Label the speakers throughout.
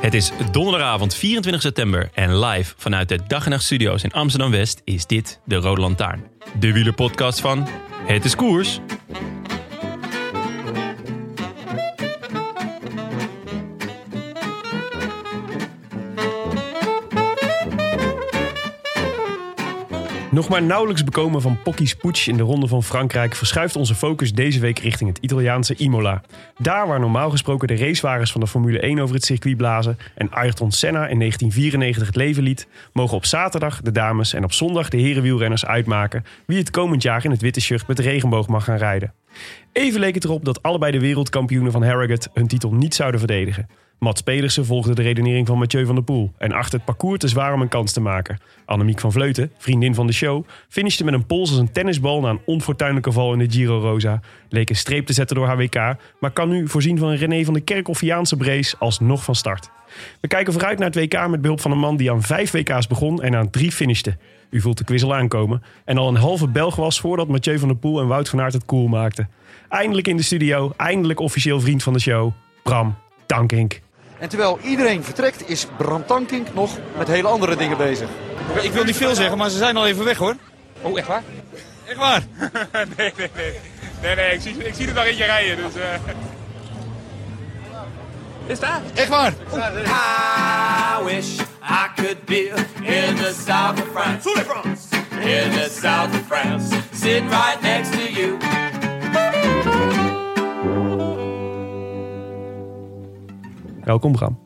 Speaker 1: Het is donderdagavond 24 september en live vanuit de Dag en Nacht Studio's in Amsterdam-West is dit de Rode Lantaarn. De wielerpodcast van Het is Koers.
Speaker 2: Nog maar nauwelijks bekomen van Pocky's Putsch in de Ronde van Frankrijk verschuift onze focus deze week richting het Italiaanse Imola. Daar waar normaal gesproken de racewagens van de Formule 1 over het circuit blazen en Ayrton Senna in 1994 het leven liet, mogen op zaterdag de dames en op zondag de herenwielrenners uitmaken wie het komend jaar in het witte shirt met de regenboog mag gaan rijden. Even leek het erop dat allebei de wereldkampioenen van Harrogate hun titel niet zouden verdedigen. Mats Pedersen volgde de redenering van Mathieu van der Poel en achter het parcours te zwaar om een kans te maken. Annemiek van Vleuten, vriendin van de show, finishte met een pols als een tennisbal na een onfortuinlijke val in de Giro Rosa. Leek een streep te zetten door haar WK, maar kan nu voorzien van een René van de Kerkhoffiaanse brace alsnog van start. We kijken vooruit naar het WK met behulp van een man die aan vijf WK's begon en aan drie finishte. U voelt de quiz al aankomen en al een halve Belg was voordat Mathieu van der Poel en Wout van Aert het cool maakten. Eindelijk in de studio, eindelijk officieel vriend van de show, Bram Tankink.
Speaker 3: En terwijl iedereen vertrekt, is Bram Tankink nog met hele andere dingen bezig.
Speaker 4: Ik wil niet veel zeggen, maar ze zijn al even weg hoor. Oh, echt waar? Echt waar?
Speaker 5: nee, nee, nee. Nee, nee, ik zie, ik zie er nog eentje rijden, dus... eh. Is daar?
Speaker 4: Echt waar?
Speaker 6: I wish I could be in the south of France. In the south of France. Sitting right next to you.
Speaker 2: Welkom Bram.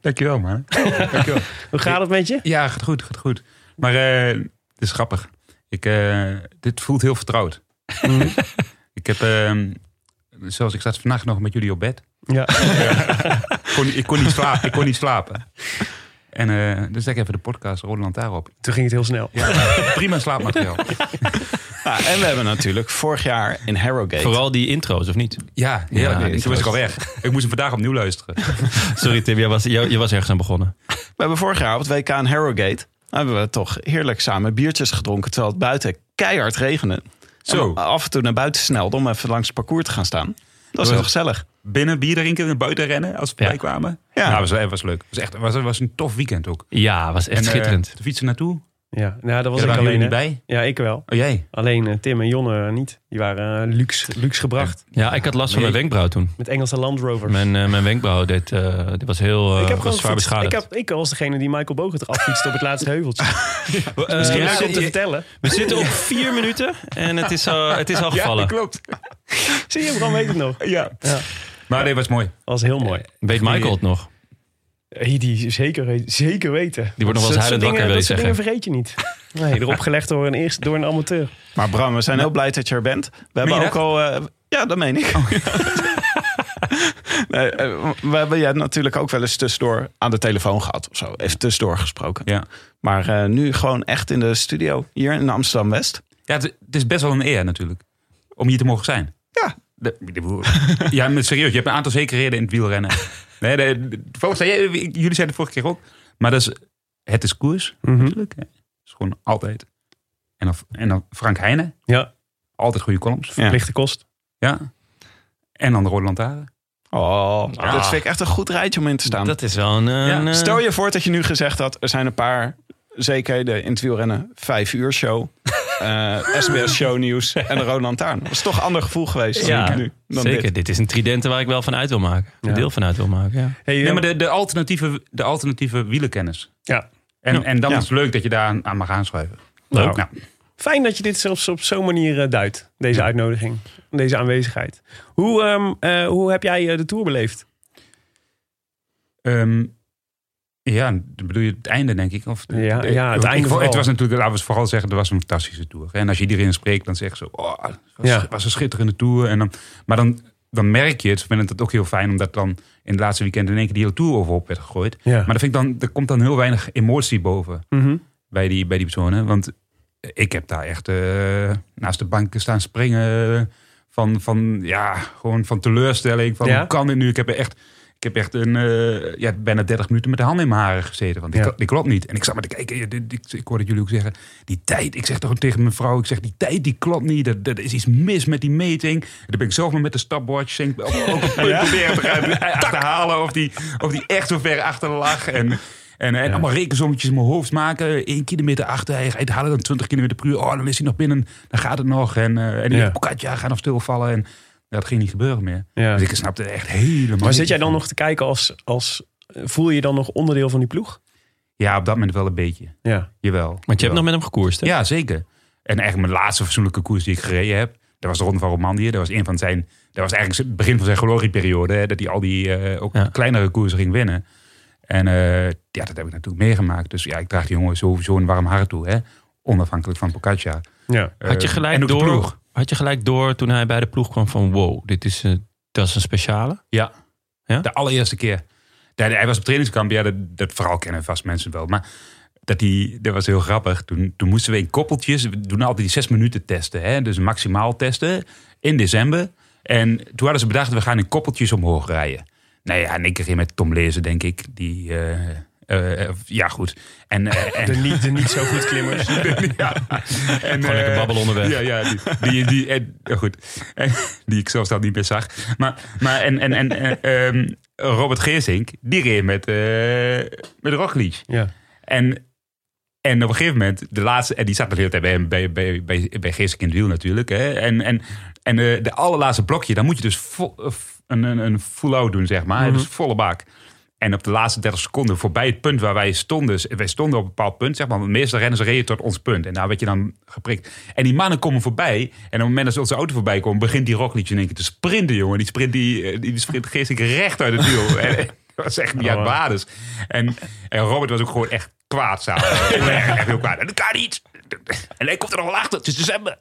Speaker 5: Dankjewel, man. Dankjewel.
Speaker 2: Hoe gaat het met je?
Speaker 5: Ja, gaat goed, gaat goed. Maar eh, het is grappig. Ik, eh, dit voelt heel vertrouwd. ik heb, eh, zoals ik zat vannacht nog met jullie op bed.
Speaker 2: Ja.
Speaker 5: Ik kon, ik kon, niet, slapen, ik kon niet slapen. En eh, dus zet ik even de podcast Rode Lantaarn op.
Speaker 2: Toen ging het heel snel.
Speaker 5: Prima slaapmateriaal.
Speaker 7: Ja, en we hebben natuurlijk vorig jaar in Harrogate.
Speaker 1: Vooral die intro's, of niet?
Speaker 5: Ja, heerlijk.
Speaker 1: Ja,
Speaker 5: Ja, Toen was ik al weg. Ik moest hem vandaag opnieuw luisteren.
Speaker 1: Sorry Tim, jij was, jij- je was ergens aan begonnen.
Speaker 7: We hebben vorig jaar op het WK in Harrogate. Hebben we toch heerlijk samen biertjes gedronken. Terwijl het buiten keihard regende.
Speaker 5: Zo.
Speaker 7: En we af en toe naar buiten snelde om even langs het parcours te gaan staan. Dat was heel
Speaker 5: was-
Speaker 7: gezellig.
Speaker 5: Binnen bier drinken en buiten rennen als we
Speaker 1: Ja.
Speaker 5: bij kwamen.
Speaker 7: Ja.
Speaker 5: Ja, was, was leuk. Was echt, was, was een tof weekend ook.
Speaker 1: Ja, was echt
Speaker 5: en, eh,
Speaker 1: schitterend.
Speaker 5: de fietsen naartoe.
Speaker 2: Ja, nou, dat was
Speaker 5: Ja,
Speaker 2: ik
Speaker 5: waren
Speaker 2: alleen.
Speaker 5: jullie niet
Speaker 2: hè.
Speaker 5: bij?
Speaker 2: Ja, ik wel.
Speaker 5: Oh jij?
Speaker 2: Alleen eh, Tim en Jonne eh, niet. Die waren eh, luxe, luxe gebracht.
Speaker 1: Ja, ik had last van mijn wenkbrauw toen.
Speaker 2: Met Engelse Land Rovers.
Speaker 1: Mijn, eh, mijn wenkbrauw deed, eh, die was heel eh,
Speaker 2: ik, heb
Speaker 1: was zwaar
Speaker 2: gewoon fiets- ik,
Speaker 1: beschadigd.
Speaker 2: heb, ik was degene die Michael Bogert affietste op het laatste heuveltje.
Speaker 1: Eh,
Speaker 2: Misschien
Speaker 1: we
Speaker 2: leuk om te
Speaker 1: zitten-
Speaker 2: vertellen.
Speaker 1: we zitten op vier minuten en het is, al- het is al gevallen.
Speaker 5: klopt.
Speaker 2: Zie je, Bram weet het nog.
Speaker 5: Ja. Maar dit was mooi.
Speaker 2: was heel mooi.
Speaker 1: Weet Michael het nog?
Speaker 2: Hey, die Eh, zeker, weet- zeker weten.
Speaker 1: Die wordt nog wel eens
Speaker 2: Dat
Speaker 1: huilend
Speaker 2: soort
Speaker 1: wakker,
Speaker 2: dingen-
Speaker 1: wil je
Speaker 2: Dat soort
Speaker 1: zeggen.
Speaker 2: dingen vergeet je niet. Nee, erop gelegd door een, eerste, door een amateur.
Speaker 7: Maar Bram, we zijn heel blij dat je er bent. We hebben
Speaker 5: je
Speaker 7: ook
Speaker 5: dat? Oh.
Speaker 7: al. eh, ja, dat meen ik. Nee, eh, we hebben jij natuurlijk ook wel eens tussendoor aan de telefoon gehad of zo. Even tussendoor gesproken.
Speaker 5: Ja.
Speaker 7: Maar eh, nu gewoon echt in de studio hier in Amsterdam West.
Speaker 5: Ja, het, het is best wel een eer natuurlijk. Om hier te mogen zijn.
Speaker 7: Ja.
Speaker 5: De- de- de- ja, met serieus. Je hebt een aantal zekerheden in het wielrennen. Nee, de, de- volgens mij, jij- jullie zeiden het vorige keer ook. Maar dat is, het is koers
Speaker 2: Mhm.
Speaker 5: natuurlijk. Het is gewoon altijd. En dan, en dan Frank Heijnen.
Speaker 2: Ja.
Speaker 5: Altijd goede columns.
Speaker 7: Ja.
Speaker 2: Lichte kost.
Speaker 5: Ja. En dan de Rode Lantaarn.
Speaker 7: Oh,
Speaker 1: Ah.
Speaker 7: dat vind ik echt een goed rijtje om in te staan.
Speaker 1: Dat is wel een... een, eh,
Speaker 7: Stel je voor dat je nu gezegd had, er zijn een paar zekerheden in het wielrennen. Vijf uur show. eh, SBS Show Nieuws en de Roland Taarn. Dat is toch een ander gevoel geweest
Speaker 1: Ja,
Speaker 7: dan nu. Dan
Speaker 1: zeker.
Speaker 7: dit.
Speaker 1: Dit. is een tridente waar ik wel van uit wil maken. Een
Speaker 2: Ja.
Speaker 1: deel van uit wil maken, ja.
Speaker 2: Hey, eh,
Speaker 5: Nee, maar de, de, alternatieve, de alternatieve wielenkennis.
Speaker 2: ja.
Speaker 5: En, en dan
Speaker 7: Ja.
Speaker 5: is het leuk dat je daar aan, aan mag aanschuiven.
Speaker 2: Leuk.
Speaker 5: Nou,
Speaker 2: Fijn dat je dit zelfs op zo'n manier eh, duidt. Deze uitnodiging. Deze aanwezigheid. Hoe, ehm, eh, hoe heb jij eh, de Tour beleefd?
Speaker 5: ehm, ja, dan bedoel je het einde, denk ik? Of,
Speaker 2: Ja, ja, het
Speaker 5: Ik-
Speaker 2: einde
Speaker 5: ik-
Speaker 2: vooral.
Speaker 5: Het was natuurlijk, laten we het vooral zeggen, het was een fantastische tour. En als je iedereen spreekt, dan zeggen ze, oh, het was,
Speaker 2: Ja.
Speaker 5: was een schitterende tour. En dan, maar dan, dan merk je het, vind ik het ook heel fijn, omdat dan in het laatste weekend in één keer die hele tour overhoop werd gegooid.
Speaker 2: Ja.
Speaker 5: Maar dat vind ik dan, er komt dan heel weinig emotie boven.
Speaker 2: Mhm.
Speaker 5: bij die, bij die personen. Want ik heb daar echt eh, naast de banken staan springen. Van, van, ja, gewoon van teleurstelling. Van,
Speaker 2: Ja?
Speaker 5: Hoe kan dit nu? Ik heb er echt, ik heb echt een, eh, ja, bijna 30 minuten met de handen in mijn haren gezeten. Want die,
Speaker 2: Ja.
Speaker 5: kl- die klopt niet. En ik zat maar te kijken. Ik, ik, ik hoorde jullie ook zeggen. Die tijd. Ik zeg toch tegen mijn vrouw. Ik zeg, die tijd die klopt niet. Er, er is iets mis met die meting. En dan ben ik zelf maar met de stopwatch. Denk, ik, ook, ook een punt proberen te gaan- eh, te halen. Of die, of die echt zo ver achter lag. En, en, en allemaal rekensommetjes in mijn hoofd maken. 1 kilometer achter, hij rijdt harder dan 20 kilometer per uur. Oh, dan is hij nog binnen, dan gaat het nog. En, eh en die
Speaker 2: Ja.
Speaker 5: Pocatja gaat nog stilvallen. En ja, dat ging niet gebeuren meer.
Speaker 2: Ja.
Speaker 5: Dus ik snapte echt helemaal
Speaker 2: Maar zit
Speaker 5: niks
Speaker 2: jij dan
Speaker 5: van.
Speaker 2: nog te kijken als, als... eh, Voel je je dan nog onderdeel van die ploeg?
Speaker 5: Ja, op dat moment wel een beetje.
Speaker 2: Ja.
Speaker 5: Jawel.
Speaker 1: Want je hebt nog
Speaker 5: Jawel.
Speaker 1: met hem gekoerst, hè?
Speaker 5: Ja, zeker. En echt mijn laatste fatsoenlijke koers die ik gereden heb. Dat was de Ronde van Romandie. Dat was een van zijn. Dat was eigenlijk het begin van zijn glorieperiode. Hè, dat hij al die eh, ook
Speaker 1: Ja.
Speaker 5: kleinere koersen ging winnen. En eh, ja, dat heb ik natuurlijk meegemaakt. Dus ja, ik draag die jongen sowieso een warm hart toe. Hè? Onafhankelijk van Pocaccia.
Speaker 2: Ja.
Speaker 1: Had je
Speaker 5: Eh,
Speaker 1: gelijk
Speaker 5: en ook de
Speaker 1: door...
Speaker 5: ploeg.
Speaker 1: Had je gelijk door toen hij bij de ploeg kwam van... Wow, dit is een, dat is een speciale?
Speaker 5: Ja.
Speaker 1: Ja?
Speaker 5: De allereerste keer. Ja, hij was op trainingskamp. Ja, dat, dat verhaal kennen vast mensen wel. Maar dat, die, dat was heel grappig. Toen, toen moesten we in koppeltjes... We doen altijd die zes minuten testen. Hè? Dus maximaal testen. In december. En toen hadden ze bedacht... We gaan in koppeltjes omhoog rijden. Nou ja, en ik ging met Tom Lezen, denk ik. Die... eh, eh, eh, ja, goed. En, eh, en,
Speaker 2: De niet, de niet zo goed klimmers.
Speaker 5: ja. En,
Speaker 1: Gewoon lekker
Speaker 5: eh,
Speaker 1: babbelen onderweg.
Speaker 5: Ja, ja die, die, die, en, ja, goed. En, die ik zelfs dan niet meer zag. Maar, maar en, en, en, eh, ehm, Robert Geersink, die reed met, eh met Roglic.
Speaker 2: Ja.
Speaker 5: En, en op een gegeven moment, de laatste, en die zat nog de hele tijd bij, hem, bij, bij, bij, bij Geersink in het wiel natuurlijk. Hè. En, en, en eh, de allerlaatste blokje, dan moet je dus vo- eh, f- een, een, een full-out doen, zeg maar. Dus volle baak. En op de laatste 30 seconden, voorbij het punt waar wij stonden. dus Wij stonden op een bepaald punt, zeg maar. Want de meeste renners reden tot ons punt. En daar werd je dan geprikt. En die mannen komen voorbij. En op het moment dat ze onze auto voorbij komen, begint die Roglic in één keer te sprinten, jongen. Die sprint, die, eh, die sprint geestelijk recht uit het wiel. En, eh, dat was echt niet uit basis. En, en Robert was ook gewoon echt kwaad samen. echt, echt heel kwaad. En dat kan niet. En hij komt er nog wel achter. Het is december.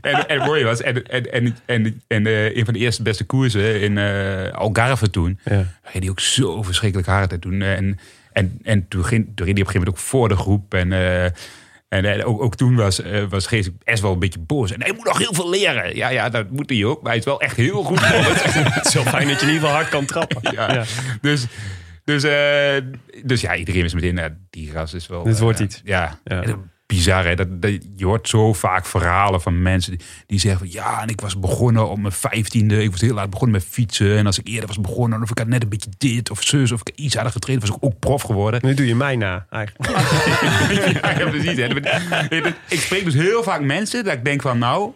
Speaker 5: en, en het mooie was, en, en, en, en, en eh, een van de eerste beste koersen in eh, Algarve toen,
Speaker 2: Ja.
Speaker 5: reed hij ook zo verschrikkelijk hard. En toen, eh, en, en, en toen, ging, toen reed hij op een gegeven moment ook voor de groep. En, eh, en, eh, ook, ook toen was, eh, was Gees best wel een beetje boos. En hij moet nog heel veel leren. Ja, ja, dat moet hij ook. Maar hij is wel echt heel goed.
Speaker 2: Het is wel fijn dat je in ieder geval hard kan trappen.
Speaker 5: ja.
Speaker 2: Ja.
Speaker 5: Dus, dus, eh, dus ja, iedereen is meteen, nou, die ras is wel...
Speaker 2: Dit
Speaker 5: eh,
Speaker 2: wordt iets.
Speaker 5: Ja,
Speaker 2: Ja.
Speaker 5: En bizar hè. Dat, dat, je hoort zo vaak verhalen van mensen die, die zeggen van... Ja, en ik was begonnen op mijn vijftiende. Ik was heel laat begonnen met fietsen. En als ik eerder was begonnen, of ik had net een beetje dit of zus... of ik iets harder getraind, was ik ook prof geworden.
Speaker 2: Nu doe je mij na, eigenlijk.
Speaker 5: ja, ja, precies. Hè. Ik spreek dus heel vaak mensen dat ik denk van nou...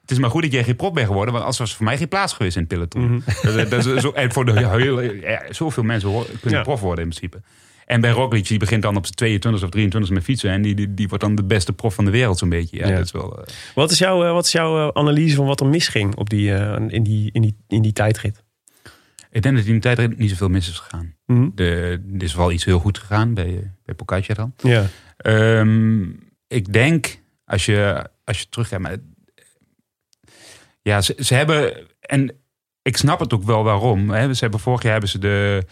Speaker 5: Het is maar goed dat jij geen prop bent geworden, want anders was er voor mij geen plaats geweest in het peloton. dat, is- dat is zo, en voor de hele, ja, zoveel mensen hoor- kunnen
Speaker 2: Ja.
Speaker 5: prof worden in principe. En bij Roglic, die begint dan op zijn 22 of 23 met fietsen. En die, die, die wordt dan de beste prof van de wereld zo'n beetje. Ja,
Speaker 2: Ja.
Speaker 5: Dat is wel, eh,
Speaker 2: Wat is jouw, eh, wat is jouw eh, analyse van wat er misging op die, eh, in, die, in, die, in die tijdrit?
Speaker 5: ik denk dat in de tijd niet zoveel mis is gegaan.
Speaker 2: Mhm.
Speaker 5: De, er is wel iets heel goed gegaan bij, eh, bij Pocaccia dan.
Speaker 2: Ja.
Speaker 5: Ehm, ik denk, als je, als je terugkijkt... Maar, ja, ze, ze hebben... En ik snap het ook wel waarom. Hè. Ze hebben, vorig jaar hebben ze de,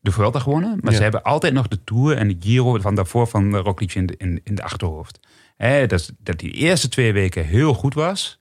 Speaker 5: de Vuelta gewonnen. Maar
Speaker 2: Ja.
Speaker 5: ze hebben altijd nog de Tour en de Giro van daarvoor van eh, Roglic in de, in, in de achterhoofd. Hè, dat, is- dat die eerste twee weken heel goed was.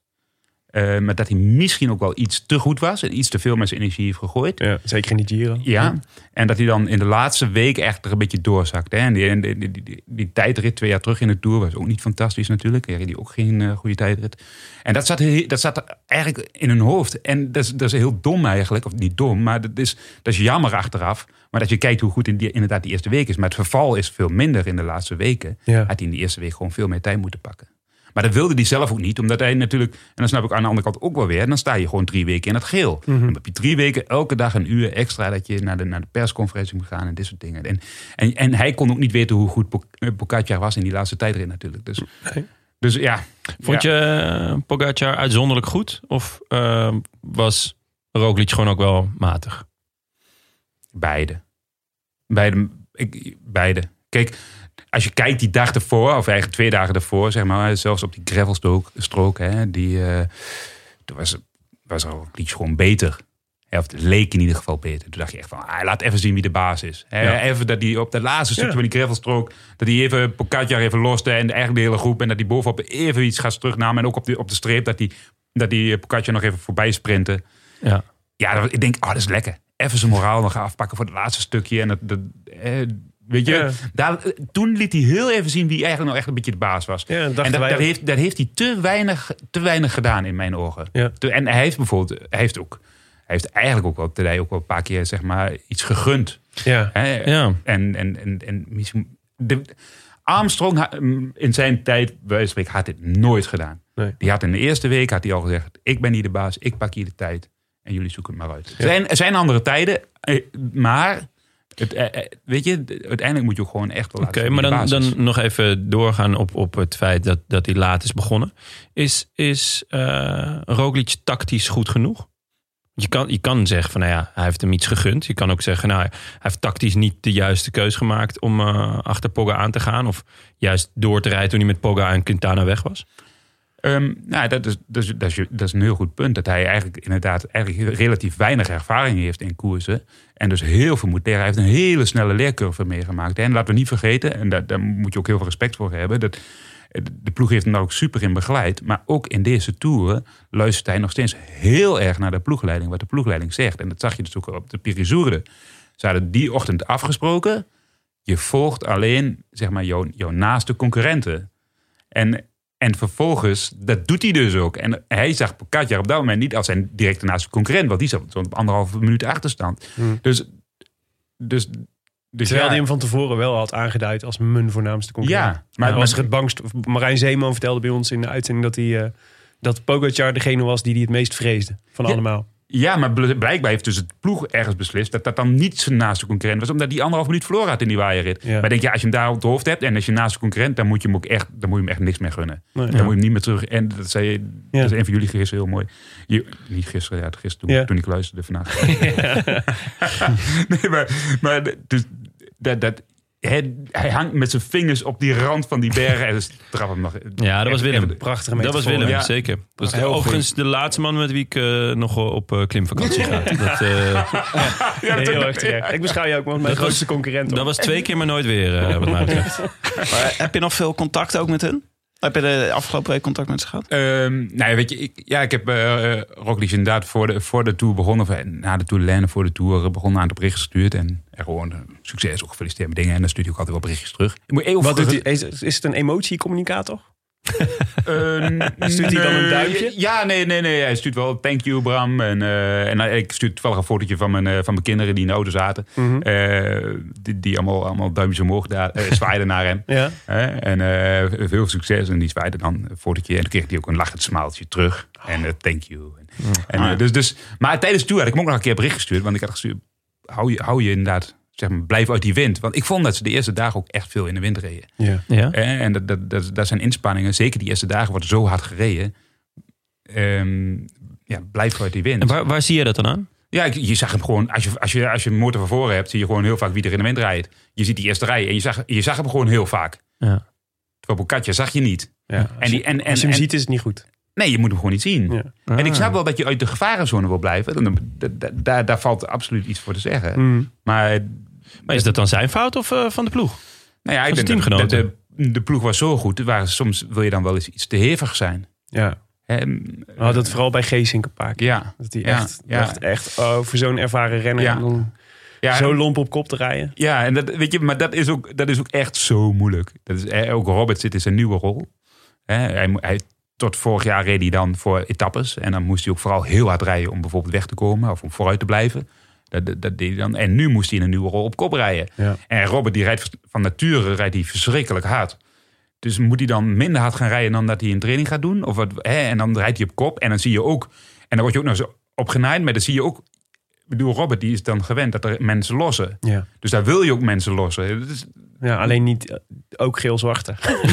Speaker 5: eh, maar dat hij misschien ook wel iets te goed was. En iets te veel met zijn energie heeft gegooid.
Speaker 2: ja, zeker in die Giro.
Speaker 5: Ja, en dat hij dan in de laatste week echt er een beetje doorzakt. Hè? En die, en die, die, die, die tijdrit twee jaar terug in de Tour was ook niet fantastisch natuurlijk. Hij reed die ook geen eh, goede tijdrit. En dat zat, heel- dat zat eigenlijk in hun hoofd. En dat is, dat is heel dom eigenlijk. Of niet dom, maar dat is, dat is jammer achteraf. Maar dat je kijkt hoe goed in die, inderdaad die eerste week is. Maar het verval is veel minder in de laatste weken.
Speaker 2: Ja.
Speaker 5: Had hij in die eerste week gewoon veel meer tijd moeten pakken. Maar dat wilde hij zelf ook niet, omdat hij natuurlijk... En dan snap ik aan de andere kant ook wel weer... dan sta je gewoon drie weken in het geel. Dan heb je drie weken, elke dag een uur extra... dat je naar de, naar de persconferentie moet gaan en dit soort dingen. En, en, en hij kon ook niet weten hoe goed Poc- eh, Pogacar was in die laatste tijdrit natuurlijk. Dus, dus ja.
Speaker 1: Vond
Speaker 5: Ja.
Speaker 1: je eh, Pogacar uitzonderlijk goed? Of eh, was Roglic gewoon ook wel matig?
Speaker 5: Beide. Beide. Ik, beide. Kijk, als je kijkt die dag ervoor, of eigenlijk twee dagen ervoor, zeg maar, zelfs op die gravelstrook, strook, hè, die, eh, toen was, was al iets gewoon beter. Hè, Of het leek in ieder geval beter. Toen dacht je echt van, ah, laat even zien wie de baas is. Hè,
Speaker 1: Ja.
Speaker 5: Even dat die op dat laatste stukje van die gravelstrook, dat hij even Pogacar even loste en eigenlijk de hele groep. En dat die bovenop even iets gaat terugnamen. En ook op de, op de streep dat die, dat die Pogacar nog even voorbij sprinten.
Speaker 1: Ja.
Speaker 5: Ja, dat- ik denk, oh, dat is lekker. Even zijn moraal nog afpakken voor het laatste stukje. En dat, dat, eh, weet je,
Speaker 2: Ja.
Speaker 5: daar, toen liet hij heel even zien wie eigenlijk nou echt een beetje de baas was.
Speaker 2: Ja, dachten
Speaker 5: en dat,
Speaker 2: wij
Speaker 5: daar,
Speaker 2: ook.
Speaker 5: heeft, daar heeft hij te weinig, te weinig gedaan in mijn ogen.
Speaker 2: Ja.
Speaker 5: Te- En hij heeft bijvoorbeeld, hij heeft ook, hij heeft eigenlijk ook wel, Tadej ook wel een paar keer zeg maar iets gegund.
Speaker 2: Ja.
Speaker 5: Hè?
Speaker 1: Ja.
Speaker 5: En, en, en, en misschien. De, Armstrong ha- mm, in zijn tijd, bij wijze van spreken, had dit nooit gedaan.
Speaker 2: Nee.
Speaker 5: Die had in de eerste week had hij al gezegd: Ik ben hier de baas, ik pak hier de tijd. En jullie zoeken het maar uit. Er zijn, er zijn andere tijden, eh, maar het, eh, eh, weet je, d- uiteindelijk moet je ook gewoon echt
Speaker 1: Oké,
Speaker 5: wel laten zien
Speaker 1: maar
Speaker 5: wie de
Speaker 1: dan,
Speaker 5: baas is.
Speaker 1: dan nog even doorgaan op, op het feit dat, dat hij laat is begonnen. Is, is eh, Roglic tactisch goed genoeg? Je kan, je kan zeggen van, nou ja, hij heeft hem iets gegund. Je kan ook zeggen, nou, hij heeft tactisch niet de juiste keus gemaakt om eh, achter Pogga aan te gaan. Of juist door te rijden toen hij met Pogga en Quintana weg was.
Speaker 5: Ehm, nou, dat is, dat, is, dat, is, dat is een heel goed punt. Dat hij eigenlijk inderdaad eigenlijk relatief weinig ervaring heeft in koersen. En dus heel veel moet leren. Hij heeft een hele snelle leercurve meegemaakt. En laten we niet vergeten, en daar, daar moet je ook heel veel respect voor hebben. Dat, de ploeg heeft hem daar ook super in begeleid. Maar ook in deze toeren luistert hij nog steeds heel erg naar de ploegleiding. Wat de ploegleiding zegt. En dat zag je dus ook op de Pirisourde. Ze hadden die ochtend afgesproken. Je volgt alleen zeg maar, jouw, jouw naaste concurrenten. En, en vervolgens, dat doet hij dus ook. En hij zag Pogacar op dat moment niet als zijn directe naaste concurrent. Want die zat op zo'n anderhalve minuut achterstand. Dus, dus, dus
Speaker 2: Terwijl
Speaker 5: ja,
Speaker 2: hij hem van tevoren wel had aangeduid als mijn voornaamste concurrent.
Speaker 5: Ja, maar-
Speaker 2: maar
Speaker 5: maar-
Speaker 2: was er het bangst. Marijn Zeeman vertelde bij ons in de uitzending dat hij. eh, dat Pogacar degene was die hij het meest vreesde van
Speaker 5: Ja.
Speaker 2: allemaal.
Speaker 5: ja, maar bl- blijkbaar heeft dus het ploeg ergens beslist... dat dat dan niet zijn naaste concurrent was. Omdat die anderhalve minuut verloren had in die waaierrit.
Speaker 2: Ja.
Speaker 5: Maar denk je, als je hem daar op het hoofd hebt... en als je naaste concurrent, dan moet je hem ook echt, dan moet je hem echt niks meer gunnen.
Speaker 2: Nee.
Speaker 5: Dan moet je hem niet meer terug. En dat zei
Speaker 2: Ja.
Speaker 5: dat is een van jullie gisteren heel mooi. Je, niet gisteren, ja, gisteren toen,
Speaker 2: Ja.
Speaker 5: toen ik luisterde vandaag. nee, maar, maar dus, dat, dat, hij, hij hangt met zijn vingers op die rand van die bergen. En dus trap hem nog.
Speaker 1: Ja, dat was
Speaker 5: Echt-
Speaker 1: Willem.
Speaker 2: Prachtige
Speaker 1: Dat
Speaker 2: metafoor.
Speaker 1: was Willem,
Speaker 5: Ja.
Speaker 1: zeker. Dat is
Speaker 5: Heel
Speaker 1: overigens de laatste man met wie ik eh, nog op eh, klimvakantie ga. Dat, eh,
Speaker 2: Ja, heel erg terecht. Ik beschouw je ook als mijn
Speaker 1: Dat was-
Speaker 2: grootste concurrent. hoor.
Speaker 1: dat was twee keer maar nooit weer, eh, wat mij betreft.
Speaker 7: Maar eh, heb je nog veel contact ook met hen? Heb je de afgelopen week contact met ze gehad?
Speaker 5: Ehm, nou, ja, weet je, ik, ja, ik heb eh eh, Roglic inderdaad voor de, voor de Tour begonnen. Of eh, na de Tour de Lijn, voor de Tour eh, begonnen aan het bericht gestuurd. En, en gewoon eh, succes, ook gefeliciteerd met dingen. En dan stuurt hij ook altijd wel berichtjes terug. Ik moet even
Speaker 2: Wat doet
Speaker 5: terug-
Speaker 2: hij? Is, is het een emotiecommunicator?
Speaker 5: Eh,
Speaker 2: Stuurt hij dan een
Speaker 5: nee,
Speaker 2: duimpje?
Speaker 5: Ja, nee, nee, nee. Hij stuurt wel thank you, Bram. En, eh, en hij- ik stuur toevallig een fotootje van mijn, eh, van mijn kinderen die in de auto zaten.
Speaker 2: Mhm.
Speaker 5: Eh, die die allemaal, allemaal duimpjes omhoog daar, eh, zwaaiden naar hem.
Speaker 2: Ja.
Speaker 5: Hè? En eh, veel succes. En die zwaaide dan een fotootje. En toen kreeg hij ook een lachend smaaltje terug. En eh, thank you. En, en, eh, dus, dus, maar tijdens de tour had ik hem ook nog een keer bericht gestuurd. Want ik had gestuurd, hou je, hou je inderdaad... Zeg maar, blijf uit die wind. Want ik vond dat ze de eerste dagen ook echt veel in de wind reden.
Speaker 2: Ja.
Speaker 1: Ja?
Speaker 5: Eh, En dat, dat, dat, dat zijn inspanningen. Zeker die eerste dagen wordt zo hard gereden. Ehm, ja, blijf uit die
Speaker 1: En
Speaker 5: wind.
Speaker 1: waar, waar zie je dat dan aan?
Speaker 5: Ja, ik- je zag hem gewoon. Als je, als, je, als je een motor van voren hebt, zie je gewoon heel vaak wie er in de wind rijdt. Je ziet die eerste rij en je zag, je zag hem gewoon heel vaak.
Speaker 1: Ja.
Speaker 5: Terwijl Bocatje zag je niet.
Speaker 2: Ja.
Speaker 5: En die, en, en,
Speaker 2: Als je hem
Speaker 5: en-
Speaker 2: ziet is het niet goed.
Speaker 5: nee, je moet hem gewoon niet zien.
Speaker 2: Ja. Ah.
Speaker 5: En ik snap wel dat je uit de gevarenzone wil blijven. Dan, da- da- daar- daar valt absoluut iets voor te zeggen.
Speaker 2: Mm.
Speaker 5: Maar
Speaker 1: Maar is dat dan zijn fout of eh, van de ploeg?
Speaker 5: nou ja, ik
Speaker 1: Van zijn
Speaker 5: denk dat- dat
Speaker 1: teamgenoten.
Speaker 5: de, de ploeg was zo goed. Er waren, soms wil je dan wel eens iets te hevig zijn.
Speaker 2: Ja.
Speaker 5: Hè,
Speaker 2: We hadden het Oh, vooral bij Geesink een paar keer.
Speaker 5: Eh, Ja,
Speaker 2: Dat hij
Speaker 5: Ja,
Speaker 2: echt
Speaker 5: ja.
Speaker 2: dacht, echt, oh, voor zo'n ervaren renner
Speaker 5: Ja.
Speaker 2: om dan
Speaker 5: ja,
Speaker 2: zo lomp op kop te rijden.
Speaker 5: ja en dat, weet je, maar dat is, ook, dat is ook echt zo moeilijk. Dat is, eh, ook Robert zit in zijn nieuwe rol. Hè, hij, mo- hij, tot vorig jaar reed hij dan voor etappes. En dan moest hij ook vooral heel hard rijden om bijvoorbeeld weg te komen of om vooruit te blijven. Dat, dat, dat deed hij dan. En nu moest hij in een nieuwe rol op kop rijden.
Speaker 2: Ja.
Speaker 5: En Robert die rijdt van nature rijdt hij verschrikkelijk hard. Dus moet hij dan minder hard gaan rijden dan dat hij in training gaat doen? Of wat, hè? En dan rijdt hij op kop. En dan zie je ook. En dan word je ook nog eens opgenaaid. Maar dan zie je ook. Ik bedoel, Robert die is dan gewend dat er mensen lossen.
Speaker 2: Ja.
Speaker 5: Dus daar wil je ook mensen lossen. dus- Dat is-
Speaker 2: Ja, alleen niet eh, ook geel-zwarte.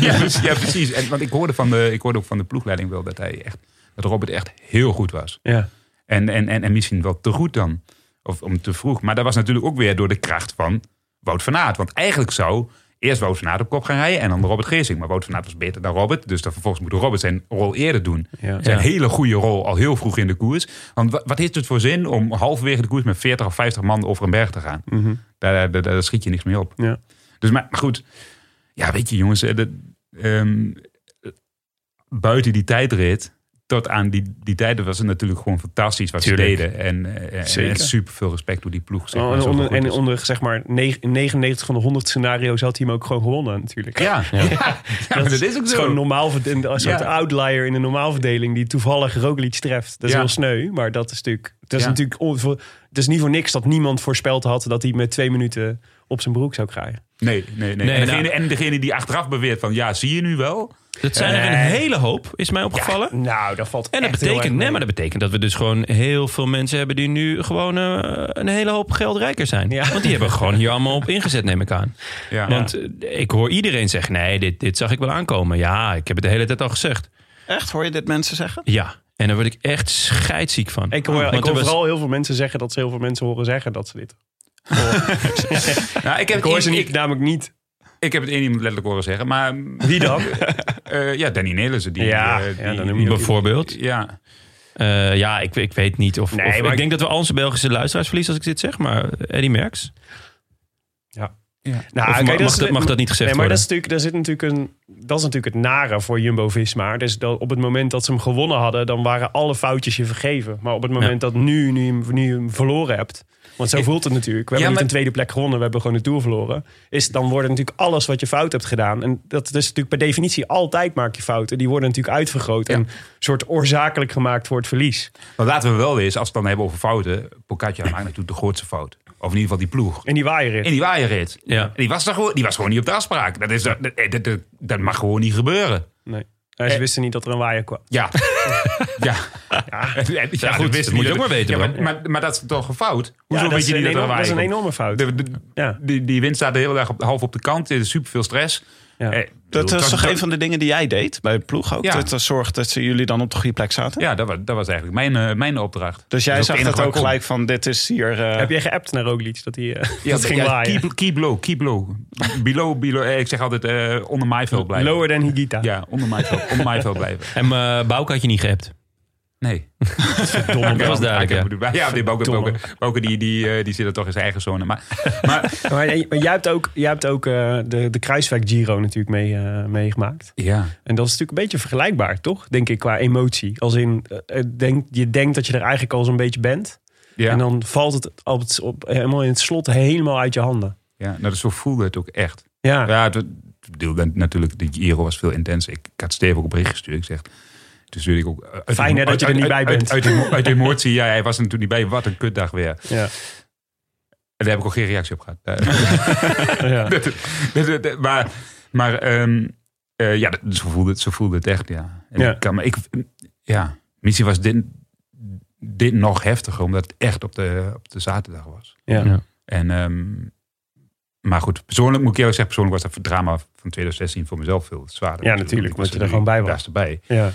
Speaker 5: ja, precies, ja, precies. En, want ik hoorde, van de, ik hoorde ook van de ploegleiding wel dat hij echt. Dat Robert echt heel goed was.
Speaker 2: Ja.
Speaker 5: En, en, en, en misschien wel te goed dan. Of om te vroeg. Maar dat was natuurlijk ook weer door de kracht van Wout van Aert. Want eigenlijk zou eerst Wout van Aert op kop gaan rijden en dan Robert Geesing. Maar Wout van Aert was beter dan Robert. Dus dan vervolgens moet Robert zijn rol eerder doen.
Speaker 2: Ja.
Speaker 5: Zijn
Speaker 1: Ja.
Speaker 5: hele goede rol al heel vroeg in de koers. Want wa- wat heeft het voor zin om halverwege de koers met 40 of 50 man over een berg te gaan?
Speaker 2: Mhm.
Speaker 5: Daar, daar, daar schiet je niks mee op.
Speaker 2: Ja.
Speaker 5: Dus maar, maar goed, ja, weet je jongens, eh, dat, ehm, eh, buiten die tijdrit, tot aan die, die tijden was het natuurlijk gewoon fantastisch wat
Speaker 2: Tuurlijk.
Speaker 5: ze deden. En, eh, en,
Speaker 2: Zeker.
Speaker 5: en super veel respect door die ploeg. Zeg maar,
Speaker 2: en,
Speaker 5: zoveel
Speaker 2: Oh, onder,
Speaker 5: goed
Speaker 2: en
Speaker 5: is.
Speaker 2: onder zeg maar negen- 99 van de 100 scenario's had hij hem ook gewoon gewonnen natuurlijk.
Speaker 5: ja, ja. maar dat is ook
Speaker 2: Het
Speaker 5: zo.
Speaker 2: is gewoon normaal verd- een soort
Speaker 5: Ja.
Speaker 2: outlier in de normaalverdeling die toevallig Roglic treft. Dat is
Speaker 5: Ja.
Speaker 2: heel sneu, maar dat is natuurlijk. Dat is
Speaker 5: Ja.
Speaker 2: natuurlijk on- voor- het is niet voor niks dat niemand voorspeld had dat hij met twee minuten op zijn broek zou krijgen.
Speaker 5: Nee, nee, nee.
Speaker 1: Nee,
Speaker 5: en, degene,
Speaker 1: nou-
Speaker 5: en degene die achteraf beweert van, ja, zie je nu wel?
Speaker 1: Dat zijn er een hele hoop, is mij opgevallen.
Speaker 2: Nou, dat valt.
Speaker 1: En dat
Speaker 2: Eh, echt heel erg
Speaker 1: betekent,
Speaker 2: mee.
Speaker 1: nee, maar dat betekent dat we dus gewoon heel veel mensen hebben die nu gewoon eh, een hele hoop geld rijker zijn.
Speaker 2: Ja.
Speaker 1: Want die hebben gewoon hier allemaal op ingezet, neem ik aan.
Speaker 5: Ja.
Speaker 1: Want eh, ik hoor iedereen zeggen, nee, dit, dit zag ik wel aankomen. Ja, ik heb het de hele tijd al gezegd.
Speaker 7: Echt, hoor je dit mensen zeggen?
Speaker 1: Ja, en daar word ik echt scheidsziek van.
Speaker 2: Ik hoor,
Speaker 1: Ah, Want
Speaker 2: ik
Speaker 1: er
Speaker 2: hoor
Speaker 1: was-
Speaker 2: vooral heel veel mensen zeggen dat ze heel veel mensen horen zeggen dat ze dit. Oh,
Speaker 5: Nou, ik, heb,
Speaker 2: Ik hoor ze
Speaker 5: ik-
Speaker 2: niet,
Speaker 5: Ik,
Speaker 2: namelijk niet.
Speaker 5: ik heb het één iemand letterlijk horen zeggen, maar
Speaker 2: Wie dan?
Speaker 5: eh, ja, Danny Nelissen. Die,
Speaker 2: Ja,
Speaker 5: eh,
Speaker 2: ja,
Speaker 5: die,
Speaker 2: dan noem je ook
Speaker 1: Bijvoorbeeld.
Speaker 5: Ja,
Speaker 1: Eh, ja, ik, ik weet niet of...
Speaker 2: Nee,
Speaker 1: of-
Speaker 2: maar
Speaker 1: ik
Speaker 2: ik-
Speaker 1: denk dat we al onze Belgische luisteraars verliezen als ik dit zeg, maar eh, Eddie Merckx.
Speaker 2: Nou,
Speaker 1: Of
Speaker 2: kijk,
Speaker 1: mag,
Speaker 2: dat
Speaker 1: mag
Speaker 2: is-
Speaker 1: dat, mag dat niet gezegd
Speaker 2: nee, maar
Speaker 1: worden?
Speaker 2: dat is natuurlijk, daar zit natuurlijk een, dat is natuurlijk het nare voor Jumbo-Visma. Dus dat op het moment dat ze hem gewonnen hadden, dan waren alle foutjes je vergeven. Maar op het moment dat nu, nu, je hem- nu je hem verloren hebt, want zo
Speaker 5: Ik-
Speaker 2: voelt het natuurlijk. We hebben
Speaker 5: maar-
Speaker 2: niet een tweede plek gewonnen, we hebben gewoon de Tour verloren. Is, dan wordt natuurlijk alles wat je fout hebt gedaan. En dat is natuurlijk per definitie altijd maak je fouten. Die worden natuurlijk uitvergroot en soort oorzakelijk gemaakt voor het verlies.
Speaker 5: Maar laten we wel eens, als we het dan hebben over fouten. Pocatja maakt natuurlijk de grootste fout. Of in ieder geval die ploeg.
Speaker 2: En die waaien
Speaker 5: En die waaierrit.
Speaker 1: Ja.
Speaker 5: Die, was daar gewoon, die was gewoon niet op de afspraak. Dat, is, dat, dat, dat, dat mag gewoon niet gebeuren.
Speaker 2: Nee. Ja, ze
Speaker 5: Eh.
Speaker 2: wisten niet dat er een waaier kwam.
Speaker 5: Ja. ja. Ja,
Speaker 1: goed, dat
Speaker 5: wisten
Speaker 1: moet je
Speaker 5: jullie.
Speaker 1: ook maar weten,
Speaker 5: Ja,
Speaker 1: bro.
Speaker 5: maar, maar, maar dat is toch een fout? Hoezo
Speaker 2: Ja,
Speaker 5: weet je
Speaker 2: is
Speaker 5: niet
Speaker 2: een
Speaker 5: dat er een
Speaker 2: enorm- dat is een
Speaker 5: waaier komt?
Speaker 2: enorme fout.
Speaker 5: De- de-
Speaker 2: Ja.
Speaker 5: die, die wind staat de hele dag op, half op de kant. Er is superveel stress.
Speaker 2: Ja.
Speaker 5: Eh, bedoel,
Speaker 7: Dat was
Speaker 5: het
Speaker 7: toch een van de dingen die jij deed bij de ploeg ook?
Speaker 5: Ja.
Speaker 7: Dat er zorgt dat ze jullie dan op de goede plek zaten?
Speaker 5: Ja, dat was, dat was eigenlijk mijn, eh, mijn opdracht.
Speaker 7: Dus jij
Speaker 5: Dat is
Speaker 7: zag
Speaker 5: het enige
Speaker 7: dat ook
Speaker 5: waar ik
Speaker 7: gelijk van, dit is hier... eh,
Speaker 2: Heb jij geappt naar Roglic dat hij eh, dat
Speaker 5: kon. Ja,
Speaker 2: het ging
Speaker 5: ja,
Speaker 2: waaien?
Speaker 5: keep, keep low, keep low. Below, below. eh, Ik zeg altijd eh, onder maaiveld blijven.
Speaker 2: Lower than Higita.
Speaker 5: Ja, onder maaiveld, onder maaiveld blijven.
Speaker 1: En
Speaker 2: eh,
Speaker 1: mijn Bouke had je niet geappt.
Speaker 5: Nee.
Speaker 1: Domme, dat was duidelijk, ja.
Speaker 5: Ja, ja die Bouke,
Speaker 2: Verdomme.
Speaker 5: Bouke, Bouke, die, die, eh, die zit er toch in zijn eigen zone. Maar, maar
Speaker 2: Maar, jij- maar jij hebt ook, jij hebt ook eh, de, de Kruiswijk Giro natuurlijk mee, eh, meegemaakt.
Speaker 5: ja.
Speaker 2: En dat is natuurlijk een beetje vergelijkbaar, toch? Denk ik, qua emotie. Als in, eh, eh, denk, je denkt dat je er eigenlijk al zo'n beetje bent.
Speaker 5: Ja,
Speaker 2: En dan valt het, op het op, helemaal in het slot helemaal uit je handen.
Speaker 5: ja nou, dus zo voelde het ook echt.
Speaker 2: Ja,
Speaker 5: Ja, het, ik bedoel, dan- natuurlijk, de Giro was veel intenser. Ik, ik had Steve ook een bericht gestuurd. Ik zeg, toen stuurde ik ook... eh, Uit,
Speaker 2: Fijn, hè, dat je er
Speaker 5: uit-
Speaker 2: niet
Speaker 5: uit-
Speaker 2: bij bent.
Speaker 5: Uit, uit, uit emotie, ja, hij was er natuurlijk niet bij. Wat een kutdag weer.
Speaker 2: ja.
Speaker 5: En daar heb ik ook geen reactie op gehad. Eh,
Speaker 2: ja.
Speaker 5: Dat- dat- dat- dat- maar maar ehm, eh, ja, dat- zo voelde, het, zo voelde het echt, ja. En
Speaker 2: Ja.
Speaker 5: Ik kan, me- ik, ja, misschien was dit, dit nog heftiger, omdat het echt op de, op de zaterdag was.
Speaker 2: ja.
Speaker 1: Ja.
Speaker 5: En, ehm, maar goed, persoonlijk moet ik eerlijk zeggen, persoonlijk was dat drama van 2016 voor mezelf veel zwaarder.
Speaker 2: Ja, natuurlijk,
Speaker 5: was
Speaker 2: omdat je er gewoon bij was.
Speaker 5: daarste bij.
Speaker 2: Ja.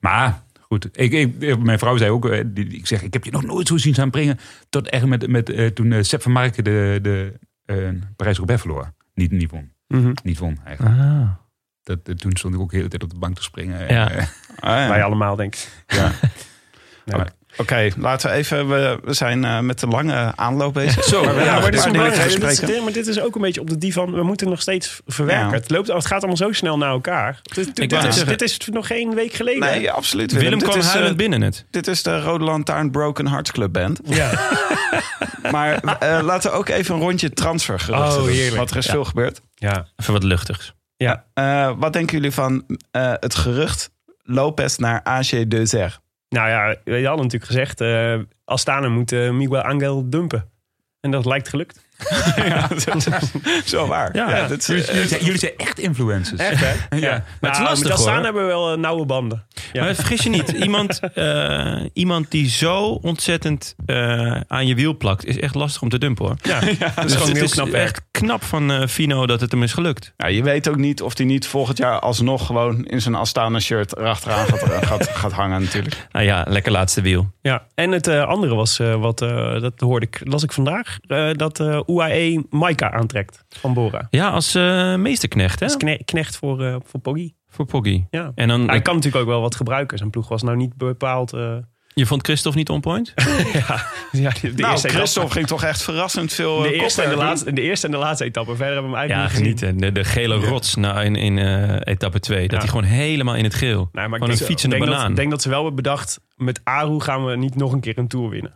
Speaker 5: Maar goed, ik, ik, mijn vrouw zei ook, eh, die- ik zeg, ik heb je nog nooit zo zien springen. Tot echt met, met eh, toen eh Sepp van Marken de, de eh, Parijs-Roubaix verloor. Niet, niet won.
Speaker 2: Mhm.
Speaker 5: Niet won eigenlijk.
Speaker 1: Ah.
Speaker 5: Dat, eh, toen stond ik ook de hele tijd op de bank te springen.
Speaker 1: Ja.
Speaker 5: Eh,
Speaker 7: ah, ja.
Speaker 2: Wij allemaal, denk ik.
Speaker 5: ja.
Speaker 7: Oké, laten we even... We, we zijn eh, met de lange aanloop bezig.
Speaker 5: Zo,
Speaker 7: maar we
Speaker 5: ja,
Speaker 7: gaan
Speaker 5: maar
Speaker 7: nog
Speaker 2: is
Speaker 5: dit is
Speaker 7: een
Speaker 2: wel
Speaker 7: paar dingen
Speaker 2: belangrijk. Dit is-
Speaker 7: bespreken.
Speaker 2: dit- maar dit is ook een beetje op de divan. We moeten het nog steeds verwerken.
Speaker 7: Ja.
Speaker 2: Het, loopt, het gaat allemaal zo snel naar elkaar. Dit, dit-
Speaker 1: wou
Speaker 2: dit
Speaker 1: net
Speaker 2: is,
Speaker 1: zeggen.
Speaker 2: dit is nog geen week geleden. hè?
Speaker 7: Nee, absoluut. Willem,
Speaker 1: Willem
Speaker 7: dit,
Speaker 1: kwam
Speaker 7: is, eh,
Speaker 1: huilend binnen het.
Speaker 7: dit is de Rode Lantaarn Broken Hearts Club Band.
Speaker 2: Ja.
Speaker 7: Maar eh, laten we ook even een rondje transfer
Speaker 2: Oh,
Speaker 7: doen.
Speaker 2: heerlijk.
Speaker 7: Want er is veel gebeurd.
Speaker 2: ja.
Speaker 1: Even wat luchtigs.
Speaker 7: Eh, wat denken jullie van eh, het gerucht Lopez naar AG Dezer?
Speaker 2: Nou ja, je had natuurlijk gezegd, eh Astana moet eh, Miguel Angel dumpen. En dat lijkt gelukt.
Speaker 5: Ja, dat is zo waar.
Speaker 2: Ja.
Speaker 5: Ja, Dus dat is-
Speaker 2: Jullie-
Speaker 5: jullie, zijn, jullie zijn echt influencers.
Speaker 2: Echt, hè?
Speaker 5: Ja.
Speaker 2: Ja.
Speaker 1: Maar het is
Speaker 2: Nou,
Speaker 1: lastig
Speaker 2: met dat
Speaker 1: hoor.
Speaker 2: staan hebben we wel eh, nauwe banden. Ja.
Speaker 1: Maar Eh, vergis je niet, iemand, eh, iemand die zo ontzettend eh, aan je wiel plakt, is echt lastig om te dumpen hoor.
Speaker 2: Ja, dat is
Speaker 1: Dus
Speaker 2: gewoon
Speaker 1: het
Speaker 2: heel
Speaker 1: is
Speaker 2: knap werk.
Speaker 1: echt knap van eh, Fino dat het hem is gelukt.
Speaker 7: Ja, je weet ook niet of hij niet volgend jaar alsnog gewoon in zijn Astana-shirt erachteraan gaat, eh, gaat, gaat hangen natuurlijk.
Speaker 1: Nou ja, lekker laatste wiel.
Speaker 2: Ja. En het eh, andere was, eh, wat, eh, dat hoorde ik, las ik vandaag, eh, dat eh UAE Maika aantrekt van Bora.
Speaker 1: Ja, als eh, meesterknecht hè?
Speaker 2: Dat is kne- knecht voor, eh voor Poggi.
Speaker 1: Voor Poggy.
Speaker 2: Ja.
Speaker 1: En dan,
Speaker 2: Hij kan natuurlijk ook wel wat gebruiken. Zijn ploeg was nou niet bepaald... eh,
Speaker 1: je vond Christophe niet on point?
Speaker 2: ja, de,
Speaker 7: nou,
Speaker 2: eerste etappe-
Speaker 7: Christophe ging toch echt verrassend veel
Speaker 2: de
Speaker 7: eh,
Speaker 2: eerste, en de,
Speaker 7: kopwerk doen.
Speaker 2: laatste, de eerste en de laatste etappe. Verder hebben we hem
Speaker 1: Ja,
Speaker 2: eigenlijk niet gezien.
Speaker 1: genieten. De, de gele rots na, in, in eh, etappe 2. Dat
Speaker 2: Ja.
Speaker 1: hij gewoon helemaal in het geel.
Speaker 2: Nee, maar ik
Speaker 1: gewoon een
Speaker 2: denk,
Speaker 1: fietsende
Speaker 2: denk
Speaker 1: banaan.
Speaker 2: Dat, denk dat ze wel hebben bedacht, met Aru gaan we niet nog een keer een Tour winnen.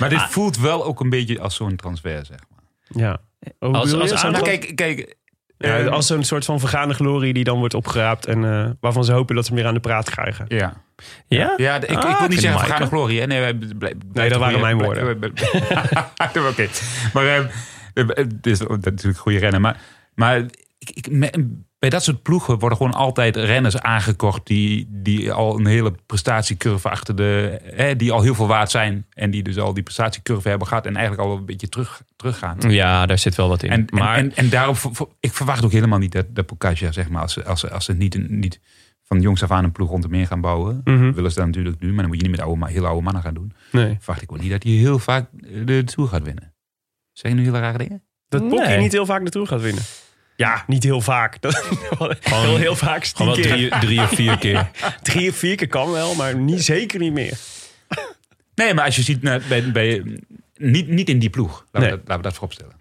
Speaker 5: Maar dit voelt wel ook een beetje als zo'n transfer, zeg maar.
Speaker 2: Ja.
Speaker 1: als aanval-
Speaker 5: Nou, kijk, kijk.
Speaker 2: Ja,
Speaker 5: eh,
Speaker 2: als een soort van vergane glorie die dan wordt opgeraapt en eh, waarvan ze hopen dat ze meer aan de praat krijgen.
Speaker 5: Ja.
Speaker 1: ja?
Speaker 5: Ja, de- ik, ik wil
Speaker 1: Ah,
Speaker 5: niet zeggen
Speaker 1: Maaike.
Speaker 5: vergaande glorie. Hè? Nee, wij bl- bl- blijven
Speaker 2: waren
Speaker 5: goeie-
Speaker 2: mijn woorden.
Speaker 5: bl- bl- bl- Oké. Maar ehm, eh, het is dat is natuurlijk een goede rennen. Maar, maar ik, ik, me- bij dat soort ploegen worden gewoon altijd renners aangekocht... die, die al een hele prestatiecurve achter de... Hè, die al heel veel waard zijn. En die dus al die prestatiecurve hebben gehad... en eigenlijk al een beetje terug, teruggaan.
Speaker 1: Ja, daar zit wel wat in.
Speaker 5: En,
Speaker 1: maar
Speaker 5: en, en, en daarom, ver- ver- ik verwacht ook helemaal niet dat, dat Pocaccia, zeg maar, als ze, als ze, als ze niet, niet van jongs af aan een ploeg rond hem heen gaan bouwen.
Speaker 2: Mhm.
Speaker 5: Willen ze dat natuurlijk nu, maar dan moet je niet met oude, ma- heel oude mannen gaan doen.
Speaker 2: Nee.
Speaker 5: Verwacht ik ook niet dat hij heel vaak eh, de Tour gaat winnen. Zeg je nu hele rare dingen?
Speaker 2: Dat Pocky
Speaker 1: Nee.
Speaker 2: niet heel vaak naartoe gaat winnen. Ja, niet heel vaak. Dat, heel, heel vaak. is tien
Speaker 1: gewoon wel
Speaker 2: keer.
Speaker 1: drie, drie of vier keer.
Speaker 2: Drie of vier keer kan wel, maar niet, zeker niet meer.
Speaker 5: Nee, maar als je ziet, nou, bij, bij, niet, niet in die ploeg. Laten,
Speaker 2: Nee.
Speaker 5: we, dat, laten we dat vooropstellen.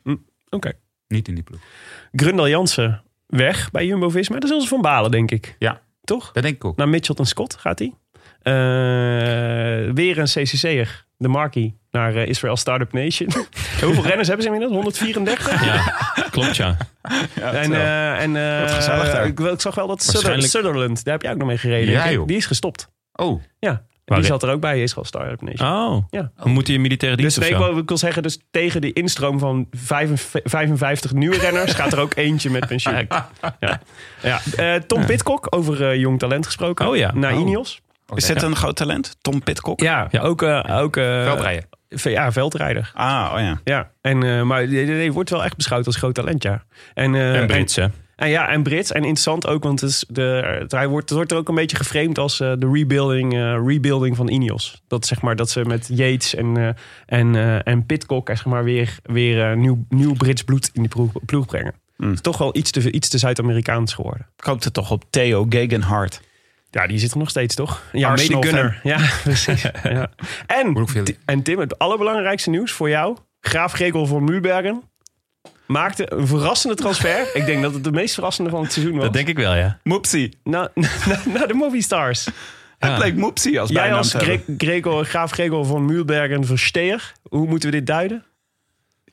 Speaker 2: Oké.
Speaker 5: Niet in die ploeg.
Speaker 2: Grundal Jansen weg bij Jumbo-Visma. Daar zullen ze van balen, denk ik.
Speaker 5: Ja.
Speaker 2: Toch?
Speaker 5: Dat denk ik ook.
Speaker 2: Naar Mitchell en Scott gaat hij. Eh, weer een CCC'er, de Markie, naar eh, Israel Startup Nation. Hoeveel renners hebben ze inmiddels? 134?
Speaker 1: Ja, klopt ja.
Speaker 2: En, eh, en eh,
Speaker 7: Wat gezellig daar.
Speaker 2: ik, wel- ik zag wel dat
Speaker 1: Waarschijnlijk-
Speaker 2: Suther- Sutherland, daar heb jij ook nog mee gereden.
Speaker 5: Ja,
Speaker 2: Die-
Speaker 5: joh.
Speaker 2: Die is gestopt.
Speaker 5: Oh,
Speaker 2: Ja. En
Speaker 1: Waarin?
Speaker 2: die zat er ook bij Israel Startup Nation.
Speaker 1: Oh,
Speaker 2: Ja.
Speaker 1: dan moet hij in militaire
Speaker 2: Dus
Speaker 1: dienst
Speaker 2: nee, ik
Speaker 1: of zo?
Speaker 2: wil, ik wil zeggen, dus tegen de instroom van 55, 55 nieuwe renners gaat er ook eentje met pensioen. Ja. Ja. Eh, Tom Pitcock, over eh, jong talent gesproken.
Speaker 1: Oh ja.
Speaker 2: Naar
Speaker 1: Oh.
Speaker 2: Ineos.
Speaker 7: Is dit een groot talent? Tom Pitcock?
Speaker 2: Ja,
Speaker 1: Ja.
Speaker 2: ook... eh, ook eh,
Speaker 5: veldrijden.
Speaker 2: v- Ja, veldrijder.
Speaker 7: Ah, oh ja.
Speaker 2: Ja, en, eh, maar die- die- die wordt wel echt beschouwd als groot talent, ja. En, eh,
Speaker 1: en Brits hè?
Speaker 2: En ja, en Brits. En interessant ook, want het, is de, het, hij wordt, het wordt er ook een beetje geframed als eh, de rebuilding, eh, rebuilding van Ineos. Dat zeg maar dat ze met Yates en, eh, en, eh, en Pitcock eh, zeg maar, weer, weer eh, nieuw, nieuw Brits bloed in die ploeg, ploeg brengen. Het is toch wel iets te, iets te Zuid-Amerikaans geworden.
Speaker 7: Ik hoopte toch op Theo Gegenhardt.
Speaker 2: Ja, die zit er nog steeds, toch? Ja,
Speaker 7: Arsenal
Speaker 2: mede gunner. Ja, precies. ja. En,
Speaker 5: Brookfield.
Speaker 2: Ti- en Tim, het allerbelangrijkste nieuws voor jou. Graaf Gregor van Muurbergen maakte een verrassende transfer. ik denk dat het de meest verrassende van het seizoen was.
Speaker 1: Dat denk ik wel ja.
Speaker 7: Moepsie.
Speaker 2: Na, na- na de movie stars.
Speaker 7: Het leek Moepsie als
Speaker 2: Jij
Speaker 7: bijnaam
Speaker 2: als
Speaker 7: te hebben.
Speaker 2: Gre- Gregor, graaf Gregor van Muurbergen Versteer. Hoe moeten we dit duiden?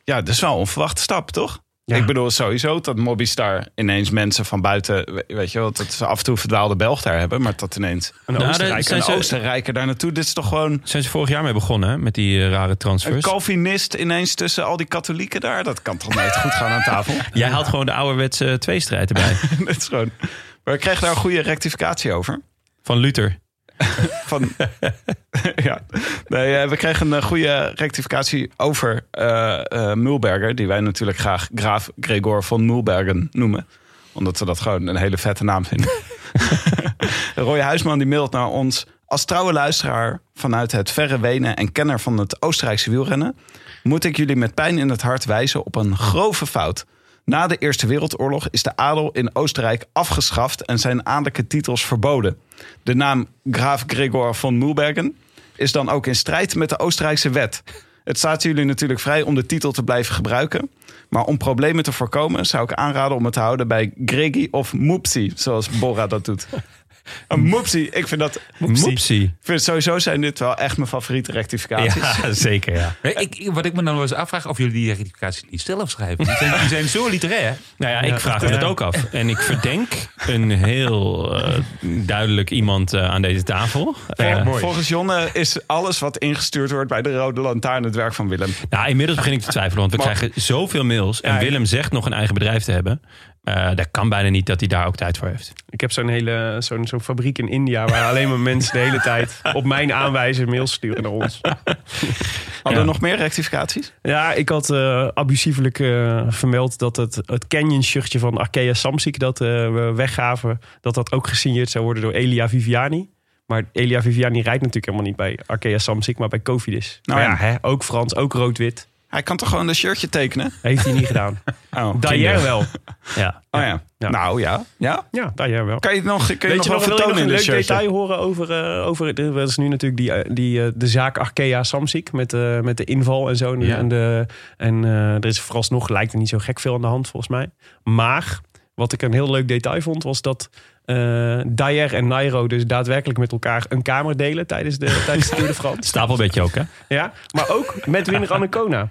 Speaker 7: Ja, dat is wel een onverwachte stap, toch?
Speaker 2: Ja.
Speaker 7: Ik bedoel sowieso dat Mobistar ineens mensen van buiten... we- Weet je wel, dat ze af en toe verdwaalde Belg daar hebben. Maar dat ineens
Speaker 2: Een
Speaker 1: Nou,
Speaker 2: Oostenrijk.
Speaker 1: dat-
Speaker 7: een
Speaker 1: ze-
Speaker 7: Oostenrijker daar naartoe. Dit is toch gewoon
Speaker 1: Zijn ze vorig jaar mee begonnen hè, met die eh, rare
Speaker 7: een
Speaker 1: transfers?
Speaker 7: Calvinist ineens tussen al die katholieken daar. Dat kan toch nooit goed gaan aan tafel?
Speaker 1: Jij haalt gewoon de ouderwetse eh, tweestrijd erbij.
Speaker 7: dat is gewoon... Maar ik kreeg daar een goede rectificatie over.
Speaker 1: Van Luther.
Speaker 7: Van, ja. nee, eh, we kregen een eh, goede rectificatie over eh eh, Mulberger. Die wij natuurlijk graag Graaf Gregor van Mulbergen noemen. Omdat we dat gewoon een hele vette naam vinden. Roy Huisman die mailt naar ons. Als trouwe luisteraar vanuit het verre Wenen en kenner van het Oostenrijkse wielrennen... moet ik jullie met pijn in het hart wijzen op een grove fout. Na de Eerste Wereldoorlog is de adel in Oostenrijk afgeschaft... en zijn adellijke titels verboden. De naam Graaf Gregor van Mulbergen is dan ook in strijd met de Oostenrijkse wet. Het staat jullie natuurlijk vrij om de titel te blijven gebruiken. Maar om problemen te voorkomen zou ik aanraden om het te houden bij Gregi of Moepsi, zoals Bora dat doet. Een moepsie. Ik vind dat...
Speaker 1: Moepsie.
Speaker 7: Ik vind sowieso zijn dit wel echt mijn favoriete rectificaties.
Speaker 1: Ja, zeker, ja.
Speaker 5: Nee, ik, ik- wat ik me dan wel eens afvraag, of jullie die rectificaties niet zelf schrijven. Die zijn, die zijn zo literair.
Speaker 1: Nou ja, ik vraag me dat ook af. En ik verdenk een heel eh, duidelijk iemand eh, aan deze tafel. Eh,
Speaker 7: Volgens Jonne is alles wat ingestuurd wordt bij de Rode Lantaarn het werk van Willem.
Speaker 1: Nou, inmiddels begin ik te twijfelen, want we krijgen zoveel mails. En
Speaker 2: Ja, ja.
Speaker 1: Willem zegt nog een eigen bedrijf te hebben. Eh dat kan bijna niet dat hij daar ook tijd voor heeft.
Speaker 2: Ik heb zo'n hele zo'n zo'n fabriek in India waar alleen maar mensen de hele tijd op mijn aanwijzen mails sturen naar ons.
Speaker 7: Hadden we nog meer rectificaties?
Speaker 2: Ja, ik had eh, abusievelijk eh, vermeld dat het, het Canyon-shirtje van Arkea Samsic dat eh, we weggaven, dat dat ook gesigneerd zou worden door Elia Viviani. Maar Elia Viviani rijdt natuurlijk helemaal niet bij Arkea Samsic, maar bij Cofidis.
Speaker 7: Nou
Speaker 2: Maar
Speaker 7: ja.
Speaker 2: hè, ook Frans, ook rood-wit.
Speaker 7: Hij kan toch gewoon een shirtje tekenen?
Speaker 2: Heeft hij niet gedaan.
Speaker 7: Oh,
Speaker 2: Dayer wel.
Speaker 1: Ja.
Speaker 7: Oh ja.
Speaker 2: Ja.
Speaker 7: Nou ja. ja.
Speaker 2: Ja, Dayer wel.
Speaker 7: Kan je het nog, kun je
Speaker 2: Weet
Speaker 7: nog
Speaker 2: je
Speaker 7: wel
Speaker 2: nog, wil je nog
Speaker 7: vertonen
Speaker 2: een
Speaker 7: in
Speaker 2: leuk
Speaker 7: dit shirtje?
Speaker 2: detail horen over... eh, over dat is nu natuurlijk die, eh, die, eh, de zaak Arkea Samsic met, eh, met de inval en zo. En,
Speaker 1: Ja.
Speaker 2: en, de, en eh, er is vooralsnog, lijkt er niet zo gek veel aan de hand volgens mij. Maar wat ik een heel leuk detail vond was dat... eh Dyer en Nairo dus daadwerkelijk met elkaar een kamer delen tijdens de, tijdens de Tour de France.
Speaker 1: Stapelbedje ook, hè?
Speaker 2: Ja, maar ook met Winner Annacona.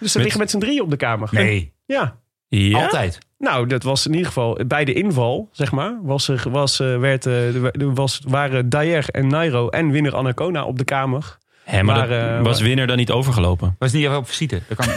Speaker 2: Dus ze liggen met z'n drieën op de kamer.
Speaker 5: Nee,
Speaker 2: Ja,
Speaker 1: Ja.
Speaker 5: altijd.
Speaker 2: nou, dat was in ieder geval bij de inval, zeg maar. Was er, was, eh, werd, eh, er was, waren Dayer en Nairo en winner Anacona op de kamer.
Speaker 1: Hè, maar
Speaker 2: Maar,
Speaker 1: dat
Speaker 2: eh,
Speaker 1: was winner dan niet overgelopen.
Speaker 5: Was niet even op visite. Dat kan,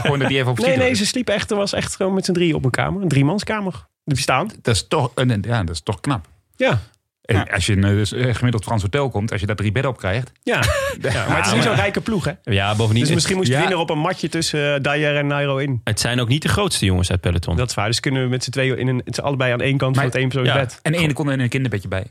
Speaker 5: gewoon dat die even op
Speaker 2: Nee,
Speaker 5: visite
Speaker 2: nee,
Speaker 5: was.
Speaker 2: ze sliep echt. Er was echt gewoon met z'n drieën op een kamer. Een driemanskamer. Bestaan.
Speaker 5: dat, is toch, een- ja, dat is toch knap.
Speaker 2: Ja.
Speaker 5: En Als je in een eh, gemiddeld Frans hotel komt, als je daar drie bedden op krijgt.
Speaker 2: Ja. ja, maar het is niet zo'n rijke ploeg, hè?
Speaker 1: Ja, bovendien.
Speaker 2: Dus misschien moest
Speaker 5: ja.
Speaker 2: winner op een matje tussen eh Dayer en Nairo in.
Speaker 1: Het zijn ook niet de grootste jongens uit peloton.
Speaker 2: Dat is waar. Dus kunnen we met z'n tweeën in een, het is allebei aan één kant
Speaker 5: Maar-
Speaker 2: van het één persoon
Speaker 1: ja.
Speaker 2: bed.
Speaker 5: En de ene kon er een kinderbedje bij.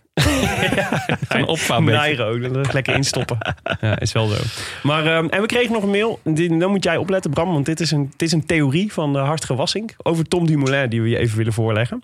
Speaker 1: een opvouwbedje.
Speaker 2: Nairo, dat is lekker instoppen. Ja, is wel zo. Maar, ehm, en we kregen nog een mail. Dit- dan moet jij opletten, Bram, want dit is een, dit is een theorie van eh Hartge Wassink over Tom Dumoulin, die we je even willen voorleggen.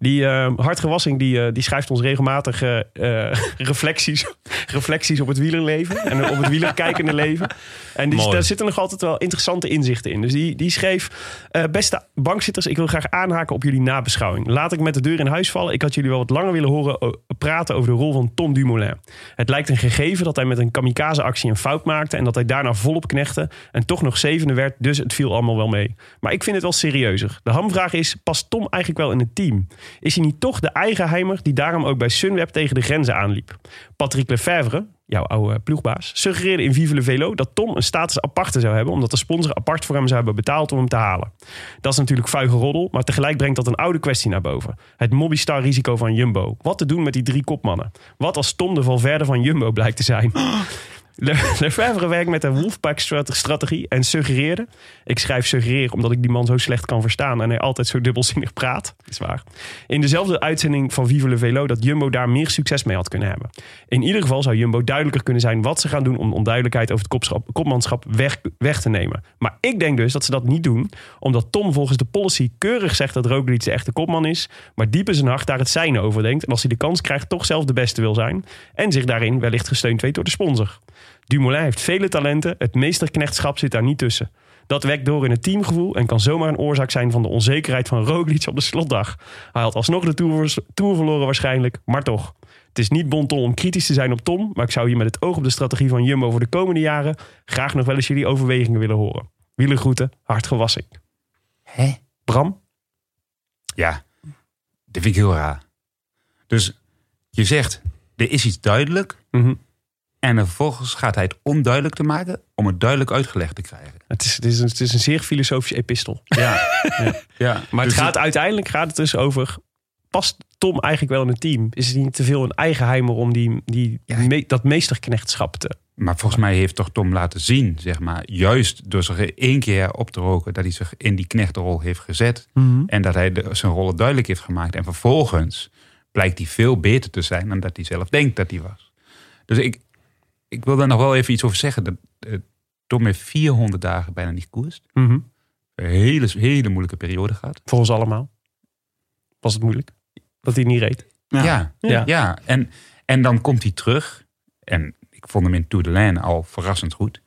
Speaker 2: Die ehm Hartge Wassink die, eh, die schrijft ons regelmatig eh, eh, reflecties, reflecties op het wielerleven en op het wielerkijkende leven. En die,
Speaker 1: Mooi.
Speaker 2: daar zitten nog altijd wel interessante inzichten in. Dus die, die schreef, eh, beste bankzitters, ik wil graag aanhaken op jullie nabeschouwing. Laat ik met de deur in huis vallen. Ik had jullie wel wat langer willen horen o- praten over de rol van Tom Dumoulin. Het lijkt een gegeven dat hij met een kamikaze-actie een fout maakte en dat hij daarna volop knechtte en toch nog zevende werd, dus het viel allemaal wel mee. Maar ik vind het wel serieuzer. De hamvraag is, past Tom eigenlijk wel in het team? Is hij niet toch de eigenheimer die daarom ook bij Sunweb tegen de grenzen aanliep? Patrick Lefevre, jouw oude ploegbaas, suggereerde in Vive le Velo dat Tom een status aparte zou hebben, omdat de sponsor apart voor hem zou hebben betaald om hem te halen. Dat is natuurlijk vuige roddel, maar tegelijk brengt dat een oude kwestie naar boven. Het mobbystar risico van Jumbo. Wat te doen met die drie kopmannen? Wat als Tom de Valverde van Jumbo blijkt te zijn? Le- Lefebvre werkt met de Wolfpack-strategie en suggereerde. Ik schrijf suggereren omdat ik die man zo slecht kan verstaan en hij altijd zo dubbelzinnig praat. Is waar. In dezelfde uitzending van Vive le Velo dat Jumbo daar meer succes mee had kunnen hebben. In ieder geval zou Jumbo duidelijker kunnen zijn wat ze gaan doen om de onduidelijkheid over het kopschap- kopmanschap weg, weg te nemen. Maar ik denk dus dat ze dat niet doen, omdat Tom volgens de policy keurig zegt dat Roglic de echte kopman is, maar diep in zijn hart daar het zijne over denkt en als hij de kans krijgt toch zelf de beste wil zijn en zich daarin wellicht gesteund weet door de sponsor. Dumoulin heeft vele talenten. Het meesterknechtschap zit daar niet tussen. Dat wekt door in het teamgevoel en kan zomaar een oorzaak zijn van de onzekerheid van Roglic op de slotdag. Hij had alsnog de Tour, vers- tour verloren waarschijnlijk, maar toch. Het is niet bonton om kritisch te zijn op Tom, maar ik zou hier met het oog op de strategie van Jumbo voor de komende jaren graag nog wel eens jullie overwegingen willen horen. Wielengroeten, hartgewassing.
Speaker 5: Hè?
Speaker 2: Bram?
Speaker 5: Ja, dat vind ik heel raar. Dus je zegt, er is iets duidelijk.
Speaker 2: Mhm.
Speaker 5: En vervolgens gaat hij het onduidelijk te maken om het duidelijk uitgelegd te krijgen.
Speaker 2: het, is, het, is een, het is een zeer filosofische epistel.
Speaker 5: Ja. ja.
Speaker 2: Maar het
Speaker 5: Dus
Speaker 2: gaat uiteindelijk gaat het dus over. Past Tom eigenlijk wel in het team? Is het niet te veel een eigenheimer om die, die, me- dat meesterknechtschap te.
Speaker 5: Maar volgens mij heeft toch Tom laten zien, zeg maar, juist door zich één keer op te roken, dat hij zich in die knechtenrol heeft gezet.
Speaker 1: Mhm.
Speaker 5: En dat hij de- zijn rollen duidelijk heeft gemaakt. En vervolgens blijkt hij veel beter te zijn dan dat hij zelf denkt dat hij was. Dus ik, ik wil daar nog wel even iets over zeggen. Dat, eh, Tom heeft 400 dagen bijna niet koerst. Een hele, hele moeilijke periode gehad.
Speaker 2: Mhm. Voor ons allemaal. Was het moeilijk? Dat hij niet reed.
Speaker 5: Ja, ja.
Speaker 2: Ja.
Speaker 5: En, en dan komt hij terug. En ik vond hem in Tour de Laine al verrassend goed.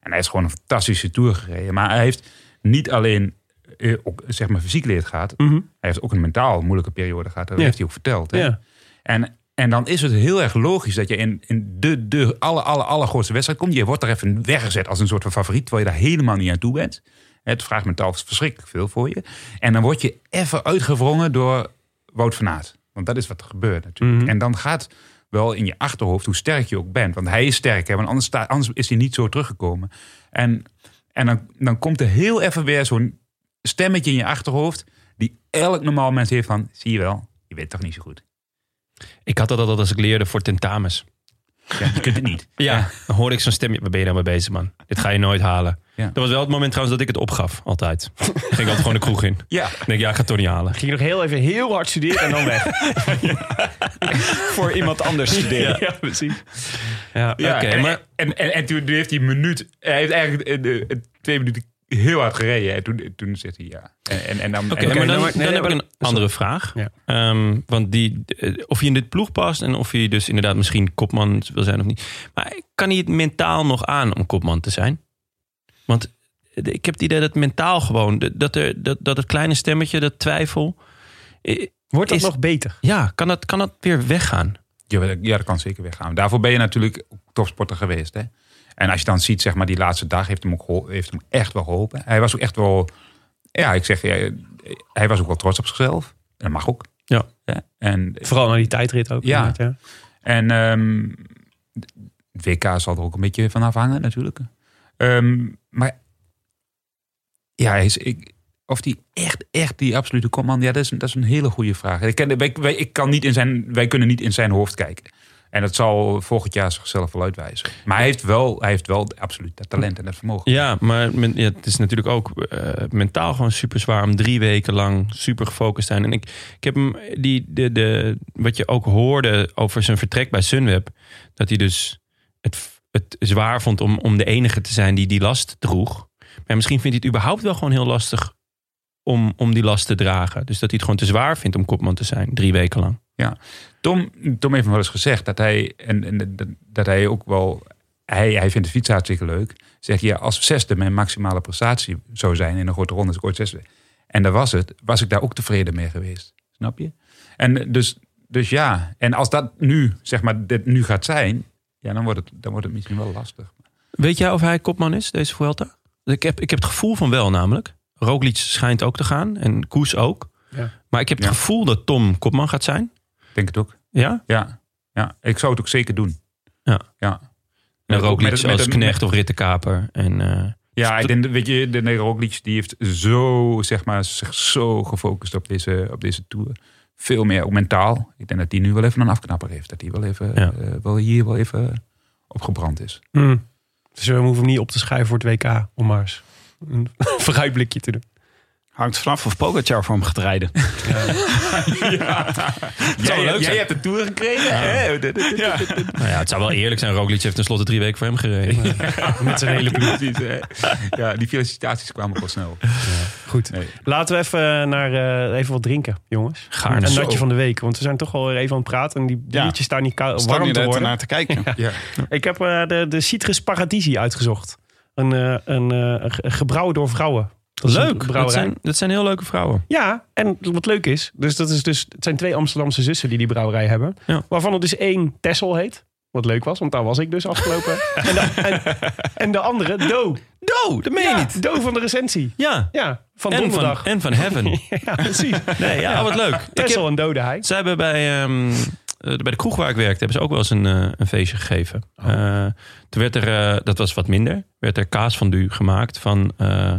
Speaker 5: En hij is gewoon een fantastische Tour gereden. Maar hij heeft niet alleen eh, ook, zeg maar, fysiek leed gehad. Hij heeft ook een mentaal moeilijke periode gehad.
Speaker 2: Mhm.
Speaker 5: Dat
Speaker 2: Ja.
Speaker 5: heeft hij ook verteld. Hè?
Speaker 2: Ja.
Speaker 5: En En dan is het heel erg logisch dat je in, in de, de alle, alle, allergrootste wedstrijd komt. Je wordt er even weggezet als een soort van favoriet, terwijl je daar helemaal niet aan toe bent. Het vraagt mentaal verschrikkelijk veel voor je. En dan word je even uitgewrongen door Wout van Aert. Want dat is wat er gebeurt natuurlijk. En dan gaat wel in je achterhoofd hoe sterk je ook bent. Want hij is sterk, hè? want anders, sta- anders is hij niet zo teruggekomen. En, en dan, dan komt er heel even weer zo'n stemmetje in je achterhoofd... die elk normaal mens heeft van, zie je wel, je weet toch niet zo goed.
Speaker 1: Ik had dat altijd als ik leerde voor tentamens.
Speaker 5: Ja, je kunt het niet.
Speaker 1: Ja. Dan hoorde ik zo'n stem. Waar ben je nou mee bezig, man? Dit ga je nooit halen.
Speaker 5: Ja.
Speaker 1: Dat was wel het moment trouwens dat ik het opgaf, altijd. ging ik altijd gewoon de kroeg in.
Speaker 5: Ja.
Speaker 1: Ik denk, ja, ik ga het toch niet halen.
Speaker 2: Ging je nog heel even heel hard studeren en dan weg.
Speaker 7: Voor iemand anders studeren.
Speaker 2: ja, precies.
Speaker 1: Ja,
Speaker 5: Ja,
Speaker 1: oké,
Speaker 5: en,
Speaker 1: maar
Speaker 5: en, en, en toen heeft hij een minuut, hij heeft eigenlijk eh, de- eh, twee minuten heel hard gereden. En toen, toen zegt hij ja. En, en, en dan,
Speaker 1: Oké,
Speaker 5: en dan-
Speaker 1: maar dan,
Speaker 2: nee,
Speaker 1: dan
Speaker 2: nee,
Speaker 1: heb ik
Speaker 2: maar-
Speaker 1: een andere vraag.
Speaker 2: Ja.
Speaker 1: Ehm, want die, eh, of je in dit ploeg past en of je dus inderdaad misschien kopman wil zijn of niet. Maar kan hij het mentaal nog aan om kopman te zijn? Want eh, ik heb het idee dat mentaal gewoon, dat, er, dat, dat het kleine stemmetje, dat twijfel. eh,
Speaker 2: Wordt dat
Speaker 1: Is-
Speaker 2: nog beter?
Speaker 1: Ja, kan dat, kan dat weer weggaan?
Speaker 5: Ja, wel, ja, dat kan zeker weggaan. Daarvoor ben je natuurlijk ook topsporter geweest. Hè? En als je dan ziet, zeg maar, die laatste dag heeft hem, ook geholpen- heeft hem echt wel geholpen. Hij was ook echt wel, ja, ik zeg, ja, hij was ook wel trots op zichzelf. En dat mag ook.
Speaker 1: Ja.
Speaker 5: En,
Speaker 2: Vooral na die tijdrit ook.
Speaker 5: Ja.
Speaker 2: inderdaad, ja.
Speaker 5: en ehm, het WK zal er ook een beetje van afhangen natuurlijk. Ehm, maar ja, hij is, ik, of die echt, echt die absolute kopman, ja, dat is, dat is een hele goede vraag. Ik, ken, wij, wij- ik kan niet in zijn, wij kunnen niet in zijn hoofd kijken. En dat zal volgend jaar zichzelf wel uitwijzen. Maar hij heeft wel, hij heeft wel absoluut dat talent en dat vermogen.
Speaker 1: Ja, maar men- ja, het is natuurlijk ook eh, mentaal gewoon super zwaar om drie weken lang super gefocust te zijn. En ik, ik heb hem, die, de, de, wat je ook hoorde over zijn vertrek bij Sunweb, dat hij dus het, het zwaar vond om, om de enige te zijn die die last droeg. Maar misschien vindt hij het überhaupt wel gewoon heel lastig om, om die last te dragen. Dus dat hij het gewoon te zwaar vindt om kopman te zijn, drie weken lang.
Speaker 5: Tom, Tom heeft me wel eens gezegd dat hij, en, en, dat- dat hij ook wel. Hij, hij vindt het fiets hartstikke leuk. Zegt ja, als zesde mijn maximale prestatie zou zijn in een grote ronde, is ik ooit zesde. En dat was het, was ik daar ook tevreden mee geweest. Snap je? En dus, dus ja, en als dat nu, zeg maar, dit nu gaat zijn, ja, dan wordt het, dan wordt het misschien wel lastig.
Speaker 1: Weet jij of hij kopman is, deze Vuelta? Ik heb, ik heb het gevoel van wel namelijk. Roglic schijnt ook te gaan en Koes ook.
Speaker 2: Ja.
Speaker 1: Maar ik heb het
Speaker 5: Ja.
Speaker 1: gevoel dat Tom kopman gaat zijn.
Speaker 5: Ik Denk het ook.
Speaker 1: Ja?
Speaker 5: Ja, ja ik zou het ook zeker doen.
Speaker 1: Ja.
Speaker 5: ja.
Speaker 1: En Roglic
Speaker 5: Met- met-
Speaker 1: als
Speaker 5: met-
Speaker 1: knecht of rittenkaper. En, eh,
Speaker 5: Ja, ik denk, Dus dat- weet je, de nee, Roglic die heeft zo, zeg maar, zich zo gefocust op deze, op deze tour. Veel meer ook mentaal. Ik denk dat hij nu wel even een afknapper heeft. Dat hij wel even,
Speaker 1: Ja.
Speaker 5: eh, wel hier wel even opgebrand is.
Speaker 2: Hmm. Dus we hoeven hem niet op te schrijven voor het WK om maar eens een vooruitblikje te doen.
Speaker 7: Hangt vanaf of Pogacar voor hem gaat rijden.
Speaker 5: Jij,
Speaker 7: leuk
Speaker 5: jij
Speaker 7: zijn.
Speaker 5: hebt de tour gekregen. hè? Dit- dit- dit- dit- dit-
Speaker 1: nou ja, het zou wel eerlijk zijn. Roglic heeft tenslotte drie weken voor hem gereden.
Speaker 2: Met zijn hele ploeg.
Speaker 5: Precies, hè. Ja, die felicitaties kwamen ook wel snel.
Speaker 2: Goed.
Speaker 5: Nee.
Speaker 2: Laten we even, naar, eh, even wat drinken, jongens.
Speaker 1: Gaarne.
Speaker 2: Een
Speaker 1: Zo.
Speaker 2: natje van de week. Want we zijn toch wel weer even aan het praten. En die
Speaker 7: Ja.
Speaker 2: biertjes staan niet kou-
Speaker 7: Staan
Speaker 2: warm
Speaker 7: jullie
Speaker 2: te
Speaker 7: daar
Speaker 2: worden.
Speaker 7: naar te kijken.
Speaker 5: Ja.
Speaker 2: Ik heb eh, de, de Citrus Paradisi uitgezocht. Een, eh, een, eh, ge- gebrouwen door vrouwen. Dat is een
Speaker 1: Leuk. Dat
Speaker 2: brouwerij.
Speaker 1: zijn, dat zijn heel leuke vrouwen.
Speaker 2: Ja, en wat leuk is, dus dat is dus, het zijn twee Amsterdamse zussen die die brouwerij hebben.
Speaker 1: Ja.
Speaker 2: Waarvan er dus één Tessel heet. Wat leuk was, want daar was ik dus afgelopen. en, de, en, en de andere Do.
Speaker 1: Do, dat meen je
Speaker 2: ja,
Speaker 1: niet.
Speaker 2: Do van de recensie.
Speaker 1: Ja.
Speaker 2: Ja, van
Speaker 1: en,
Speaker 2: donderdag.
Speaker 1: van, en van Heaven.
Speaker 2: ja, precies.
Speaker 1: Nee, ja, wat leuk. Ik
Speaker 2: Tessel
Speaker 1: heb,
Speaker 2: en Dode hij.
Speaker 1: zij hebben bij, ehm, eh, bij de kroeg waar ik werkte, hebben ze ook wel eens een, eh, een feestje gegeven. Eh, toen werd er, eh, dat was wat minder, werd er kaas van du gemaakt van eh,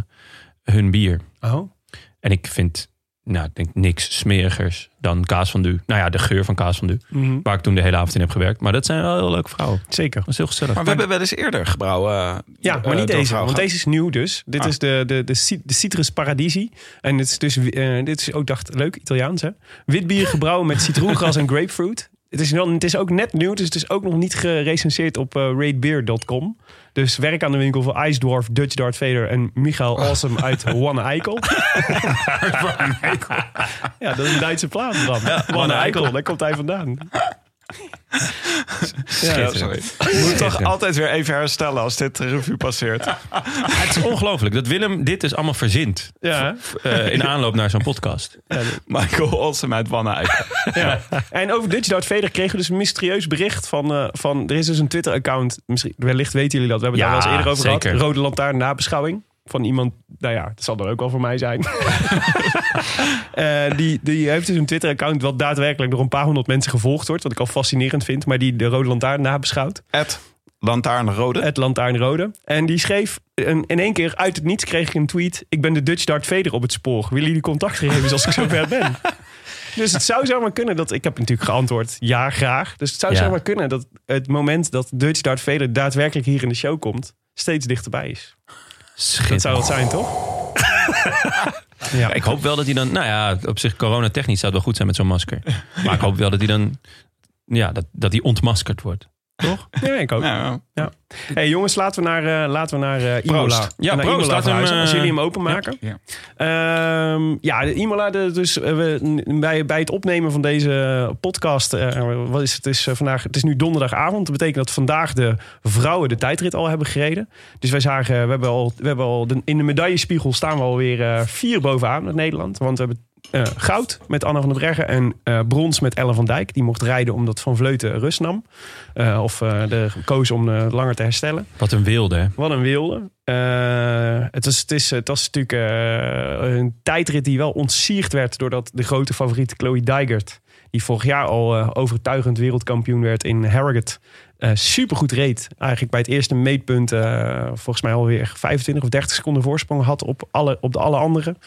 Speaker 1: hun bier.
Speaker 2: Oh.
Speaker 1: En ik vind, nou, ik denk niks smerigers dan kaas van du. Nou ja, de geur van kaas van du.
Speaker 2: Mhm.
Speaker 1: Waar ik toen de hele avond in heb gewerkt. Maar dat zijn wel heel leuke vrouwen.
Speaker 2: Zeker.
Speaker 1: Oh. Dat is heel gezellig.
Speaker 7: Maar we hebben wel eens eerder gebrouwen. eh,
Speaker 2: Ja, maar niet deze, want deze is nieuw dus. Dit
Speaker 7: Ah.
Speaker 2: is de, de, de, ci- de Citrus Paradisi. En dit is dus, eh, dit is ook, dacht leuk, Italiaans hè. Wit bier gebrouwen met citroengras en grapefruit. Het is, wel, het is ook net nieuw, dus het is ook nog niet gerecenseerd op eh, ratebeer.com. Dus werk aan de winkel voor Ice Dwarf, Dutch Dart Vader en Michael
Speaker 7: Ah.
Speaker 2: Awesome uit One Eikel. ja, dat is een Duitse plaat, Bram. One Eikel, daar komt hij vandaan.
Speaker 7: Ja, sorry. Ik moet toch altijd weer even herstellen als dit de revue passeert.
Speaker 1: Het is ongelooflijk dat Willem dit dus allemaal verzint.
Speaker 2: Ja.
Speaker 1: V- eh, in aanloop naar zo'n podcast.
Speaker 7: Michael Olsen uit Wanne
Speaker 2: Ja. En over Dutch Darth Vader kregen we dus een mysterieus bericht van... eh, van er is dus een Twitter-account, misschien- wellicht weten jullie dat. We hebben het
Speaker 1: Ja,
Speaker 2: daar wel eens eerder over
Speaker 1: zeker.
Speaker 2: gehad. Rode Lantaarn nabeschouwing. Van iemand, nou ja, dat zal dan ook wel voor mij zijn. Eh, die, die heeft dus een Twitter-account... wat daadwerkelijk door een paar honderd mensen gevolgd wordt. Wat ik al fascinerend vind. Maar die de Rode Lantaarn nabeschouwt.
Speaker 7: Ed Lantaarnrode.
Speaker 2: Het Lantaarnrode. En die schreef een- in één keer uit het niets kreeg ik een tweet. Ik ben de Dutch Darth Vader op het spoor. Willen jullie contactgegevens als ik zo ver ben? Dus het zou zomaar kunnen dat... Ik heb natuurlijk geantwoord, ja, graag. Dus het zou
Speaker 1: Ja.
Speaker 2: zomaar kunnen dat het moment dat Dutch Darth Vader... daadwerkelijk hier in de show komt, steeds dichterbij is. Dat zou het zijn, toch?
Speaker 1: Ja, ik hoop wel dat hij dan... Nou ja, op zich coronatechnisch zou het wel goed zijn met zo'n masker. Maar ik hoop wel dat hij dan... Ja, dat, dat hij ontmaskerd wordt.
Speaker 2: Ja, ik ook.
Speaker 7: Ja,
Speaker 2: hey, jongens, laten we naar, eh, laten we naar eh, Imola.
Speaker 7: Proost.
Speaker 1: Ja,
Speaker 2: naar
Speaker 1: proost.
Speaker 2: Imola
Speaker 1: Laten we hem,
Speaker 2: verhuizen,
Speaker 1: eh,
Speaker 2: als jullie hem openmaken.
Speaker 5: Ja.
Speaker 2: Ehm, ja, de Imola, de- dus eh, we, n- bij, bij het opnemen van deze podcast, eh, wat is het, het is eh, vandaag, het is nu donderdagavond. Dat betekent dat vandaag de vrouwen de tijdrit al hebben gereden. Dus wij zagen, we hebben al, we hebben al de- in de medaillespiegel staan we alweer eh, vier bovenaan met Nederland. Want we hebben eh, goud met Anna van der Breggen en eh, brons met Ellen van Dijk. Die mocht rijden omdat Van Vleuten rust nam. Eh, of eh er koos om eh, langer te herstellen.
Speaker 1: Wat een wilde, hè?
Speaker 2: Wat een wilde. Eh, het, is, het, is, het was natuurlijk eh, een tijdrit die wel ontsierd werd... doordat de grote favoriet Chloe Dijgert... die vorig jaar al eh, overtuigend wereldkampioen werd in Harrogate... eh, supergoed reed. Eigenlijk bij het eerste meetpunt... eh, volgens mij alweer 25 of 30 seconden voorsprong had op, alle, op de alle anderen.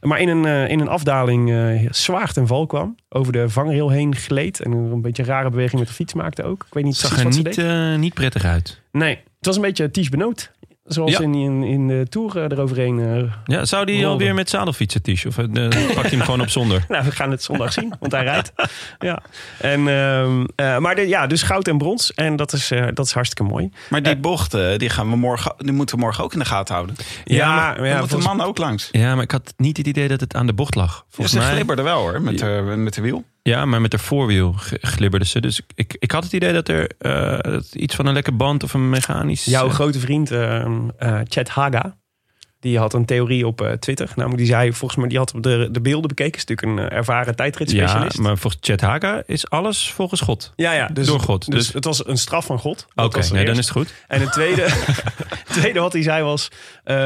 Speaker 2: Maar in een, eh, in een afdaling eh, zwaar ten val kwam. Over de vangrail heen gleed. En een beetje rare beweging met de fiets maakte ook. Ik weet niet
Speaker 1: Zag
Speaker 2: precies
Speaker 1: er
Speaker 2: wat ze
Speaker 1: niet,
Speaker 2: deed.
Speaker 1: eh, niet prettig uit.
Speaker 2: Nee, het was een beetje Ties Benoot. Zoals
Speaker 1: Ja.
Speaker 2: in, in, in de Tour eh, eroverheen. eh.
Speaker 1: Ja, zou die
Speaker 2: Rolde.
Speaker 1: alweer met zadelfietsen, Tish? Of eh, eh, pakt hij hem gewoon op zonder?
Speaker 2: nou, we gaan het zondag zien, want hij rijdt. Ja. En, ehm, eh, maar de- ja, dus goud en brons. En dat is, eh, dat is hartstikke mooi.
Speaker 7: Maar die bochten, die, gaan we morgen, die moeten we morgen ook in de gaten houden.
Speaker 2: Ja,
Speaker 7: maar,
Speaker 2: maar
Speaker 7: dan
Speaker 2: ja,
Speaker 7: moet
Speaker 2: volgens-
Speaker 7: de man ook langs.
Speaker 1: Ja, maar ik had niet het idee dat het aan de bocht lag.
Speaker 7: Ja,
Speaker 1: Volgens
Speaker 7: ze
Speaker 1: mij.
Speaker 7: glibberden wel hoor, met, de, met de wiel.
Speaker 1: Ja, maar met haar voorwiel g- glibberde ze. Dus ik- ik, ik had het idee dat er eh, dat iets van een lekker band of een mechanisch...
Speaker 2: Jouw
Speaker 1: eh,
Speaker 2: grote vriend ehm, eh, Chad Haga. Die had een theorie op eh, Twitter. Namelijk, die zei volgens mij, die had de, de beelden bekeken. Is natuurlijk een eh, ervaren
Speaker 1: Ja,
Speaker 2: tijdritspecialist. Ja,
Speaker 1: maar volgens Chet Haga is alles volgens God.
Speaker 2: ja, dus,
Speaker 1: Door God,
Speaker 2: Dus,
Speaker 1: dus-
Speaker 2: het was een straf van God.
Speaker 1: Oké,
Speaker 2: Dat was het
Speaker 1: nee, dan
Speaker 2: eerste.
Speaker 1: is het goed.
Speaker 2: En het tweede, het tweede wat hij zei was... eh,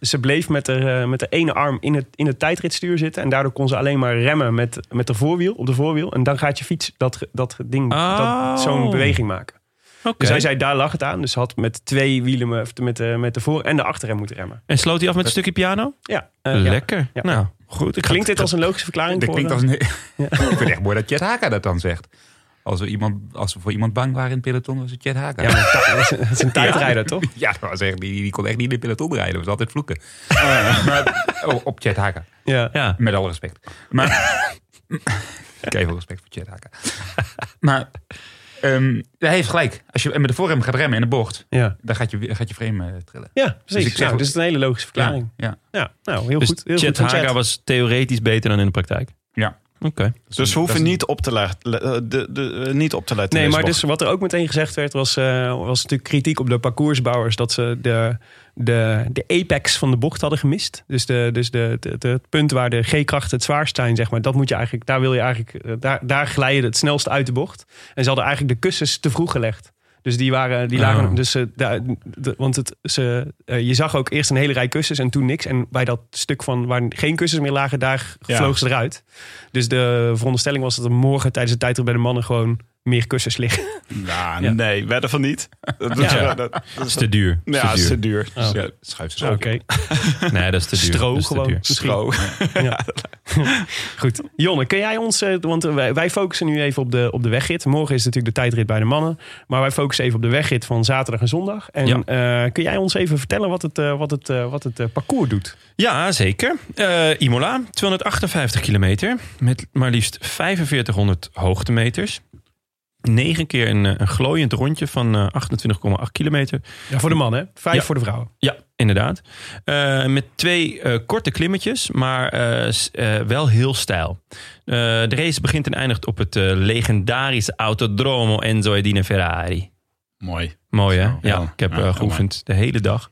Speaker 2: ze bleef met haar, eh, met haar ene arm in het, in het tijdritstuur zitten... en daardoor kon ze alleen maar remmen met, met de voorwiel, op de voorwiel. En dan gaat je fiets dat, ge- dat ge- ding,
Speaker 1: Oh.
Speaker 2: dat, zo'n beweging maken.
Speaker 1: Oké.
Speaker 2: Dus hij zei, daar lag het aan. Dus ze had met twee wielen, eh, met de, met de voor- en de achterrem moeten remmen.
Speaker 1: En sloot hij af met een stukje piano?
Speaker 2: Ja, eh, ja.
Speaker 1: lekker.
Speaker 2: Ja.
Speaker 1: Nou, goed. Ik
Speaker 2: Klinkt
Speaker 1: ga-
Speaker 2: dit als een logische verklaring?
Speaker 5: Dat
Speaker 2: voor,
Speaker 5: klinkt
Speaker 2: eh,
Speaker 5: als een... ik vind het echt mooi dat Chet Haka dat dan zegt. Als we, iemand, als we voor iemand bang waren in het peloton, was het Chet Haka.
Speaker 2: Ja, maar ta- dat is een- dat is een tijdrijder, toch?
Speaker 5: Ja, dat was echt, die, die kon echt niet in het peloton rijden. Dat was altijd vloeken. maar, oh, op Chet Haka.
Speaker 2: Ja.
Speaker 1: Ja.
Speaker 5: Met alle respect. Maar, ik heb veel respect voor Chet Haka. maar ehm, hij heeft gelijk. Als je met de voorrem gaat remmen in de bocht,
Speaker 2: Ja.
Speaker 5: dan gaat je, gaat je frame eh, trillen.
Speaker 2: Ja, precies. Dus,
Speaker 5: ik zeg-
Speaker 2: dus het is een hele logische verklaring.
Speaker 5: Ja, ja.
Speaker 2: Ja, nou, heel
Speaker 1: Dus
Speaker 2: goed. Heel
Speaker 1: Chet
Speaker 2: goed van Chet.
Speaker 1: Haga was theoretisch beter dan in de praktijk?
Speaker 5: Ja.
Speaker 1: Oké.
Speaker 7: Dus we hoeven niet op te, le- le- eh, de, de, eh, niet op te letten.
Speaker 2: Nee,
Speaker 7: in
Speaker 2: maar
Speaker 7: deze
Speaker 2: dus wat er ook meteen gezegd werd, was, eh, was natuurlijk kritiek op de parcoursbouwers dat ze de, de, de apex van de bocht hadden gemist. Dus, de, dus de, de- de- het punt waar de G-krachten het zwaarst zijn, zeg maar, dat moet je eigenlijk, daar wil je eigenlijk, eh, daar, daar glij je het snelst uit de bocht. En ze hadden eigenlijk de kussens te vroeg gelegd. Dus die waren, die lagen,
Speaker 1: Oh.
Speaker 2: dus eh, daar- de- want het, ze, eh, je zag ook eerst een hele rij kussens en toen niks. En bij dat stuk van waar geen kussens meer lagen, daar
Speaker 7: Ja.
Speaker 2: vloog ze eruit. Dus de veronderstelling was dat er morgen tijdens de tijdrit bij de mannen gewoon meer kussens liggen.
Speaker 7: Nou,
Speaker 2: Ja.
Speaker 7: nee, wedden van niet. Dat is,
Speaker 2: Ja.
Speaker 7: dat, dat- dat
Speaker 1: Dat
Speaker 7: is-
Speaker 1: is te duur. Dat
Speaker 7: ja,
Speaker 1: is
Speaker 7: is
Speaker 1: te
Speaker 7: te
Speaker 1: duur.
Speaker 7: duur. Dus ja,
Speaker 5: Schuif ze
Speaker 2: Oh. Oké,
Speaker 1: Nee, dat is te duur.
Speaker 2: stro
Speaker 1: Dat is te
Speaker 2: gewoon.
Speaker 1: duur.
Speaker 2: Misschien.
Speaker 7: Stro.
Speaker 2: Ja. Goed. Jonne, kun jij ons... eh, Want wij, wij focussen nu even op de, op de wegrit. Morgen is natuurlijk de tijdrit bij de mannen. Maar wij focussen even op de wegrit van zaterdag en zondag. En eh, kun jij ons even vertellen wat het, eh, wat het, eh, wat het eh, parcours doet?
Speaker 1: Ja, zeker. Eh, Imola, 258 kilometer. Met maar liefst 4500 hoogtemeters. Negen keer een, eh, een glooiend rondje van eh, 28,8 kilometer.
Speaker 2: voor de mannen. Vijf
Speaker 1: Ja.
Speaker 2: voor de vrouwen.
Speaker 1: Ja, Inderdaad. Eh, met twee eh, korte klimmetjes, maar eh, s- eh, wel heel stijl. Eh, de race begint en eindigt op het eh, legendarische Autodromo Enzo Edine Ferrari.
Speaker 7: Mooi.
Speaker 1: Mooi hè? Ja,
Speaker 7: ja.
Speaker 1: ik heb
Speaker 7: Ja,
Speaker 1: eh,
Speaker 7: heel
Speaker 1: geoefend de hele dag.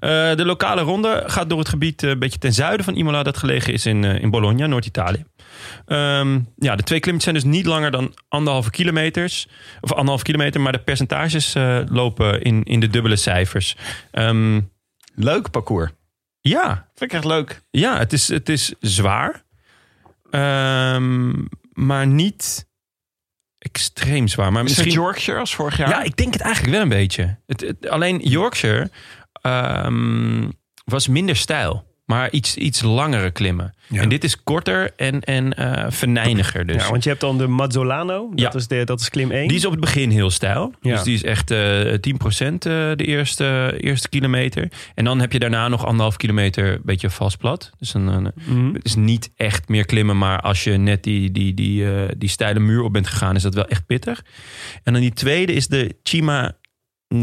Speaker 1: Eh, de lokale ronde gaat door het gebied eh, een beetje ten zuiden van Imola... dat gelegen is in, eh, in Bologna, Noord-Italië. Ehm, ja, de twee klimmetjes zijn dus niet langer dan anderhalve kilometers. Of anderhalve kilometer, maar de percentages eh, lopen in, in de dubbele cijfers. Ehm,
Speaker 7: Leuk parcours.
Speaker 1: ja,
Speaker 7: Vind ik echt leuk.
Speaker 1: ja het, is, het is zwaar. Ehm, maar niet extreem zwaar. Maar
Speaker 7: Is het
Speaker 1: misschien...
Speaker 7: Yorkshire als vorig jaar?
Speaker 1: Ja, ik denk het eigenlijk wel een beetje. Het, het- alleen Yorkshire ehm, was minder stijl. Maar iets, iets langere klimmen.
Speaker 8: Ja.
Speaker 1: En dit is korter en, en eh verneiniger dus.
Speaker 2: Ja, want je hebt dan de Mazzolano. Dat,
Speaker 1: Ja.
Speaker 2: is, de, dat is klim 1.
Speaker 1: Die is op het begin heel stijl.
Speaker 2: Ja.
Speaker 1: Dus die is echt eh 10% eh, de eerste, eerste kilometer. En dan heb je daarna nog anderhalf kilometer een beetje vast plat. Dus een, een-
Speaker 2: Mhm.
Speaker 1: het is niet echt meer klimmen. Maar als je net die, die, die, eh, die steile muur op bent gegaan, is dat wel echt pittig. En dan die tweede is de Cima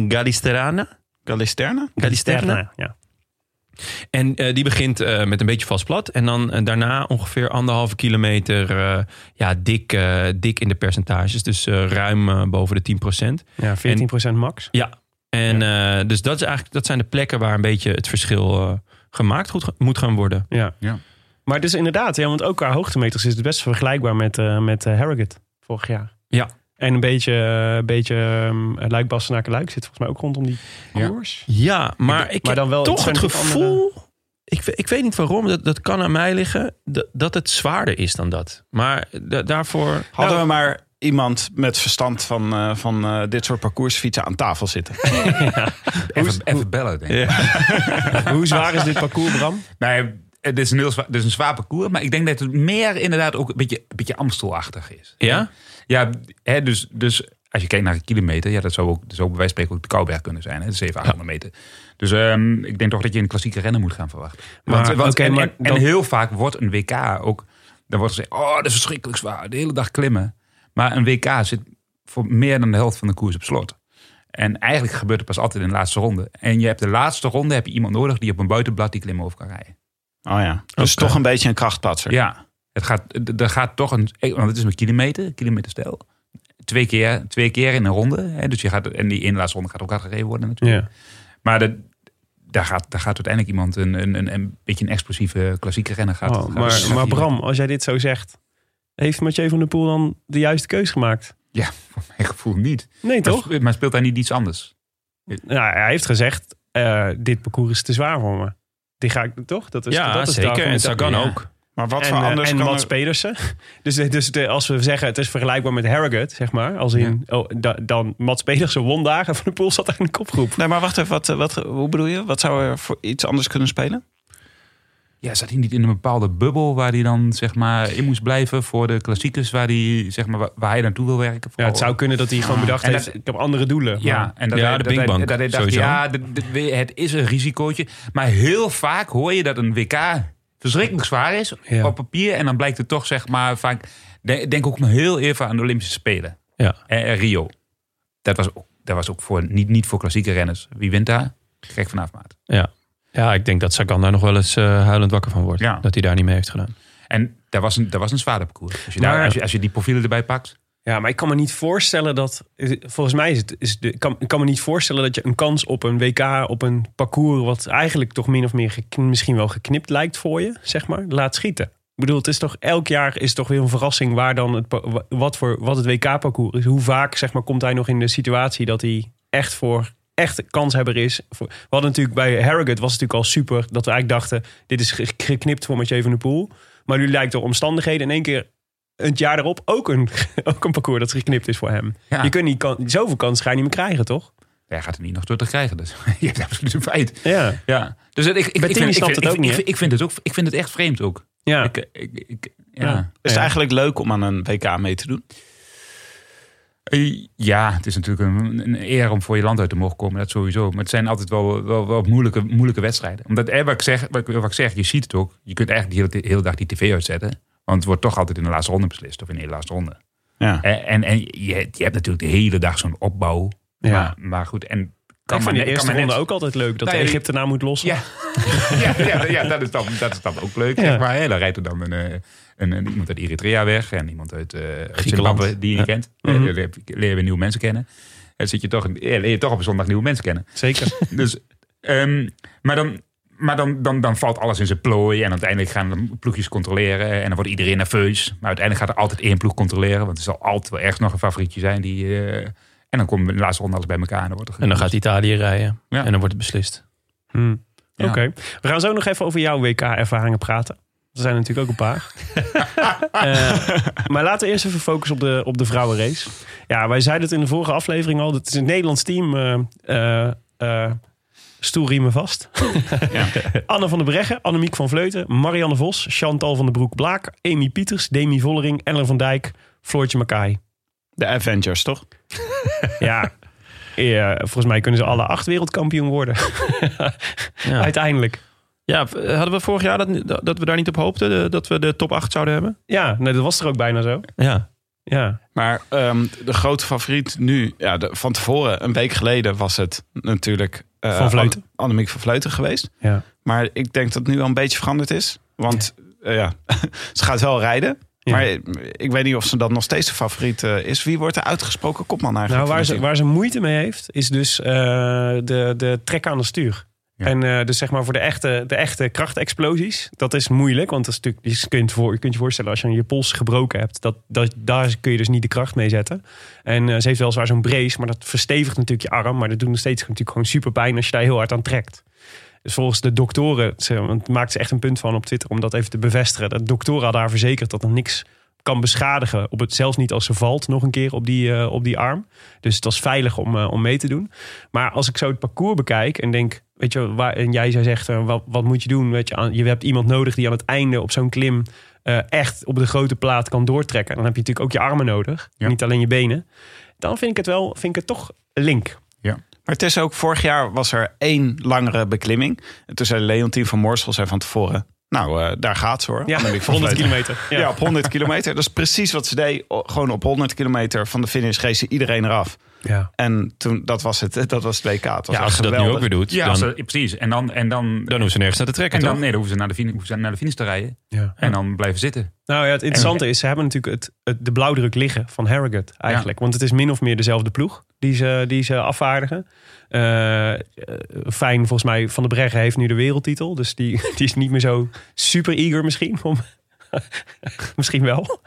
Speaker 1: Gallisterana.
Speaker 7: Galisterna?
Speaker 1: Galisterna.
Speaker 2: Sterna, Ja.
Speaker 1: En eh, die begint eh, met een beetje vast plat. En dan eh, daarna ongeveer anderhalve kilometer eh, ja, dik, eh, dik in de percentages. Dus eh, ruim eh, boven de 10%.
Speaker 2: ja, 14% max.
Speaker 1: Ja. En eh, dus dat, is eigenlijk, dat zijn de plekken waar een beetje het verschil eh, gemaakt goed, moet gaan worden.
Speaker 2: Ja.
Speaker 7: Ja.
Speaker 2: Maar het is inderdaad, ja, want ook qua hoogtemeters is het best vergelijkbaar met, eh, met eh, Harrogate vorig jaar.
Speaker 1: Ja.
Speaker 2: En een beetje, eh, beetje ehm luik Bastenaken luik zit volgens mij ook rondom die
Speaker 7: Ja.
Speaker 2: koers.
Speaker 1: Ja, maar ik
Speaker 2: maar dan wel-
Speaker 1: heb toch
Speaker 2: het
Speaker 1: Oh, het
Speaker 2: zijn natuurlijk
Speaker 1: gevoel... Ik, we- ik weet niet waarom, dat, dat kan aan mij liggen... dat, dat het zwaarder is dan dat. Maar da- daarvoor... Nou,
Speaker 7: Hadden we maar iemand met verstand van, eh, van eh, dit soort parcoursfietsen aan tafel zitten. Oh
Speaker 5: Even, even bellen, denk ik.
Speaker 2: Hoe zwaar is dit parcours, Bram?
Speaker 5: Nee, het is, een heel zwaar, het is een zwaar parcours, maar ik denk dat het meer inderdaad ook een beetje, een beetje Amstelachtig is.
Speaker 1: Ja?
Speaker 5: Ja, hè, dus, dus als je kijkt naar een kilometer, ja, dat zou ook, dat zou bij wijze van spreken ook de Kouberg kunnen zijn, hè, 700, 800 meter. Dus ehm, ik denk toch dat je een klassieke rennen moet gaan verwachten. Want,
Speaker 2: Maar,
Speaker 5: want,
Speaker 2: oké,
Speaker 5: en,
Speaker 2: maar
Speaker 5: en- en
Speaker 2: dan-
Speaker 5: heel vaak wordt een WK ook, dan wordt gezegd, oh, dat is verschrikkelijk zwaar, de hele dag klimmen. Maar een WK zit voor meer dan de helft van de koers op slot. En eigenlijk gebeurt het pas altijd in de laatste ronde. En je hebt de laatste ronde heb je iemand nodig die op een buitenblad die klimmen over kan rijden.
Speaker 7: Oh ja. Dus
Speaker 1: Oké.
Speaker 7: toch een beetje een krachtpatser.
Speaker 5: Ja, het gaat, d- er gaat toch een. e-, Want het is een kilometer, kilometerstijl. Twee keer, twee keer in een ronde. Hè, dus je gaat, en die in de laatste ronde gaat ook hard gereden worden natuurlijk.
Speaker 2: Ja.
Speaker 5: Maar dat- daar, gaat, daar gaat uiteindelijk iemand een, een, een, een beetje een explosieve klassieke renner gaat.
Speaker 2: Oh,
Speaker 5: gaat-
Speaker 2: maar,
Speaker 5: gaat
Speaker 2: maar
Speaker 5: iemand-
Speaker 2: Bram, als jij dit zo zegt, heeft Mathieu van der Poel dan de juiste keus gemaakt?
Speaker 5: Ja, voor mijn gevoel niet.
Speaker 2: Nee,
Speaker 5: Maar
Speaker 2: toch?
Speaker 5: sp- Maar speelt daar niet iets anders?
Speaker 2: Nou, hij heeft gezegd, eh, dit parcours is te zwaar voor me. Die ga ik toch? Dat is,
Speaker 1: ja,
Speaker 2: dat is de
Speaker 1: zeker. En
Speaker 2: argumentatie.
Speaker 1: Sagan
Speaker 2: Ja.
Speaker 1: ook.
Speaker 7: Maar wat
Speaker 2: en,
Speaker 7: voor
Speaker 2: eh,
Speaker 7: anders
Speaker 2: en
Speaker 7: kan
Speaker 2: Mats
Speaker 7: er-
Speaker 2: Pedersen. Dus, dus de, als we zeggen het is vergelijkbaar met Harrogate, zeg maar. Als in, oh, da- dan Mats Pedersen won dagen van de pool zat er in de kopgroep.
Speaker 7: Nee, maar wacht even. Wat, eh, wat, hoe bedoel je? Wat zou er voor iets anders kunnen spelen?
Speaker 5: Ja, zat hij niet in een bepaalde bubbel waar hij dan zeg maar in moest blijven voor de klassiekers waar hij, zeg maar, wa- waar hij naartoe wil werken?
Speaker 2: Ja, het
Speaker 5: Voor-
Speaker 2: zou kunnen Oh. Ah. dat hij gewoon bedacht
Speaker 5: En
Speaker 2: heeft,
Speaker 5: dat-
Speaker 2: ik heb andere doelen.
Speaker 5: Ja, en dat
Speaker 1: Ja, de
Speaker 5: hij- dat
Speaker 1: Big
Speaker 5: hij-
Speaker 1: Bang,
Speaker 5: dat hij dacht,
Speaker 1: sowieso.
Speaker 5: ja, de- de- het is een risicootje. Maar heel vaak hoor je dat een WK verschrikkelijk zwaar is
Speaker 2: Ja.
Speaker 5: op papier. En dan blijkt het toch, zeg maar, vaak... de- Denk ook maar heel even aan de Olympische Spelen.
Speaker 1: Ja.
Speaker 5: En, en Rio. Dat was ook, dat was ook voor, niet, niet voor klassieke renners. Wie wint daar? Gek vanaf maat.
Speaker 1: Ja. ja, ik denk dat Sagan daar nog wel eens eh, huilend wakker van wordt.
Speaker 5: Ja.
Speaker 1: Dat hij daar niet mee heeft gedaan.
Speaker 5: En dat was een, dat was een zwaarder parcours. Als je, daar,
Speaker 2: Maar-
Speaker 5: als, je, als je die profielen erbij pakt.
Speaker 2: Ja, maar ik kan me niet voorstellen dat. Volgens mij is het. Is de, ik kan, ik kan me niet voorstellen dat je een kans op een WK. op een parcours. wat eigenlijk toch min of meer. gek- misschien wel geknipt lijkt voor je, zeg maar. laat schieten. Ik bedoel, het is toch. elk jaar is toch weer een verrassing. waar dan. Het, pa- wa- wat, voor, wat het WK-parcours is. Hoe vaak, zeg maar, komt hij nog in de situatie dat hij echt voor. echt kanshebber is. Voor- We hadden natuurlijk bij Harrogate. was het natuurlijk al super. dat we eigenlijk dachten. dit is ge- geknipt voor Mathieu van der Poel. Maar nu lijkt door omstandigheden in één keer het jaar erop ook een, ook een parcours dat geknipt is voor hem.
Speaker 5: Ja.
Speaker 2: Je kunt niet kan, zoveel kans ga je niet meer krijgen, toch?
Speaker 5: Hij gaat er niet nog door te krijgen. Dus je hebt absoluut een feit.
Speaker 2: Ja.
Speaker 5: Ja. Dus ik, ik, ik,
Speaker 2: Bettini
Speaker 5: vind- ik,
Speaker 2: snapt
Speaker 5: vind-
Speaker 2: het
Speaker 5: ik,
Speaker 2: ook
Speaker 5: vind-
Speaker 2: niet,
Speaker 5: ik
Speaker 2: hè?
Speaker 5: vind- ik vind het ook. Ik vind het echt vreemd ook.
Speaker 2: ja.
Speaker 5: Ik, ik, ik- ja.
Speaker 2: Ja. Dus
Speaker 7: Is het
Speaker 2: Ja.
Speaker 7: eigenlijk leuk om aan een WK mee te doen?
Speaker 5: Eh, ja, het is natuurlijk een, een eer om voor je land uit te mogen komen. Dat sowieso. Maar het zijn altijd wel, wel, wel moeilijke, moeilijke wedstrijden. Omdat, eh, wat, ik zeg, wat, ik, wat ik zeg, je ziet het ook. Je kunt eigenlijk de hele, de hele dag die tv uitzetten. Want het wordt toch altijd in de laatste ronde beslist. Of in de hele laatste ronde.
Speaker 7: Ja.
Speaker 5: Eh, En, en, je, je hebt natuurlijk de hele dag zo'n opbouw.
Speaker 2: Ja.
Speaker 5: Maar, maar goed, en
Speaker 2: Kan ik
Speaker 5: maar
Speaker 2: vond die
Speaker 5: net-
Speaker 2: eerste
Speaker 5: kan maar
Speaker 2: ronde
Speaker 5: net-
Speaker 2: ook altijd leuk. Dat
Speaker 5: Nou ja,
Speaker 2: de
Speaker 5: die-
Speaker 2: Egyptenaar moet lossen.
Speaker 5: Ja, ja, ja, ja dat, is dan, dat is dan ook leuk.
Speaker 2: Ja.
Speaker 5: Zeg maar, hè. Dan rijdt er dan een, eh, een, een- iemand uit Eritrea weg en iemand uit eh, uit
Speaker 1: Griekenland.
Speaker 5: Zimbabwe die je niet kent. Eh,
Speaker 2: Mhm.
Speaker 5: dan leer je- leer je nieuwe mensen kennen. En zit je toch, in- ja, leer je toch op een zondag nieuwe mensen kennen.
Speaker 2: Zeker.
Speaker 5: Dus, ehm, maar dan, maar dan, dan, dan valt alles in zijn plooi. En uiteindelijk gaan de ploegjes controleren. En dan wordt iedereen nerveus. Maar uiteindelijk gaat er altijd één ploeg controleren. Want er zal altijd wel ergens nog een favorietje zijn. Die, eh, en dan komt in de laatste ronde alles bij elkaar. En dan, wordt er
Speaker 1: En dan gaat Italië rijden.
Speaker 5: Ja.
Speaker 1: En dan wordt het beslist.
Speaker 2: Hmm.
Speaker 5: Ja.
Speaker 2: Oké. We gaan zo nog even over jouw WK-ervaringen praten. Er zijn natuurlijk ook een paar. Eh, maar laten we eerst even focussen op de, op de vrouwenrace. Ja, wij zeiden het in de vorige aflevering al. Het is een Nederlands team. eh, eh, eh, stoel riemen vast. Anne van der Breggen, Annemiek van Vleuten, Marianne Vos, Chantal van der Broek-Blaak, Amy Pieters, Demi Vollering, Ellen van Dijk, Floortje Makai.
Speaker 7: De Avengers, toch?
Speaker 2: Ja. Ja, volgens mij kunnen ze alle acht wereldkampioen worden.
Speaker 1: Ja.
Speaker 2: Uiteindelijk.
Speaker 1: ja, v- hadden we vorig jaar dat, dat- dat we daar niet op hoopten? de- dat we de top 8 zouden hebben?
Speaker 2: Ja, nee, dat was er ook bijna zo.
Speaker 1: Ja.
Speaker 2: Ja.
Speaker 7: Maar ehm, de grote favoriet nu, ja, de- van tevoren, een week geleden was het natuurlijk eh,
Speaker 2: Van Vleuten.
Speaker 7: Anne- Annemiek van Vleuten geweest.
Speaker 2: ja.
Speaker 7: Maar ik denk dat het nu al een beetje veranderd is. Want eh, ja, ze gaat wel rijden.
Speaker 2: Ja.
Speaker 7: Maar eh, ik weet niet of ze dat nog steeds de favoriet eh, is. Wie wordt de uitgesproken kopman
Speaker 2: Nou,
Speaker 7: eigenlijk?
Speaker 2: waar
Speaker 7: van
Speaker 2: ze,
Speaker 7: het
Speaker 2: waar ze moeite mee heeft, is dus eh, de, de trek aan de stuur.
Speaker 5: Ja.
Speaker 2: En eh, dus zeg maar voor de echte, de echte krachtexplosies, dat is moeilijk. Want dat is natuurlijk, je kunt, voor, je kunt je voorstellen als je je pols gebroken hebt, dat, dat, daar kun je dus niet de kracht mee zetten. En eh, ze heeft weliswaar zo'n brace, maar dat verstevigt natuurlijk je arm. Maar dat doet nog steeds natuurlijk gewoon super pijn als je daar heel hard aan trekt. Dus volgens de doktoren, ze, want daar maakt ze echt een punt van op Twitter om dat even te bevestigen. De doktoren hadden haar verzekerd dat er niks kan beschadigen. Op het, zelfs niet als ze valt nog een keer op die, eh, op die arm. Dus het was veilig om, eh, om mee te doen. Maar als ik zo het parcours bekijk en denk, weet je, waar, en jij zei zegt, eh, wat, wat moet je doen? Weet je, aan, je hebt iemand nodig die aan het einde op zo'n klim eh, echt op de grote plaat kan doortrekken. Dan heb je natuurlijk ook je armen nodig,
Speaker 5: Ja.
Speaker 2: niet alleen je benen. Dan vind ik het wel, vind ik het toch link.
Speaker 7: Maar het is ook, vorig jaar was er één langere beklimming. En toen zei Leontien van Moorsel zei van tevoren... Nou, eh, daar gaat ze hoor.
Speaker 2: Ja,
Speaker 7: Annemiek van
Speaker 2: 100
Speaker 7: Vleuten.
Speaker 2: kilometer.
Speaker 7: Ja. op 100 kilometer. Dat is precies wat ze deed. O- Gewoon op 100 kilometer van de finish reed ze iedereen eraf.
Speaker 2: ja.
Speaker 7: En toen, dat was het. Dat was het WK. Het was
Speaker 1: ja
Speaker 7: echt
Speaker 1: als ze dat nu
Speaker 7: geweldig.
Speaker 1: ook weer doet,
Speaker 5: Ja,
Speaker 1: dan,
Speaker 5: als
Speaker 1: dan
Speaker 5: ze- precies. En dan, en dan,
Speaker 1: hoeven ze nergens naar te trekken,
Speaker 5: en dan,
Speaker 1: toch?
Speaker 5: nee, dan hoeven ze, naar de, fin- hoeven ze naar de finish te rijden.
Speaker 2: ja.
Speaker 5: En dan blijven zitten.
Speaker 2: Nou ja, het interessante is, ze hebben natuurlijk het, het, de blauwdruk liggen van Harrogate eigenlijk. Want het is min of meer dezelfde ploeg die ze, die ze afvaardigen. Eh, eh, fijn, volgens mij, Van der Breggen heeft nu de wereldtitel. Dus die, die is niet meer zo super eager misschien. Om, misschien wel.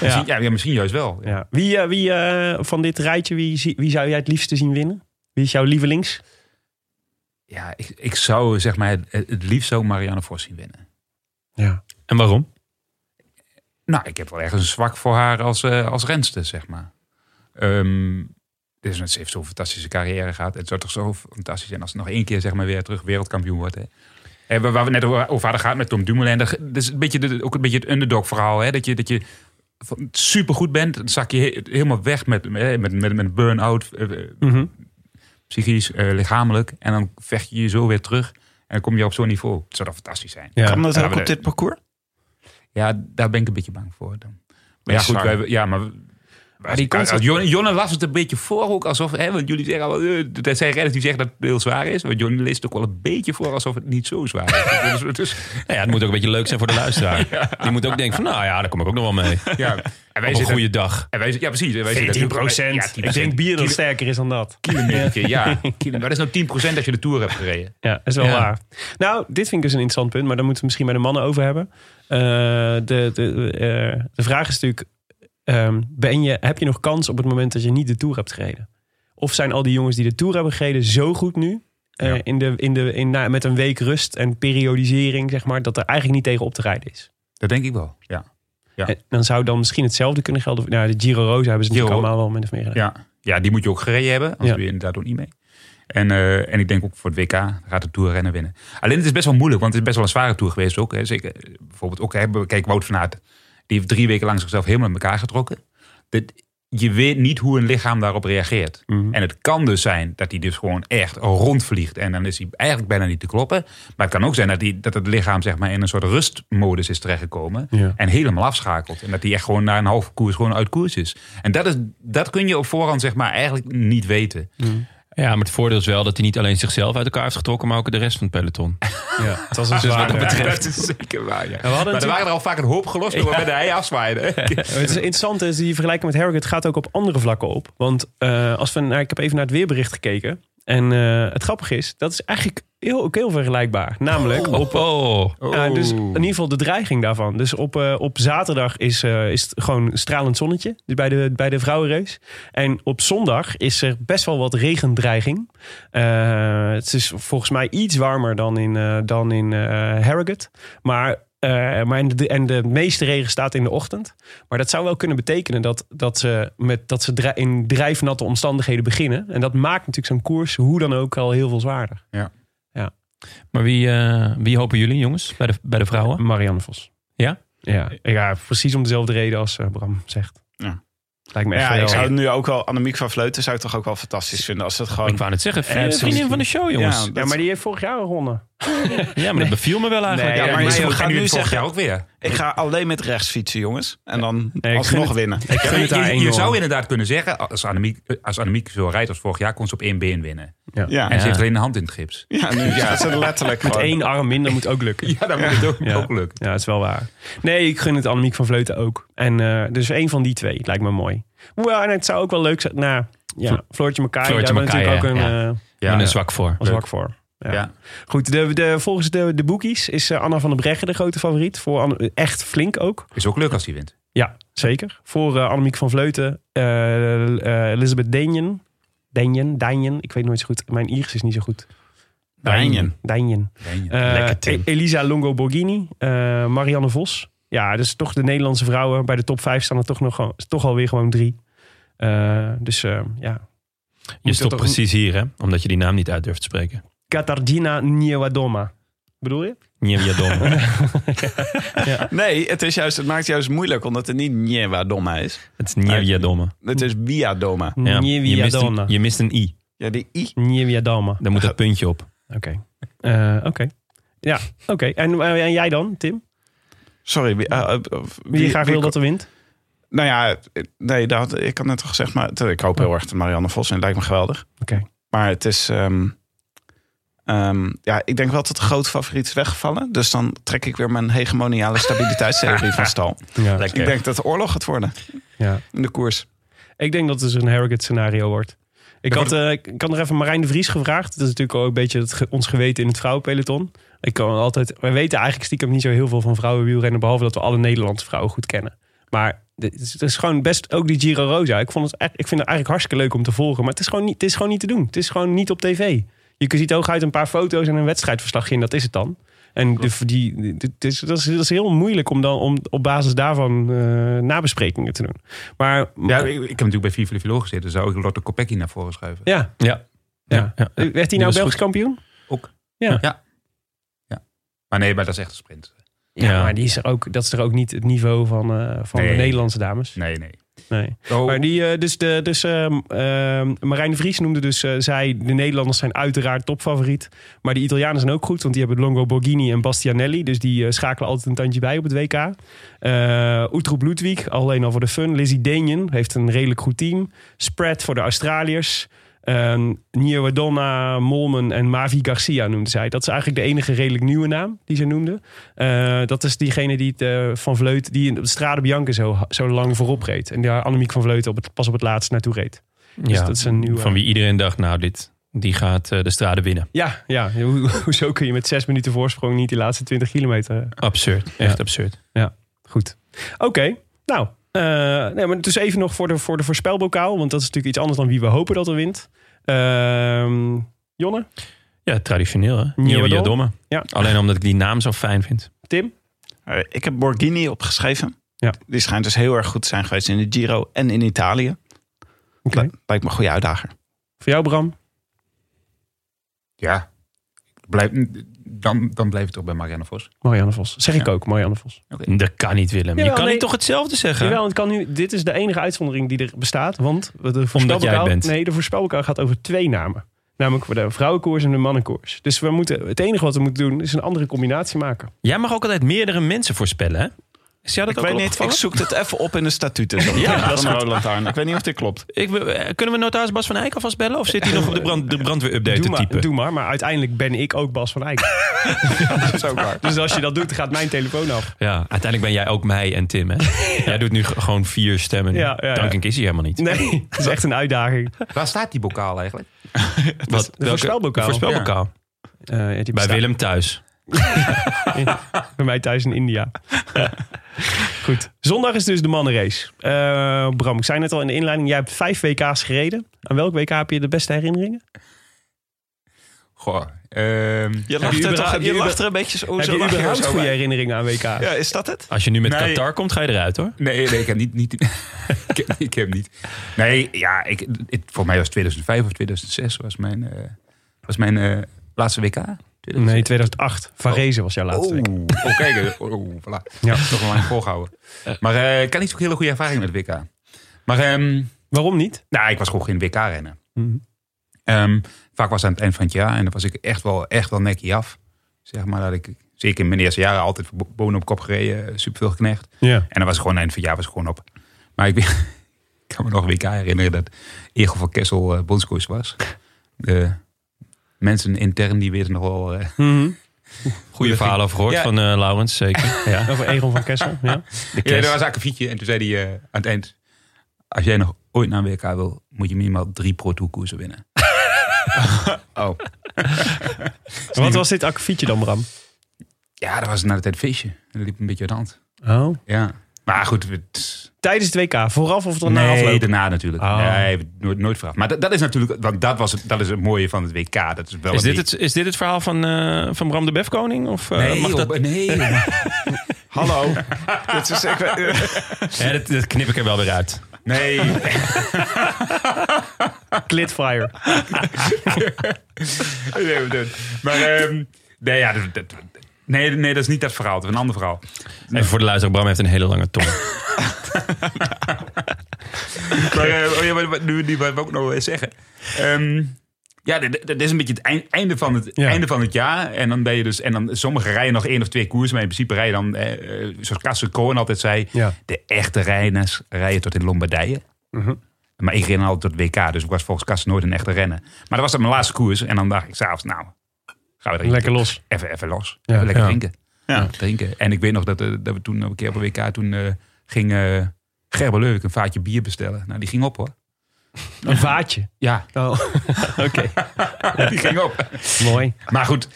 Speaker 5: Misschien, ja, ja, misschien juist wel.
Speaker 2: Ja. Wie, eh, wie eh, van dit rijtje, wie, zie- wie zou jij het liefste zien winnen? Wie is jouw lievelings?
Speaker 5: Ja, ik, ik zou zeg maar het, het liefst zo Marianne Vos zien winnen.
Speaker 2: Ja.
Speaker 1: En waarom?
Speaker 5: Nou, ik heb wel ergens een zwak voor haar als, eh, als renster, zeg maar. Ehm, dus ze heeft zo'n fantastische carrière gehad. Het zou toch zo fantastisch zijn als ze nog één keer zeg maar, weer terug wereldkampioen wordt. Hè? Eh, waar waar we net over over hadden gehad met Tom Dumoulin. Dat dat is een beetje de, ook een beetje het underdog verhaal. Hè? Dat je, dat je van- supergoed bent, dan zak je he- helemaal weg met, eh, met, met, met burn-out. eh, eh,
Speaker 2: Mhm.
Speaker 5: psychisch, eh, lichamelijk. En dan vecht je je zo weer terug. En dan kom je op zo'n niveau. Het zou dan fantastisch zijn.
Speaker 2: Ja.
Speaker 7: Kan dat
Speaker 5: Ja,
Speaker 7: ook
Speaker 5: maar
Speaker 7: op
Speaker 5: de-
Speaker 7: dit parcours?
Speaker 5: Ja, daar ben ik een beetje bang voor dan. Maar ja,
Speaker 7: Bizar.
Speaker 5: goed, wij, ja, maar... Maar die
Speaker 2: kans-
Speaker 5: Jonne, Jonne las het een beetje voor ook alsof... Hè, want jullie zeggen al, eh, dat zijn redders die zeggen dat het heel zwaar is. Maar Jonne leest ook wel een beetje voor alsof het niet zo zwaar is. dus, dus,
Speaker 1: Nou ja, het moet ook een beetje leuk zijn voor de luisteraar. Die moet ook denken van, nou ja, daar kom ik ook nog wel mee.
Speaker 5: ja. En wij
Speaker 1: Op een
Speaker 5: zitten...
Speaker 1: goede dag.
Speaker 5: En wij, ja, precies. En wij zitten
Speaker 2: 14
Speaker 5: natuurlijk-
Speaker 2: procent.
Speaker 5: Ja, 10%.
Speaker 2: Ik denk bier dat sterker is dan dat.
Speaker 5: Kilometer, ja. Kilo- Maar dat is nou 10% als je de Tour hebt gereden.
Speaker 2: Ja, dat is wel
Speaker 1: Ja.
Speaker 2: waar. Nou, dit vind ik dus een interessant punt, maar daar moeten we misschien bij de mannen over hebben. Eh, de, de, eh, de vraag is natuurlijk: ehm, ben je, heb je nog kans op het moment dat je niet de tour hebt gereden? Of zijn al die jongens die de tour hebben gereden zo goed nu? eh,
Speaker 5: Ja.
Speaker 2: in de, in de, in, na- met een week rust en periodisering, zeg maar, dat er eigenlijk niet tegen op te rijden is.
Speaker 5: Dat denk ik wel, ja. Ja.
Speaker 2: En dan zou dan misschien hetzelfde kunnen gelden. voor- Nou, de Giro Rosa hebben ze natuurlijk
Speaker 5: Giro.
Speaker 2: allemaal wel min of meer gedaan.
Speaker 5: Ja, ja die moet je ook gereden hebben. Anders
Speaker 2: Ja.
Speaker 5: doe je inderdaad ook niet mee. En, eh, en ik denk ook voor het WK gaat de Tour rennen winnen. Alleen het is best wel moeilijk, want het is best wel een zware Tour geweest ook. Hè. Zeker, eh, bijvoorbeeld ook, hè, kijk, Wout van Aert. Die heeft drie weken lang zichzelf helemaal in elkaar getrokken. Dit, je weet niet hoe een lichaam daarop reageert. En het kan dus zijn dat hij dus gewoon echt rondvliegt. En dan is hij eigenlijk bijna niet te kloppen. Maar het kan ook zijn dat, hij, dat het lichaam zeg maar, in een soort rustmodus is terechtgekomen.
Speaker 2: Ja.
Speaker 5: En helemaal afschakelt. En dat hij echt gewoon na een halve koers gewoon uit koers is. En dat, is, dat kun je op voorhand zeg maar, eigenlijk niet weten.
Speaker 1: Ja, maar het voordeel is wel dat hij niet alleen zichzelf uit elkaar heeft getrokken, maar ook de rest van het peloton.
Speaker 2: Ja, het was een
Speaker 1: Dus wat
Speaker 2: zware.
Speaker 1: dat betreft.
Speaker 5: Dat is zeker waar, ja.
Speaker 1: we hadden
Speaker 5: maar er
Speaker 1: natuurlijk-
Speaker 5: waren er al vaak een hoop gelost door bij de hei afzwaaiden.
Speaker 2: Ja, maar Het is interessant is, die vergelijking met Herrick, het gaat ook op andere vlakken op. Want eh, als we, nou, ik heb even naar het weerbericht gekeken. En eh, het grappige is, dat is eigenlijk heel, ook heel vergelijkbaar. Namelijk, op,
Speaker 1: Oh,
Speaker 2: ja, dus in ieder geval de dreiging daarvan. Dus op, eh, op zaterdag is, eh, is het gewoon stralend zonnetje dus bij de, bij de vrouwenrace. En op zondag is er best wel wat regendreiging. Eh, het is volgens mij iets warmer dan in, eh, dan in eh, Harrogate. Maar, eh, maar en, de, en de meeste regen staat in de ochtend. Maar dat zou wel kunnen betekenen dat, dat ze, met, dat ze dra- in drijfnatte omstandigheden beginnen. En dat maakt natuurlijk zo'n koers hoe dan ook al heel veel zwaarder.
Speaker 1: maar wie, eh, wie hopen jullie, jongens, bij de, bij de vrouwen?
Speaker 2: Marianne Vos.
Speaker 1: Ja?
Speaker 2: Ja, ja precies om dezelfde reden als eh, Bram zegt.
Speaker 7: Ja.
Speaker 2: Lijkt me echt
Speaker 7: Ja,
Speaker 2: wel
Speaker 7: ik zou
Speaker 2: heel-
Speaker 7: nu ook wel Annemiek van Vleuten zou ik toch ook wel fantastisch vinden als dat gewoon.
Speaker 1: Ik wou het zeggen,
Speaker 7: Eh,
Speaker 1: vriendin, vriendin van de show, jongens.
Speaker 7: Ja,
Speaker 1: Ja,
Speaker 2: Ja, maar die heeft vorig jaar gewonnen.
Speaker 1: maar, dat beviel me wel eigenlijk.
Speaker 7: Nee, ja, maar
Speaker 1: mij
Speaker 7: je
Speaker 1: ook.
Speaker 7: moet gaan
Speaker 5: en nu
Speaker 7: nu
Speaker 5: het vorig
Speaker 7: zeggen-
Speaker 5: jaar ook weer.
Speaker 7: Ik ga alleen met rechts fietsen, jongens. En dan
Speaker 2: ik gun
Speaker 7: alsnog
Speaker 2: het-
Speaker 7: winnen.
Speaker 2: Ik
Speaker 5: Ja,
Speaker 2: gun het haar
Speaker 5: je, je
Speaker 2: enorm.
Speaker 5: zou inderdaad kunnen zeggen, als Annemiek, als Annemiek zo rijdt als vorig jaar, kon ze op één been winnen.
Speaker 7: Ja,
Speaker 5: En
Speaker 7: ja.
Speaker 5: ze heeft alleen een hand in het gips.
Speaker 7: nu ja, ze letterlijk
Speaker 2: Met
Speaker 7: gewoon.
Speaker 2: één arm minder moet ook lukken.
Speaker 5: Ja, dat moet het ook,
Speaker 2: Ja.
Speaker 5: ook lukken.
Speaker 2: Ja, dat is wel waar. Nee, ik gun het Annemiek van Vleuten ook. En eh, dus één van die twee lijkt me mooi. Hoewel, en het zou ook wel leuk zijn. Nou, ja, Floortje Makai, daar
Speaker 1: Floortje
Speaker 2: ben ik
Speaker 1: Makai,
Speaker 2: natuurlijk ook een
Speaker 1: ja.
Speaker 2: eh,
Speaker 1: Ik ben er zwak voor.
Speaker 2: als wak voor. Ja.
Speaker 5: Ja.
Speaker 2: Goed, de, de, volgens de, de boekies is eh, Anna van der Breggen de grote favoriet. Voor Anne- echt flink ook.
Speaker 5: Is ook leuk als hij wint.
Speaker 2: Ja, zeker. Voor eh, Annemiek van Vleuten, eh, eh, Elizabeth Denjen. Denjen, Denjen, ik weet nooit zo goed. Mijn Iers is niet zo goed.
Speaker 7: Dijnen.
Speaker 2: Denjen. Eh,
Speaker 5: Lekker Tim.
Speaker 2: E- Elisa Longo Borghini, eh, Marianne Vos. Ja, dus toch de Nederlandse vrouwen. Bij de top 5 staan er toch, nog, gewoon- toch alweer gewoon drie. Eh, dus eh, ja.
Speaker 1: Je
Speaker 2: Moet
Speaker 1: stopt
Speaker 2: dat toch-
Speaker 1: precies hier, hè? Omdat je die naam niet uit durft te spreken.
Speaker 2: Katarzyna Niewiadoma. Bedoel je?
Speaker 1: Nieuwjadom.
Speaker 7: Nee, het, is juist, het maakt juist moeilijk omdat het niet Njewa Doma is.
Speaker 1: Het is Nieuwjadomme.
Speaker 7: Het is Bia Doma.
Speaker 1: Ah, Ja. Je, mist
Speaker 2: Niewiadoma.
Speaker 1: een- je mist een i.
Speaker 7: Ja, die I.
Speaker 2: Niewiadoma.
Speaker 1: Daar moet dat puntje op.
Speaker 2: Oké. Eh, oké. Ja, oké. En, eh, en jij dan, Tim?
Speaker 7: Sorry. Wie, eh, eh,
Speaker 2: Wie je graag wil dat er wint?
Speaker 7: Nou ja, eh, nee, dat, had- ik had net al gezegd, maar het- ik hoop heel erg dat Marianne Vos en het lijkt me geweldig.
Speaker 2: Oké.
Speaker 7: Maar het is. ehm, ehm, ja, ik denk wel dat de grote favoriet is weggevallen. Dus dan trek ik weer mijn hegemoniale stabiliteitstheorie van stal.
Speaker 2: Ja.
Speaker 7: Dus ik denk dat de oorlog gaat worden
Speaker 2: Ja.
Speaker 7: in de koers.
Speaker 2: Ik denk dat het dus een Harrogate scenario wordt. Ik had, eh, ik ik had nog even Marijn de Vries gevraagd. Dat is natuurlijk ook een beetje het, ge- ons geweten in het vrouwenpeloton. Ik kan altijd, wij weten eigenlijk stiekem niet zo heel veel van vrouwenwielrennen. Behalve dat we alle Nederlandse vrouwen goed kennen. Maar het is, het is gewoon best ook die Giro Rosa. Ik, vond het, echt- ik vind het eigenlijk hartstikke leuk om te volgen. Maar het is, gewoon niet, het is gewoon niet te doen. Het is gewoon niet op tv. Je ziet hooguit een paar foto's en een wedstrijdverslagje. En dat is het dan. En de, die, die- het is, dat, is, dat is heel moeilijk om dan om, op basis daarvan eh, nabesprekingen te doen. Maar
Speaker 5: Ja, ik, ik heb natuurlijk bij Viva Vilo gezeten. Dus zou ik Lotte Kopecky naar voren schuiven.
Speaker 2: ja,
Speaker 1: Ja.
Speaker 2: Ja.
Speaker 1: ja.
Speaker 2: werd hij
Speaker 1: was
Speaker 2: nou
Speaker 1: goed.
Speaker 2: Belgisch kampioen?
Speaker 5: Maar nee, maar dat is echt een sprint.
Speaker 2: Ja,
Speaker 1: Ja.
Speaker 2: maar die is er ook, dat is er ook niet het niveau van, eh, van de
Speaker 5: Nee.
Speaker 2: Nederlandse dames.
Speaker 5: Nee, nee.
Speaker 2: Nee.
Speaker 5: Oh,
Speaker 2: Maar die, eh, dus, de, dus ehm, ehm, Marijn de Vries noemde dus, eh, zij, de Nederlanders zijn uiteraard topfavoriet. Maar de Italianen zijn ook goed, want die hebben Longo Borghini en Bastianelli. Dus die eh, schakelen altijd een tandje bij op het WK. Eh Utroep Ludwig, alleen al voor de fun. Lizzie Denjen heeft een redelijk goed team. Spread voor de Australiërs. Ehm Niewadonna, Molman en Mavi Garcia noemde zij. Dat is eigenlijk de enige redelijk nieuwe naam die ze noemde. Eh, dat is diegene die het, eh, van Vleut, die in de Strade Bianca zo, zo lang voorop reed. En daar Annemiek van Vleuten op het, pas op het laatst naartoe reed. Dus
Speaker 1: Ja.
Speaker 2: dat is een nieuwe.
Speaker 1: Van wie iedereen dacht, nou, dit, die gaat eh, de straden winnen.
Speaker 2: Ja, ja. Hoe- hoezo kun je met zes minuten voorsprong niet die laatste 20 kilometer eh?
Speaker 1: Absurd. Echt absurd.
Speaker 2: Goed. Oké, nou. eh, nee, maar dus even nog voor de, voor de voorspelbokaal. Want dat is natuurlijk iets anders dan wie we hopen dat er wint. Ehm, Jonne,
Speaker 1: Ja, traditioneel, hè?
Speaker 2: Nieuwe
Speaker 1: Nieuwjadomme.
Speaker 2: Ja.
Speaker 1: Alleen omdat ik die naam zo fijn vind.
Speaker 2: Tim.
Speaker 7: Eh, Ik heb Borghini opgeschreven.
Speaker 2: Ja.
Speaker 7: Die schijnt dus heel erg goed te zijn geweest in de Giro en in Italië.
Speaker 2: Oké.
Speaker 7: Lijkt me een goede uitdager.
Speaker 2: Voor jou, Bram.
Speaker 5: ja. Blijf, dan, dan blijf ik toch bij Marianne Vos.
Speaker 2: Marianne Vos. Zeg ik ook, Marianne Vos.
Speaker 1: Dat kan niet, Willem. je
Speaker 2: Jawel,
Speaker 1: kan
Speaker 2: nee.
Speaker 1: niet toch hetzelfde zeggen?
Speaker 2: Jawel, het kan nu, dit is de enige uitzondering die er bestaat. Want de
Speaker 1: jij
Speaker 2: voorspelbokaal,
Speaker 1: het bent.
Speaker 2: nee, de voorspelbokaal gaat over twee namen. Namelijk voor de vrouwenkoers en de mannenkoers. Dus we moeten, het enige wat we moeten doen is een andere combinatie maken.
Speaker 1: Jij mag ook altijd meerdere mensen voorspellen, hè? Is jij dat
Speaker 7: ik
Speaker 1: ook
Speaker 7: weet
Speaker 1: al
Speaker 7: niet,
Speaker 1: opgevallen?
Speaker 7: ik zoek dat even op in de statuten. zo.
Speaker 1: Ja,
Speaker 7: Van
Speaker 1: dat is
Speaker 7: de
Speaker 1: goed.
Speaker 7: Rode Lantaarn. Ik weet niet of dit klopt.
Speaker 1: Ik, wil- eh, kunnen we notaris Bas van Eyck alvast bellen? Of zit hij nog op de, brand, de brandweer-update
Speaker 2: Doe
Speaker 1: te
Speaker 2: maar,
Speaker 1: typen?
Speaker 2: doe maar, maar uiteindelijk ben ik ook Bas van Eyck.
Speaker 7: Dat is ook waar.
Speaker 2: Dus als je dat doet, gaat mijn telefoon af.
Speaker 1: Ja, uiteindelijk ben jij ook mij en Tim. Hè? Jij doet nu g- gewoon vier stemmen.
Speaker 2: Ja, ja, ja.
Speaker 1: Dankink is hij helemaal niet.
Speaker 2: Nee, dat is echt een uitdaging.
Speaker 5: Waar staat die bokaal eigenlijk?
Speaker 1: Wat, welke-
Speaker 2: voorspelbokaal.
Speaker 1: voorspelbokaal.
Speaker 2: Eh, ja, die
Speaker 1: Bij
Speaker 2: bestaat
Speaker 1: Willem thuis.
Speaker 2: Bij mij thuis in India. Goed. Zondag is dus de mannenrace. Eh, Bram, ik zei net al in de inleiding, jij hebt vijf WK's gereden. Aan welk WK heb je de beste herinneringen?
Speaker 5: Goh. ehm,
Speaker 7: Je lacht, er, toch,
Speaker 2: überhaupt-
Speaker 7: je
Speaker 2: heb je
Speaker 7: lacht er een beetje zo,
Speaker 2: heb
Speaker 7: zo
Speaker 1: nou
Speaker 2: je
Speaker 7: lach er
Speaker 2: überhaupt
Speaker 7: zo
Speaker 2: goede
Speaker 7: bij.
Speaker 2: herinneringen aan WK's?
Speaker 7: Ja, is dat het?
Speaker 1: Als je nu met
Speaker 5: Nee.
Speaker 1: Qatar komt, ga je eruit hoor.
Speaker 5: Nee, nee, ik heb niet. niet ik, heb, ik heb niet. Nee, ja, ik, het, voor mij was 2005 of 2006 was mijn, eh, was mijn eh, laatste WK.
Speaker 2: Nee, 2008. Varese was jouw laatste. WK.
Speaker 5: Oh, oh, kijk. eh, Oh, oh, voilà.
Speaker 2: Ja.
Speaker 5: Toch wel lang volgehouden. Maar eh, ik had niet zo'n hele goede ervaring met WK. Maar ehm,
Speaker 2: Waarom niet?
Speaker 5: nou, ik was gewoon geen WK-renner.
Speaker 2: Mhm.
Speaker 5: vaak was het aan het eind van het jaar en dan was ik echt wel, echt wel nekkie af. Zeg maar dat ik, zeker in mijn eerste jaren, altijd voor bo- bonen op kop gereden, eh, superveel geknecht.
Speaker 2: Ja.
Speaker 5: En dan was het gewoon eind van het jaar was het gewoon op. Maar ik, weet- ik kan me nog een WK herinneren dat Egel van Kessel eh bondscoach was. De mensen intern die weten nog wel. eh,
Speaker 2: Mhm.
Speaker 1: Goede verhalen over gehoord
Speaker 5: Ja.
Speaker 1: van eh Laurens, zeker. Ja.
Speaker 2: Over Egon van Kessel. Ja.
Speaker 5: ja, er was akkefietje en toen zei hij eh, aan het eind: Als jij nog ooit naar een WK wil, moet je minimaal drie Pro Tour koersen winnen. oh.
Speaker 2: Wat was dit akkefietje dan, Bram?
Speaker 5: Ja, dat was na de tijd feestje. En dat liep een beetje uit de hand.
Speaker 2: Oh.
Speaker 5: Ja. Maar goed, het,
Speaker 2: Tijdens het WK, vooraf of daarna
Speaker 5: nee,
Speaker 2: afloop?
Speaker 5: daarna natuurlijk.
Speaker 2: Oh.
Speaker 5: Nee, nooit, nooit vraag. Maar dat, dat is natuurlijk, want dat, was het, dat is het mooie van het WK. Dat is, wel
Speaker 1: Is,
Speaker 5: een
Speaker 1: dit
Speaker 5: beetje-
Speaker 1: het, is dit het verhaal van, eh, van Bram de Befkoning? Of, eh, mag dat...
Speaker 5: nee.
Speaker 7: Hallo. Dit is, ik, weet-
Speaker 1: Ja, dat, dat knip ik er wel weer uit.
Speaker 5: nee.
Speaker 2: Glitfire.
Speaker 5: Nee, we doen het. Maar ehm, nee, ja, dat, dat- nee, nee, dat is niet dat verhaal. Dat is een ander verhaal.
Speaker 1: Even voor de luisteraar, Bram heeft een hele lange tong.
Speaker 5: Maar eh, oh ja, wat- wat- nu die wou ik ook nog eens zeggen. Ehm, ja, dat, dat is een beetje het eind- einde van het,
Speaker 2: Ja.
Speaker 5: einde van het jaar. En dan ben je dus, en dan sommige rijden nog één of twee koersen, maar in principe rijden dan, eh, eh, zoals Kassel Cohen altijd zei,
Speaker 2: Ja.
Speaker 5: de echte renners rijden tot in Lombardije. Maar ik ren altijd tot WK, dus ik was volgens Kassel nooit een echte renner. Maar dat was dan mijn laatste koers. En dan dacht ik s'avonds, nou, gaan we er
Speaker 2: Lekker los.
Speaker 5: even, even los.
Speaker 2: Ja.
Speaker 5: Even lekker
Speaker 2: Ja.
Speaker 5: drinken.
Speaker 7: Ja.
Speaker 5: drinken. En ik weet nog dat, eh, dat we toen op een keer op een WK toen eh, ging eh Gerber Leuk een vaatje bier bestellen. Nou, die ging op hoor.
Speaker 2: Een vaatje.
Speaker 5: Ja,
Speaker 2: Oh, oké.
Speaker 5: die ging op.
Speaker 2: Mooi.
Speaker 5: Maar goed,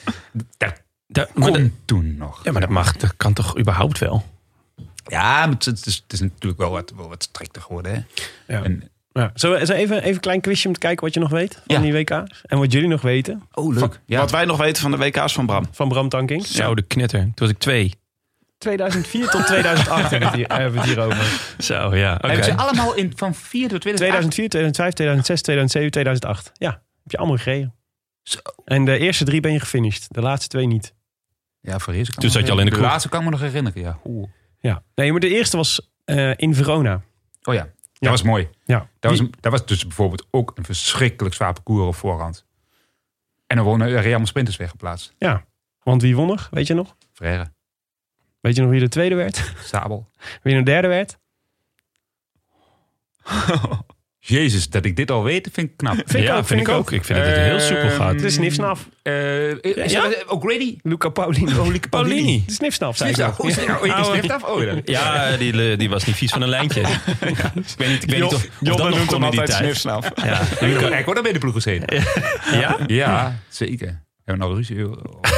Speaker 5: dat
Speaker 1: Da- maar
Speaker 5: kon
Speaker 1: dat-
Speaker 5: toen nog.
Speaker 1: ja, maar dat mag. Dat kan toch überhaupt wel?
Speaker 5: Ja, maar het, het is, het is natuurlijk wel wat, wel wat strikter geworden. Hè?
Speaker 2: Ja.
Speaker 5: En,
Speaker 2: Ja. Zullen we zullen we even, even een klein quizje om te kijken wat je nog weet van
Speaker 5: Ja.
Speaker 2: die WK's? En wat jullie nog weten
Speaker 5: oh, leuk. Ja.
Speaker 7: Wat wij nog weten van de WK's van Bram.
Speaker 2: van Bram Tanking.
Speaker 1: Zo, de knetter. Toen was ik twee.
Speaker 2: 2004 tot 2008 hebben we het hier, hebben we het hier over.
Speaker 1: Zo, ja. oké.
Speaker 5: Hebben ze allemaal in, van 4 tot 2008?
Speaker 2: 2004, 2005, 2006, 2007, 2008. Ja, heb je allemaal gekregen.
Speaker 5: Zo.
Speaker 2: En de eerste drie ben je gefinished. De laatste twee niet.
Speaker 5: Ja, voor eerst.
Speaker 1: Toen zat je al in de kroeg.
Speaker 5: laatste kan ik me nog herinneren, ja. Oeh.
Speaker 2: Ja. Nee, maar de eerste was eh, in Verona.
Speaker 5: Oh ja, dat was mooi.
Speaker 2: Ja.
Speaker 5: Dat was, dat was dus bijvoorbeeld ook een verschrikkelijk zwaar parcours op voorhand. En dan wonen eh, Real Madrid sprinters weggeplaatst.
Speaker 2: Want wie won er? Weet je nog?
Speaker 5: Frère,
Speaker 2: Weet je nog wie de tweede werd?
Speaker 5: Sabel.
Speaker 2: Wie de derde werd?
Speaker 5: Jezus, dat ik dit al weet, vind ik knap.
Speaker 2: Vind ik
Speaker 1: ja,
Speaker 2: ook,
Speaker 1: vind ik ook. Ik vind dat het heel
Speaker 5: Ehm,
Speaker 1: soepel gaat.
Speaker 2: De snifsnaf.
Speaker 5: Eh, is
Speaker 1: Ja?
Speaker 5: dat- O'Grady?
Speaker 2: Luca Paulini.
Speaker 5: Olieke
Speaker 1: Paulini.
Speaker 2: De snifsnaf, zei
Speaker 5: Snip
Speaker 2: ik
Speaker 5: dat.
Speaker 2: nog.
Speaker 5: Hoe is dat? Oh, je
Speaker 1: Oude-
Speaker 5: snipt af? Oh, ja.
Speaker 1: Ja, die, die was niet vies van een lijntje. Ik weet niet, ik weet niet of, of dat nog kon in die tijd.
Speaker 7: snifsnaf.
Speaker 1: Ja.
Speaker 5: Ik word dan bij de ploeg gezeten.
Speaker 1: ja?
Speaker 5: Ja, zeker. Hebben we nou ruzie?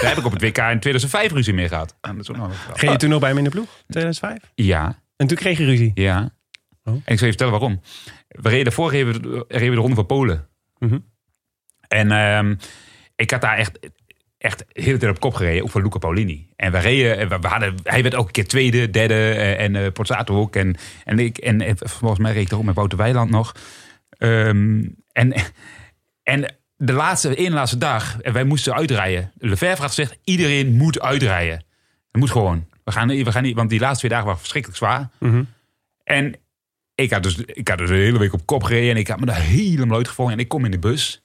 Speaker 5: Daar heb ik op het WK in 2005 ruzie mee gehad. Ah, Dat is ook nog een verhaal.
Speaker 2: Ging je toen nog bij hem in de ploeg? 2005?
Speaker 5: Ja.
Speaker 2: En toen kreeg je ruzie.
Speaker 5: Ja.
Speaker 2: Oh.
Speaker 5: En ik zal je vertellen waarom. We reden daarvoor reden we, reden we de Ronde van Polen.
Speaker 2: Mhm.
Speaker 5: En ehm, ik had daar echt, echt de hele tijd op kop gereden. Ook van Luca Paulini. En we reden, en we, we hadden, hij werd ook een keer tweede, derde. eh, En eh Pozzato ook. En, en, ik, en, eh, volgens mij reed ik er ook met Wouter Weiland nog. Ehm, en, en de laatste, één laatste dag. En wij moesten uitrijden. Lefebvre had gezegd, iedereen moet uitrijden. Het moet gewoon. We gaan, we gaan niet, want die laatste twee dagen waren verschrikkelijk zwaar. En ik had, dus, ik had dus de hele week op kop gereden. En ik had me daar helemaal uitgevonden. En ik kom in de bus.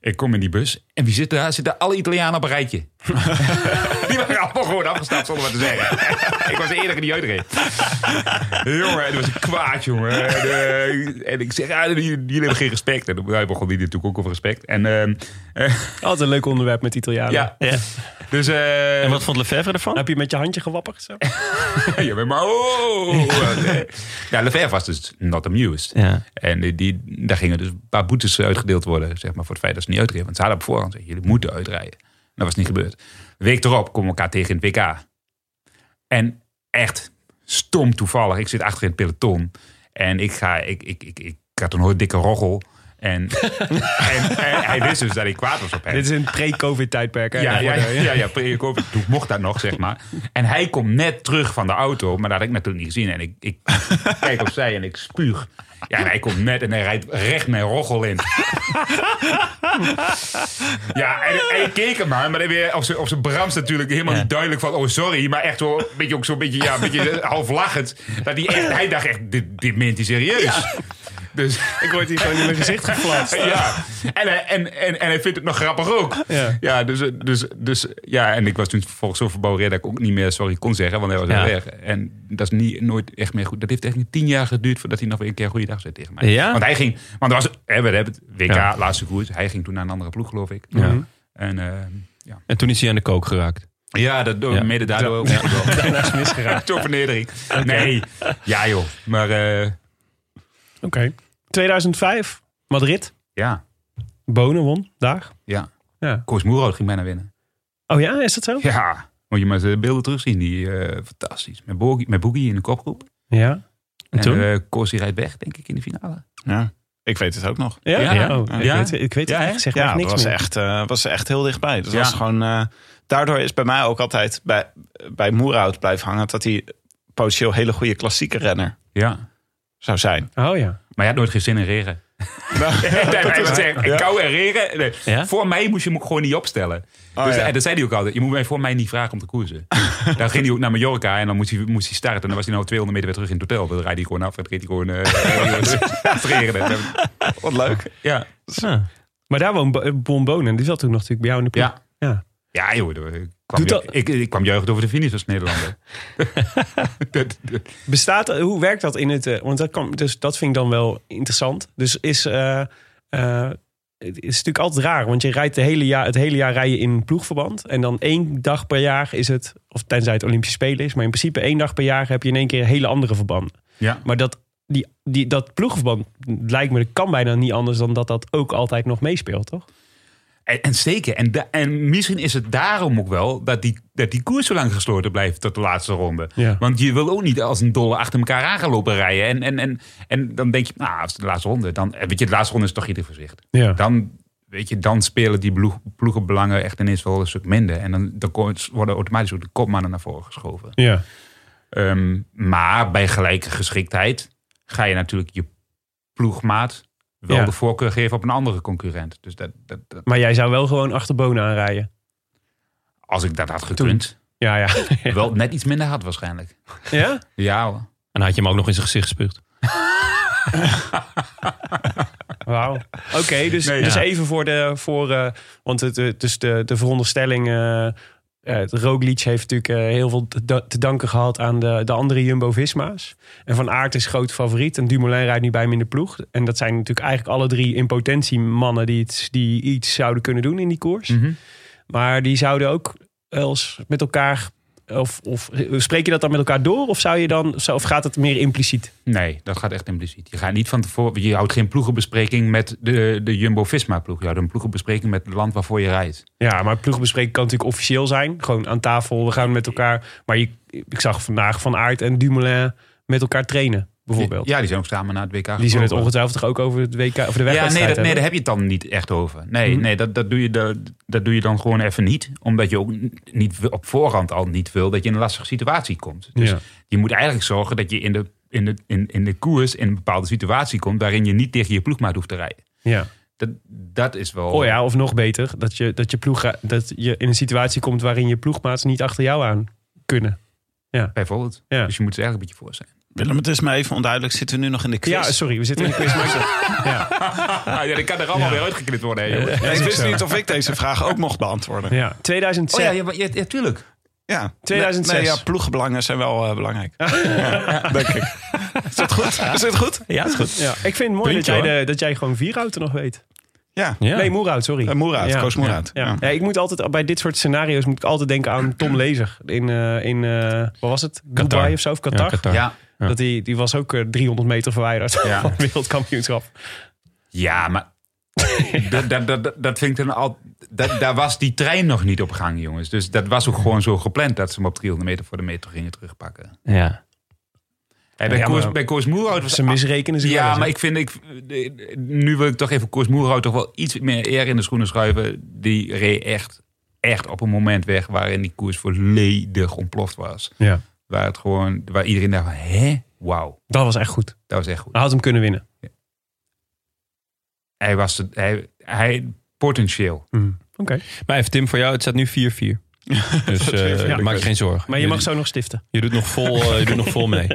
Speaker 5: Ik kom in die bus. En wie zit daar? Zitten alle Italianen op een rijtje. Die waren allemaal gewoon afgestapt zonder wat te zeggen. ik was eerder in die jeugdring. jongen, het was een kwaad, jongen. En, eh, en ik zeg, ah, jullie, jullie hebben geen respect. En hij begon die natuurlijk ook over respect. En, ehm,
Speaker 2: Altijd een leuk onderwerp met Italianen.
Speaker 5: Ja. Dus,
Speaker 1: en wat vond Lefebvre ervan?
Speaker 2: Heb je met je handje gewapperd? Zo?
Speaker 5: ja, maar- maar oh! Nee. ja, Lefebvre was dus not amused.
Speaker 1: Ja.
Speaker 5: En die, die- daar gingen dus een paar boetes uitgedeeld worden, zeg maar, voor het feit dat ze niet uitreden. Want ze hadden op voorhand gezegd, jullie moeten uitrijden. En dat was niet gebeurd. Week erop komen we elkaar tegen in het WK. En echt stom toevallig, ik zit achter in het peloton. En ik ga, ik, ik, ik, ik had een hoor dikke roggel. En, en, en hij wist dus dat ik kwaad was op hem.
Speaker 2: Dit is een pre-covid tijdperk. hè?
Speaker 5: Ja, ja,
Speaker 2: Daarvoor,
Speaker 5: ja,
Speaker 2: hè?
Speaker 5: ja, ja, pre-COVID. Toen mocht dat nog, zeg maar. En hij komt net terug van de auto, maar dat had ik natuurlijk niet gezien. En ik, ik kijk opzij en ik spuug. Ja, en hij komt net en hij rijdt recht mijn roggel in. Ja, en, en ik keek hem aan, maar dan weer op zijn- op zijn brams natuurlijk helemaal niet duidelijk van... oh, sorry, maar echt wel een beetje, ook zo'n beetje, ja, een beetje half lachend. Dat hij, echt, hij dacht echt, dit, dit meent hij serieus. Dus...
Speaker 2: Ik word hier gewoon in mijn gezicht geflast.
Speaker 5: Ja, en, hij- en, en, en hij vindt het nog grappig ook. Ja, dus, dus, dus ja, en ik was toen vervolgens zo verbouwereerd dat ik ook niet meer sorry kon zeggen, want hij was
Speaker 1: Ja.
Speaker 5: al weg. En dat is niet, nooit echt meer goed. Dat heeft echt tien jaar geduurd voordat hij nog weer een keer goeiedag zei tegen mij.
Speaker 1: Ja?
Speaker 5: Want hij ging, want er was, hè, we hebben het WK,
Speaker 1: Ja.
Speaker 5: laatste koers. Hij ging toen naar een andere ploeg, geloof ik.
Speaker 1: Ja.
Speaker 5: En eh, ja.
Speaker 1: En toen is hij aan de kook geraakt.
Speaker 5: ja, dat, door-
Speaker 1: Ja.
Speaker 5: mede daardoor ook.
Speaker 2: Daarna is misgeraakt.
Speaker 5: Tot vernedering. Nee, ja joh. Maar eh,
Speaker 2: Oké. 2005, Madrid.
Speaker 5: ja,
Speaker 2: Bonen won, daar.
Speaker 5: ja.
Speaker 2: Ja.
Speaker 5: Koos Moerhout ging bijna winnen.
Speaker 2: Oh ja, is dat zo?
Speaker 5: Ja, moet je maar de beelden terugzien. Die, eh, fantastisch. Met Boogie, met Boogie in de kopgroep.
Speaker 2: Ja.
Speaker 1: En toen?
Speaker 5: eh, Corsi rijdt weg, denk ik, in de finale.
Speaker 7: Ja. Ik weet het ook nog.
Speaker 2: Ja?
Speaker 5: Ja.
Speaker 2: Oh, ik,
Speaker 5: Ja.
Speaker 2: Weet, ik weet
Speaker 5: Ja,
Speaker 2: het
Speaker 5: hè?
Speaker 2: echt, zeg maar
Speaker 7: Ja,
Speaker 2: echt
Speaker 7: dat
Speaker 2: niks
Speaker 7: was
Speaker 2: meer.
Speaker 7: echt, eh, was echt heel dichtbij. Dat
Speaker 5: Ja.
Speaker 7: was gewoon, eh, daardoor is bij mij ook altijd bij, bij Moerhout blijven hangen... dat hij potentieel hele goede klassieke renner
Speaker 5: Ja.
Speaker 7: zou zijn.
Speaker 2: Oh ja.
Speaker 5: Maar je had nooit geen zin in regen. Kou en regen. Nee.
Speaker 1: Ja?
Speaker 5: Voor mij moest je hem ook gewoon niet opstellen. dus,
Speaker 7: ja.
Speaker 5: en dat zei hij ook altijd. Je moet mij voor mij niet vragen om te koersen. dan ging hij ook naar Mallorca en dan moest hij, moest hij starten. En dan was hij nou 200 meter weer terug in het hotel. Dan rijdt hij gewoon af en dan reed hij gewoon... eh, het regende.
Speaker 7: Wat leuk.
Speaker 5: Ja.
Speaker 1: Ja.
Speaker 2: Maar daar woon Bo- eh, Bon Bonen. Die zat toen nog natuurlijk bij jou in de ploeg.
Speaker 5: Ja.
Speaker 2: Ja.
Speaker 5: Ja, joh. dat- Ik kwam,
Speaker 2: Doet dat-
Speaker 5: ik, ik kwam juichend over de finish als Nederlander. Dat- dat-
Speaker 2: Bestaat, hoe werkt dat in het... eh, Want dat, kan, dus dat vind ik dan wel interessant. Dus is... eh, eh, het is natuurlijk altijd raar, want je rijdt de hele jaar, het hele jaar rij je in ploegverband. En dan één dag per jaar is het, of tenzij het Olympische Spelen is, maar in principe één dag per jaar heb je in één keer hele andere verbanden.
Speaker 5: ja.
Speaker 2: Maar dat, die, die, dat ploegverband lijkt me, dat kan bijna niet anders dan dat dat ook altijd nog meespeelt, toch?
Speaker 5: En, en zeker. En, da- en misschien is het daarom ook wel dat die, dat die koers zo lang gesloten blijft tot de laatste ronde.
Speaker 2: Ja.
Speaker 5: Want je wil ook niet als een dolle achter elkaar aan gaan lopen rijden. En, en, en, en dan denk je, nou, als de laatste ronde, dan eh, weet je, de laatste ronde is toch ieder voor zich.
Speaker 2: Ja.
Speaker 5: Dan, weet je, dan spelen die ploeg, ploegenbelangen echt ineens wel een stuk minder. En dan, dan ko- worden automatisch ook de kopmannen naar voren geschoven.
Speaker 2: Ja.
Speaker 5: Ehm, maar bij gelijke geschiktheid ga je natuurlijk je ploegmaat wel
Speaker 2: Ja.
Speaker 5: de voorkeur geven op een andere concurrent. Dus dat, dat, dat-
Speaker 2: Maar jij zou wel gewoon achter Bonen aanrijden.
Speaker 5: als ik dat had gekund.
Speaker 2: Ja, ja.
Speaker 5: Wel net iets minder hard waarschijnlijk.
Speaker 2: ja?
Speaker 5: Ja
Speaker 1: En dan had je hem ook nog in zijn gezicht gespuugd.
Speaker 2: Wauw. Oké, dus,
Speaker 5: Nee,
Speaker 2: dus
Speaker 1: ja.
Speaker 2: even voor de... Voor, eh, want het, eh, dus de, de veronderstelling... eh eh, het Roglic heeft natuurlijk eh, heel veel te, da- te danken gehad aan de, de andere Jumbo-Visma's. En Van Aert is groot favoriet. En Dumoulin rijdt nu bij hem in de ploeg. En dat zijn natuurlijk eigenlijk alle drie in potentie mannen... die, iets- die iets zouden kunnen doen in die koers.
Speaker 5: Mhm.
Speaker 2: Maar die zouden ook wel eens met elkaar... Of, of spreek je dat dan met elkaar door? Of, zou je dan, of gaat het meer impliciet?
Speaker 5: Nee, dat gaat echt impliciet. Je gaat niet van tevoren. Je houdt geen ploegenbespreking met de, de Jumbo-Visma-ploeg. Je houdt een ploegenbespreking met het land waarvoor je rijdt.
Speaker 2: Ja, maar ploegbespreking kan natuurlijk officieel zijn. Gewoon aan tafel, we gaan met elkaar. Maar je, ik zag vandaag Van Aert en Dumoulin met elkaar trainen, bijvoorbeeld.
Speaker 5: Ja, die zijn ook samen naar het WK.
Speaker 2: Die zullen het
Speaker 5: gevlogen.
Speaker 2: ongetwijfeld toch ook over, het WK, over de
Speaker 5: Ja,
Speaker 2: wedstrijd
Speaker 5: nee, dat,
Speaker 2: hebben.
Speaker 5: nee, daar heb je het dan niet echt over. Nee, nee dat, dat, doe je, dat, dat doe je dan gewoon even niet. Omdat je ook n- niet, wil- op voorhand al niet wil dat je in een lastige situatie komt. Dus
Speaker 2: Ja.
Speaker 5: je moet eigenlijk zorgen dat je in de, in, de, in, in de koers in een bepaalde situatie komt... waarin je niet tegen je ploegmaat hoeft te rijden.
Speaker 2: Ja.
Speaker 5: Dat, dat is wel...
Speaker 2: Oh ja, of nog beter, dat je, dat, je ploeg, dat je in een situatie komt waarin je ploegmaats niet achter jou aan kunnen.
Speaker 5: Bijvoorbeeld.
Speaker 2: Ja.
Speaker 5: Dus je moet er eigenlijk een beetje voor zijn.
Speaker 7: Willem, het is me even onduidelijk. Zitten we nu nog in de quiz?
Speaker 2: Ja, sorry, we zitten in de quiz. maar-
Speaker 5: ja, dat kan er allemaal weer uitgeknipt worden. hè, jongens.
Speaker 7: Ja, ik wist
Speaker 2: zo.
Speaker 7: niet of ik deze vraag ook mocht beantwoorden. Ja.
Speaker 2: Ja, 2006.
Speaker 5: ja, ja, ja, ja, tuurlijk.
Speaker 2: 2006.
Speaker 7: Nee, ja, ploegenbelangen zijn wel eh, belangrijk. Ja, denk ik. Is dat goed? Is dit goed?
Speaker 1: Ja, is goed.
Speaker 2: Ja, ik vind het mooi
Speaker 1: Puntje,
Speaker 2: dat, jij de, dat jij gewoon Vierhouten nog weet.
Speaker 7: Ja.
Speaker 1: Ja.
Speaker 2: Nee, Moerhout, sorry.
Speaker 7: Eh, Moerhout,
Speaker 2: ja.
Speaker 7: Koos Moerhout.
Speaker 2: Ja.
Speaker 7: Ja.
Speaker 2: Ja, ik moet altijd, bij dit soort scenario's moet ik altijd denken aan Tom Lezer. In, eh, in eh, wat was het?
Speaker 1: Qatar.
Speaker 2: Dubai of zo, of Qatar.
Speaker 1: Ja, Qatar.
Speaker 5: Ja.
Speaker 1: Ja.
Speaker 2: Dat die, die was ook eh, 300 meter verwijderd
Speaker 5: Ja.
Speaker 2: van het wereldkampioenschap.
Speaker 5: Ja, maar dat, dat, dat, dat vind ik dan al. Dat, daar was die trein nog niet op gang, jongens. Dus dat was ook gewoon zo gepland dat ze hem op 300 meter voor de metro gingen terugpakken.
Speaker 1: Ja.
Speaker 5: En bij,
Speaker 2: Ja,
Speaker 5: Koers,
Speaker 2: maar-
Speaker 5: bij Koos Moerhout was
Speaker 2: Ze misrekenen zich wel
Speaker 5: Ja,
Speaker 2: eens,
Speaker 5: maar
Speaker 2: hè?
Speaker 5: ik vind. Ik, nu wil ik toch even Koers Moerhout toch wel iets meer eer in de schoenen schuiven. Die reed echt, echt op een moment weg waarin die koers volledig ontploft was.
Speaker 2: Ja.
Speaker 5: Waar, het gewoon, waar iedereen dacht: van, hè? Wauw,
Speaker 2: Dat was echt goed.
Speaker 5: dat was echt goed.
Speaker 2: Hij had hem kunnen winnen.
Speaker 5: Hij was de, hij, hij potentieel.
Speaker 2: Oké.
Speaker 1: Mm. Maar even Tim, voor jou, het staat nu 4-4. Dus eh,
Speaker 2: Ja.
Speaker 1: maak je geen zorgen.
Speaker 2: Maar je mag
Speaker 1: doet-
Speaker 2: zo nog stiften.
Speaker 1: je doet nog vol, eh, je doet nog vol mee.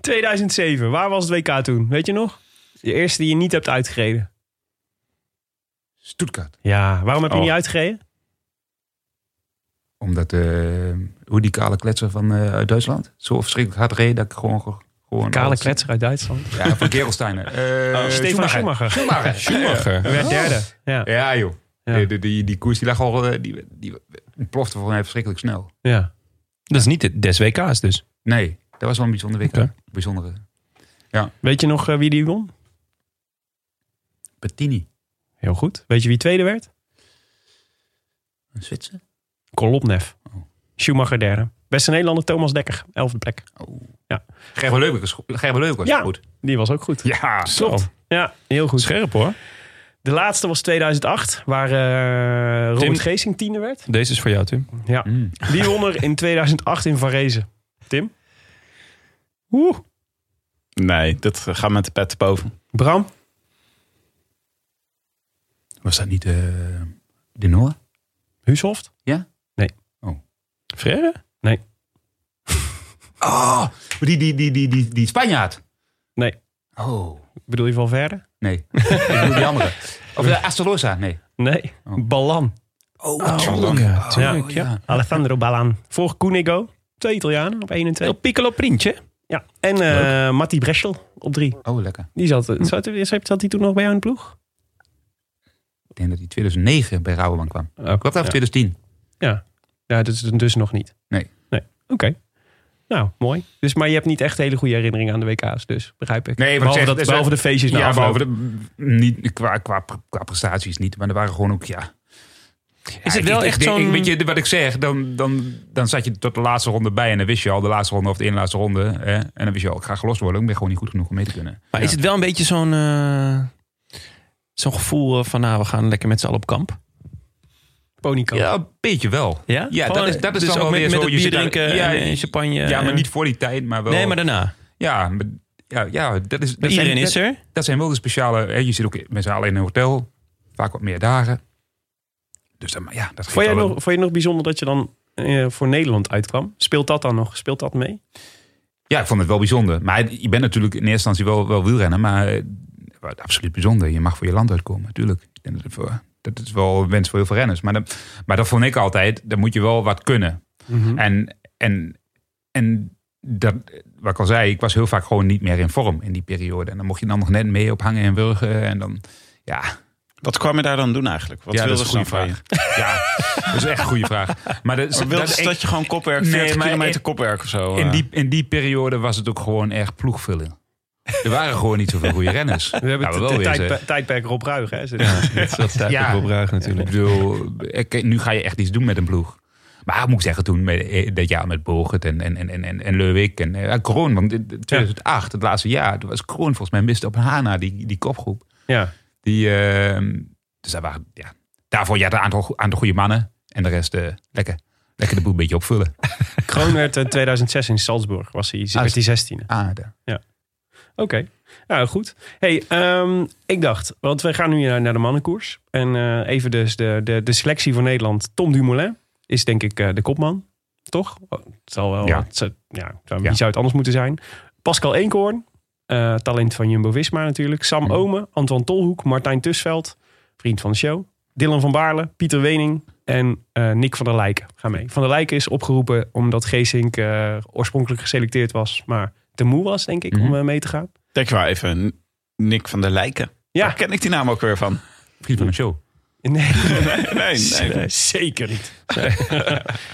Speaker 2: 2007, waar was het WK toen? Weet je nog? De eerste die je niet hebt uitgereden.
Speaker 5: Stuttgart.
Speaker 2: Ja, waarom heb je
Speaker 5: Oh.
Speaker 2: niet uitgereden?
Speaker 5: Omdat eh, hoe die kale kletser van, eh, uit Duitsland zo verschrikkelijk hard reed dat ik gewoon... ge- gewoon
Speaker 2: Kale
Speaker 5: alles-
Speaker 2: kletser uit Duitsland.
Speaker 5: Ja, van Gerolsteiner. Eh,
Speaker 2: Stefan Schumacher.
Speaker 5: Schumacher.
Speaker 1: Schumacher.
Speaker 2: Hij werd derde. Ja.
Speaker 5: Ja, joh.
Speaker 2: Ja.
Speaker 5: Die, die, die, die koers die lag al... eh, Die, die plofte volgens mij verschrikkelijk snel.
Speaker 2: ja.
Speaker 1: Dat is niet het des WK's dus.
Speaker 5: Nee, dat was wel een bijzondere week.
Speaker 1: Oké.
Speaker 5: Bijzondere.
Speaker 2: Weet je nog eh, wie die won?
Speaker 5: Bettini.
Speaker 2: Heel goed. Weet je wie tweede werd?
Speaker 5: Een Zwitser?
Speaker 2: Kolopnev.
Speaker 5: Oh.
Speaker 2: Schumacher derde. Beste Nederlander Thomas Dekker, elfde plek.
Speaker 5: Gerber Leuk was, goed- Gerber Leuk was
Speaker 2: Ja.
Speaker 5: goed.
Speaker 2: Die was ook goed.
Speaker 5: Ja, Oh.
Speaker 2: Klopt. Ja, heel goed.
Speaker 1: Scherp hoor.
Speaker 2: De laatste was 2008, waar eh Robert
Speaker 1: Tim-
Speaker 2: Geesing tiende werd.
Speaker 1: Deze is voor jou, Tim.
Speaker 2: Ja.
Speaker 5: Mm.
Speaker 2: Wie won er in 2008 in Varese? Tim? Oeh.
Speaker 7: Nee, dat eh, gaat met de pet te boven.
Speaker 2: Bram?
Speaker 5: Was dat niet eh De Noor?
Speaker 2: Huushoft?
Speaker 1: Frère?
Speaker 5: Oh, die, die, die, die, die, die Spanjaard.
Speaker 2: Nee.
Speaker 5: Oh,
Speaker 2: Bedoel je Valverde?
Speaker 5: nee. ik bedoel die andere. Of de Astolosa, nee.
Speaker 2: Nee. Ballan.
Speaker 5: Oh,
Speaker 1: ja,
Speaker 2: tuurlijk, Alessandro Ballan. Voor Cunego. Twee Italianen op 1 en 2.
Speaker 1: El Piccolo Printje.
Speaker 2: Ja. En eh Matti Breschel op 3.
Speaker 5: Oh, lekker.
Speaker 2: Die zat, zat, zat, zat die toen nog bij jou in de ploeg?
Speaker 5: Ik denk dat hij 2009 bij Rabobank kwam.
Speaker 2: Ook.
Speaker 5: Klopt dat? Of 2010?
Speaker 2: Ja, dat is dus nog niet.
Speaker 5: Nee.
Speaker 2: Nee. Oké. Nou, mooi. Dus, maar je hebt niet echt hele goede herinneringen aan de WK's, dus begrijp ik.
Speaker 5: Nee, maar
Speaker 2: behalve,
Speaker 5: ik zeg,
Speaker 2: dat,
Speaker 5: dus
Speaker 2: behalve de
Speaker 5: dat-
Speaker 2: feestjes.
Speaker 1: nou
Speaker 2: na
Speaker 5: ja,
Speaker 2: afloop.
Speaker 5: behalve de, niet, qua, qua, qua prestaties niet. Maar er waren gewoon ook, ja...
Speaker 1: Is
Speaker 5: Ja,
Speaker 1: het wel
Speaker 5: ik- ik
Speaker 1: echt
Speaker 5: denk-
Speaker 1: zo'n...
Speaker 5: ik- Weet je wat ik zeg? Dan, dan, dan zat je tot de laatste ronde bij. En dan wist je al de laatste ronde of de ene laatste ronde. Hè? En dan wist je al, ik ga gelost worden. Ik ben gewoon niet goed genoeg om mee te kunnen.
Speaker 1: Maar is het wel een beetje zo'n eh, zo'n gevoel eh, van, nou, we gaan lekker met z'n allen op kamp?
Speaker 2: Ponykamp.
Speaker 5: Ja, een beetje wel.
Speaker 1: Ja?
Speaker 5: Ja,
Speaker 1: Gewoon,
Speaker 5: dat is- dat is
Speaker 1: dus
Speaker 5: dan
Speaker 1: ook
Speaker 5: wel
Speaker 1: met,
Speaker 5: weer
Speaker 1: met
Speaker 5: zo,
Speaker 1: het
Speaker 5: je
Speaker 1: bier
Speaker 5: zit daar-
Speaker 1: drinken
Speaker 5: ja,
Speaker 1: en eh, champagne.
Speaker 5: ja, maar
Speaker 1: en-
Speaker 5: niet voor die tijd, maar wel...
Speaker 1: Nee, maar daarna.
Speaker 5: Ja, maar- ja, ja dat is... dat
Speaker 1: Iedereen
Speaker 5: zijn-
Speaker 1: is er.
Speaker 5: dat zijn wel de speciale. Hè, je zit ook met z'n allen in een hotel, vaak wat meer dagen. Dus dan, ja, dat
Speaker 2: Vond
Speaker 5: geeft
Speaker 2: je,
Speaker 5: wel
Speaker 2: nog,
Speaker 5: een-
Speaker 2: vond je het nog bijzonder dat je dan eh, voor Nederland uitkwam? Speelt dat dan nog? Speelt dat mee?
Speaker 5: Ja, ik vond het wel bijzonder. Maar je bent natuurlijk in eerste instantie wel, wel wielrenner, maar eh, wat absoluut bijzonder. Je mag voor je land uitkomen, natuurlijk. Ik denk dat het voor- Dat is wel een wens voor heel veel renners. Maar dat, maar dat vond ik altijd, dan moet je wel wat kunnen. En, en, en dat, wat ik al zei, ik was heel vaak gewoon niet meer in vorm in die periode. En dan mocht je dan nog net mee op hangen en wurgen. En dan, ja,
Speaker 7: Wat kwam je daar dan doen eigenlijk? Wat
Speaker 5: ja, dat
Speaker 7: wilde
Speaker 5: is een goede
Speaker 7: ze dan van
Speaker 5: vraag. Ja, dat is echt een goede vraag. Maar dat,
Speaker 7: je? Wilde
Speaker 5: dat-
Speaker 7: ze dat je gewoon kopwerk,
Speaker 5: Nee,
Speaker 7: 40
Speaker 5: maar
Speaker 7: kilometer
Speaker 5: in-
Speaker 7: kopwerk of zo?
Speaker 5: in,
Speaker 7: eh?
Speaker 5: die, in die periode was het ook gewoon echt ploegvulling. Er waren gewoon niet zoveel goede renners.
Speaker 2: We hebben
Speaker 5: Laten
Speaker 2: het
Speaker 5: we wel
Speaker 2: het
Speaker 5: wezen.
Speaker 2: tijdperk, tijdperk Rob Ruig. Hè? Ze-
Speaker 1: Dat is altijd
Speaker 5: Ja.
Speaker 1: Rob Ruig
Speaker 5: Ik
Speaker 1: natuurlijk.
Speaker 5: bedoel, ik- nu ga je echt iets doen met een ploeg. Maar ik moet zeggen, toen met, dat jaar met Bogert en, en, en, en, en Leuwik en eh, Kroon. Want in 2008, het laatste jaar, toen was Kroon volgens mij mist op Hana, die, die kopgroep.
Speaker 2: Ja.
Speaker 5: Die, eh, dus daar waren, ja, daarvoor je had een aantal, go- aantal goede mannen. En de rest eh, lekker, lekker de boel een beetje opvullen.
Speaker 2: Kroon werd in 2006 in Salzburg. Was hij, werd hij 16e.
Speaker 5: Ah, daar.
Speaker 2: Oké. Nou, goed. hey, ehm, ik dacht, want we gaan nu naar, naar de mannenkoers. En eh, even dus de, de, de selectie voor Nederland. Tom Dumoulin is denk ik eh, de kopman. toch? Oh, Het zal wel,
Speaker 5: Ja.
Speaker 2: het zou- ja, het zou-
Speaker 5: Ja.
Speaker 2: wie zou het anders moeten zijn? Pascal Eenkhoorn, eh, talent van Jumbo-Visma natuurlijk. Sam
Speaker 5: Mhm.
Speaker 2: Omen, Antoine Tolhoek, Martijn Tusveld, vriend van de show. Dylan van Baarle, Pieter Wening en eh, Nick van der Lijken gaan mee. Van der Lijken is opgeroepen omdat Geesink eh, oorspronkelijk geselecteerd was, maar te moe was, denk ik, om
Speaker 5: Mhm.
Speaker 2: eh, mee te gaan.
Speaker 7: Denk maar even, Nick van der Lijken.
Speaker 2: Ja.
Speaker 7: Daar ken ik die naam ook weer van.
Speaker 5: Vriend van de show.
Speaker 2: Nee,
Speaker 7: Nee, nee.
Speaker 2: zeker niet.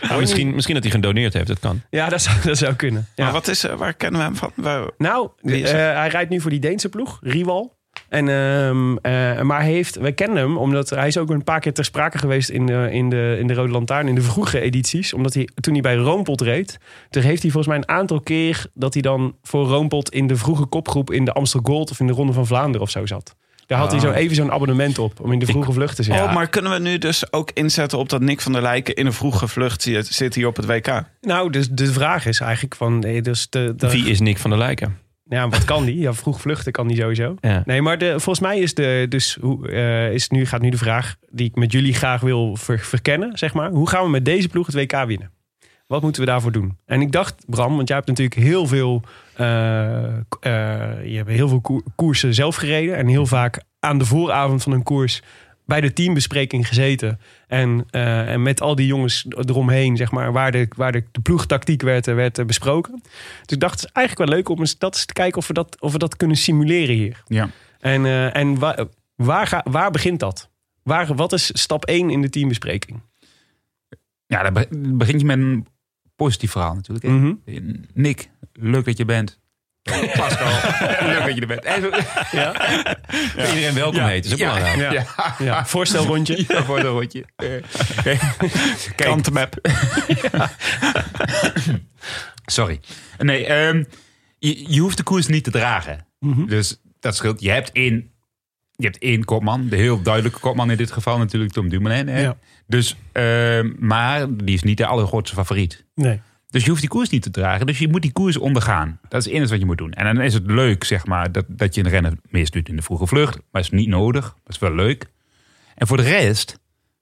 Speaker 1: Ah, misschien, misschien dat hij gedoneerd heeft, dat kan.
Speaker 2: Ja, dat zou, dat zou kunnen. Ja.
Speaker 7: Maar wat is, eh, waar kennen we hem van? Waar-
Speaker 2: Nou,
Speaker 7: Wie is
Speaker 2: eh,
Speaker 7: dat?
Speaker 2: hij rijdt nu voor die Deense ploeg, Rival. En, ehm, eh, maar hij heeft, wij kennen hem omdat hij is ook een paar keer ter sprake geweest in de, in de, in de Rode Lantaarn, in de vroege edities. Omdat hij toen hij bij Roompot reed, toen heeft hij volgens mij een aantal keer dat hij dan voor Roompot in de vroege kopgroep in de Amstel Gold of in de Ronde van Vlaanderen of zo zat. Daar had hij zo even zo'n abonnement op om in de vroege vlucht te zitten.
Speaker 7: Oh, maar kunnen we nu dus ook inzetten op dat Nick van der Lijken in een vroege vlucht zit, zit hier op het WK?
Speaker 2: Nou, dus de vraag is eigenlijk van, eh, dus de, de,
Speaker 1: Wie is Nick van der Lijken?
Speaker 2: Ja, wat kan die? Ja, vroeg vluchten kan die sowieso.
Speaker 1: Ja.
Speaker 2: Nee, maar de, volgens mij is, de, dus, hoe, eh, is nu, gaat nu de vraag die ik met jullie graag wil ver- verkennen. Zeg maar. Hoe gaan we met deze ploeg het WK winnen? Wat moeten we daarvoor doen? En ik dacht, Bram, want jij hebt natuurlijk heel veel, eh, k- eh, je hebt heel veel koer- koersen zelf gereden. En heel vaak aan de vooravond van een koers bij de teambespreking gezeten. En, eh, en met al die jongens eromheen, zeg maar, waar de, waar de, de ploegtactiek werd, eh, werd eh, besproken. Dus ik dacht, het is eigenlijk wel leuk om eens, dat eens te kijken of we dat, of we dat kunnen simuleren hier.
Speaker 5: Ja.
Speaker 2: En, eh, en waar, waar, ga- waar begint dat? Waar, wat is stap 1 in de teambespreking?
Speaker 5: Ja, dan be- begint je met een positief verhaal natuurlijk. hè.
Speaker 2: Mhm.
Speaker 5: Nick, leuk dat je bent. Pascal, leuk dat je er bent. En zo-
Speaker 1: Iedereen welkom heet, is ook belangrijk.
Speaker 5: ja.
Speaker 2: Ja, voorstelrondje.
Speaker 5: Ja, voor een rondje.
Speaker 7: Kantemap.
Speaker 5: Sorry. Nee, ehm, je, je hoeft de koers niet te dragen.
Speaker 2: Mhm.
Speaker 5: Dus dat scheelt. Je hebt één, je hebt één kopman. De heel duidelijke kopman in dit geval natuurlijk Tom Dumoulin. Hè?
Speaker 2: Ja.
Speaker 5: Dus, ehm, maar die is niet de allergrootste favoriet.
Speaker 2: Nee.
Speaker 5: Dus je hoeft die koers niet te dragen. Dus je moet die koers ondergaan. Dat is het enige wat je moet doen. En dan is het leuk, zeg maar, dat, dat je een renner misdoet in de vroege vlucht. Maar is niet nodig. Maar is wel leuk. En voor de rest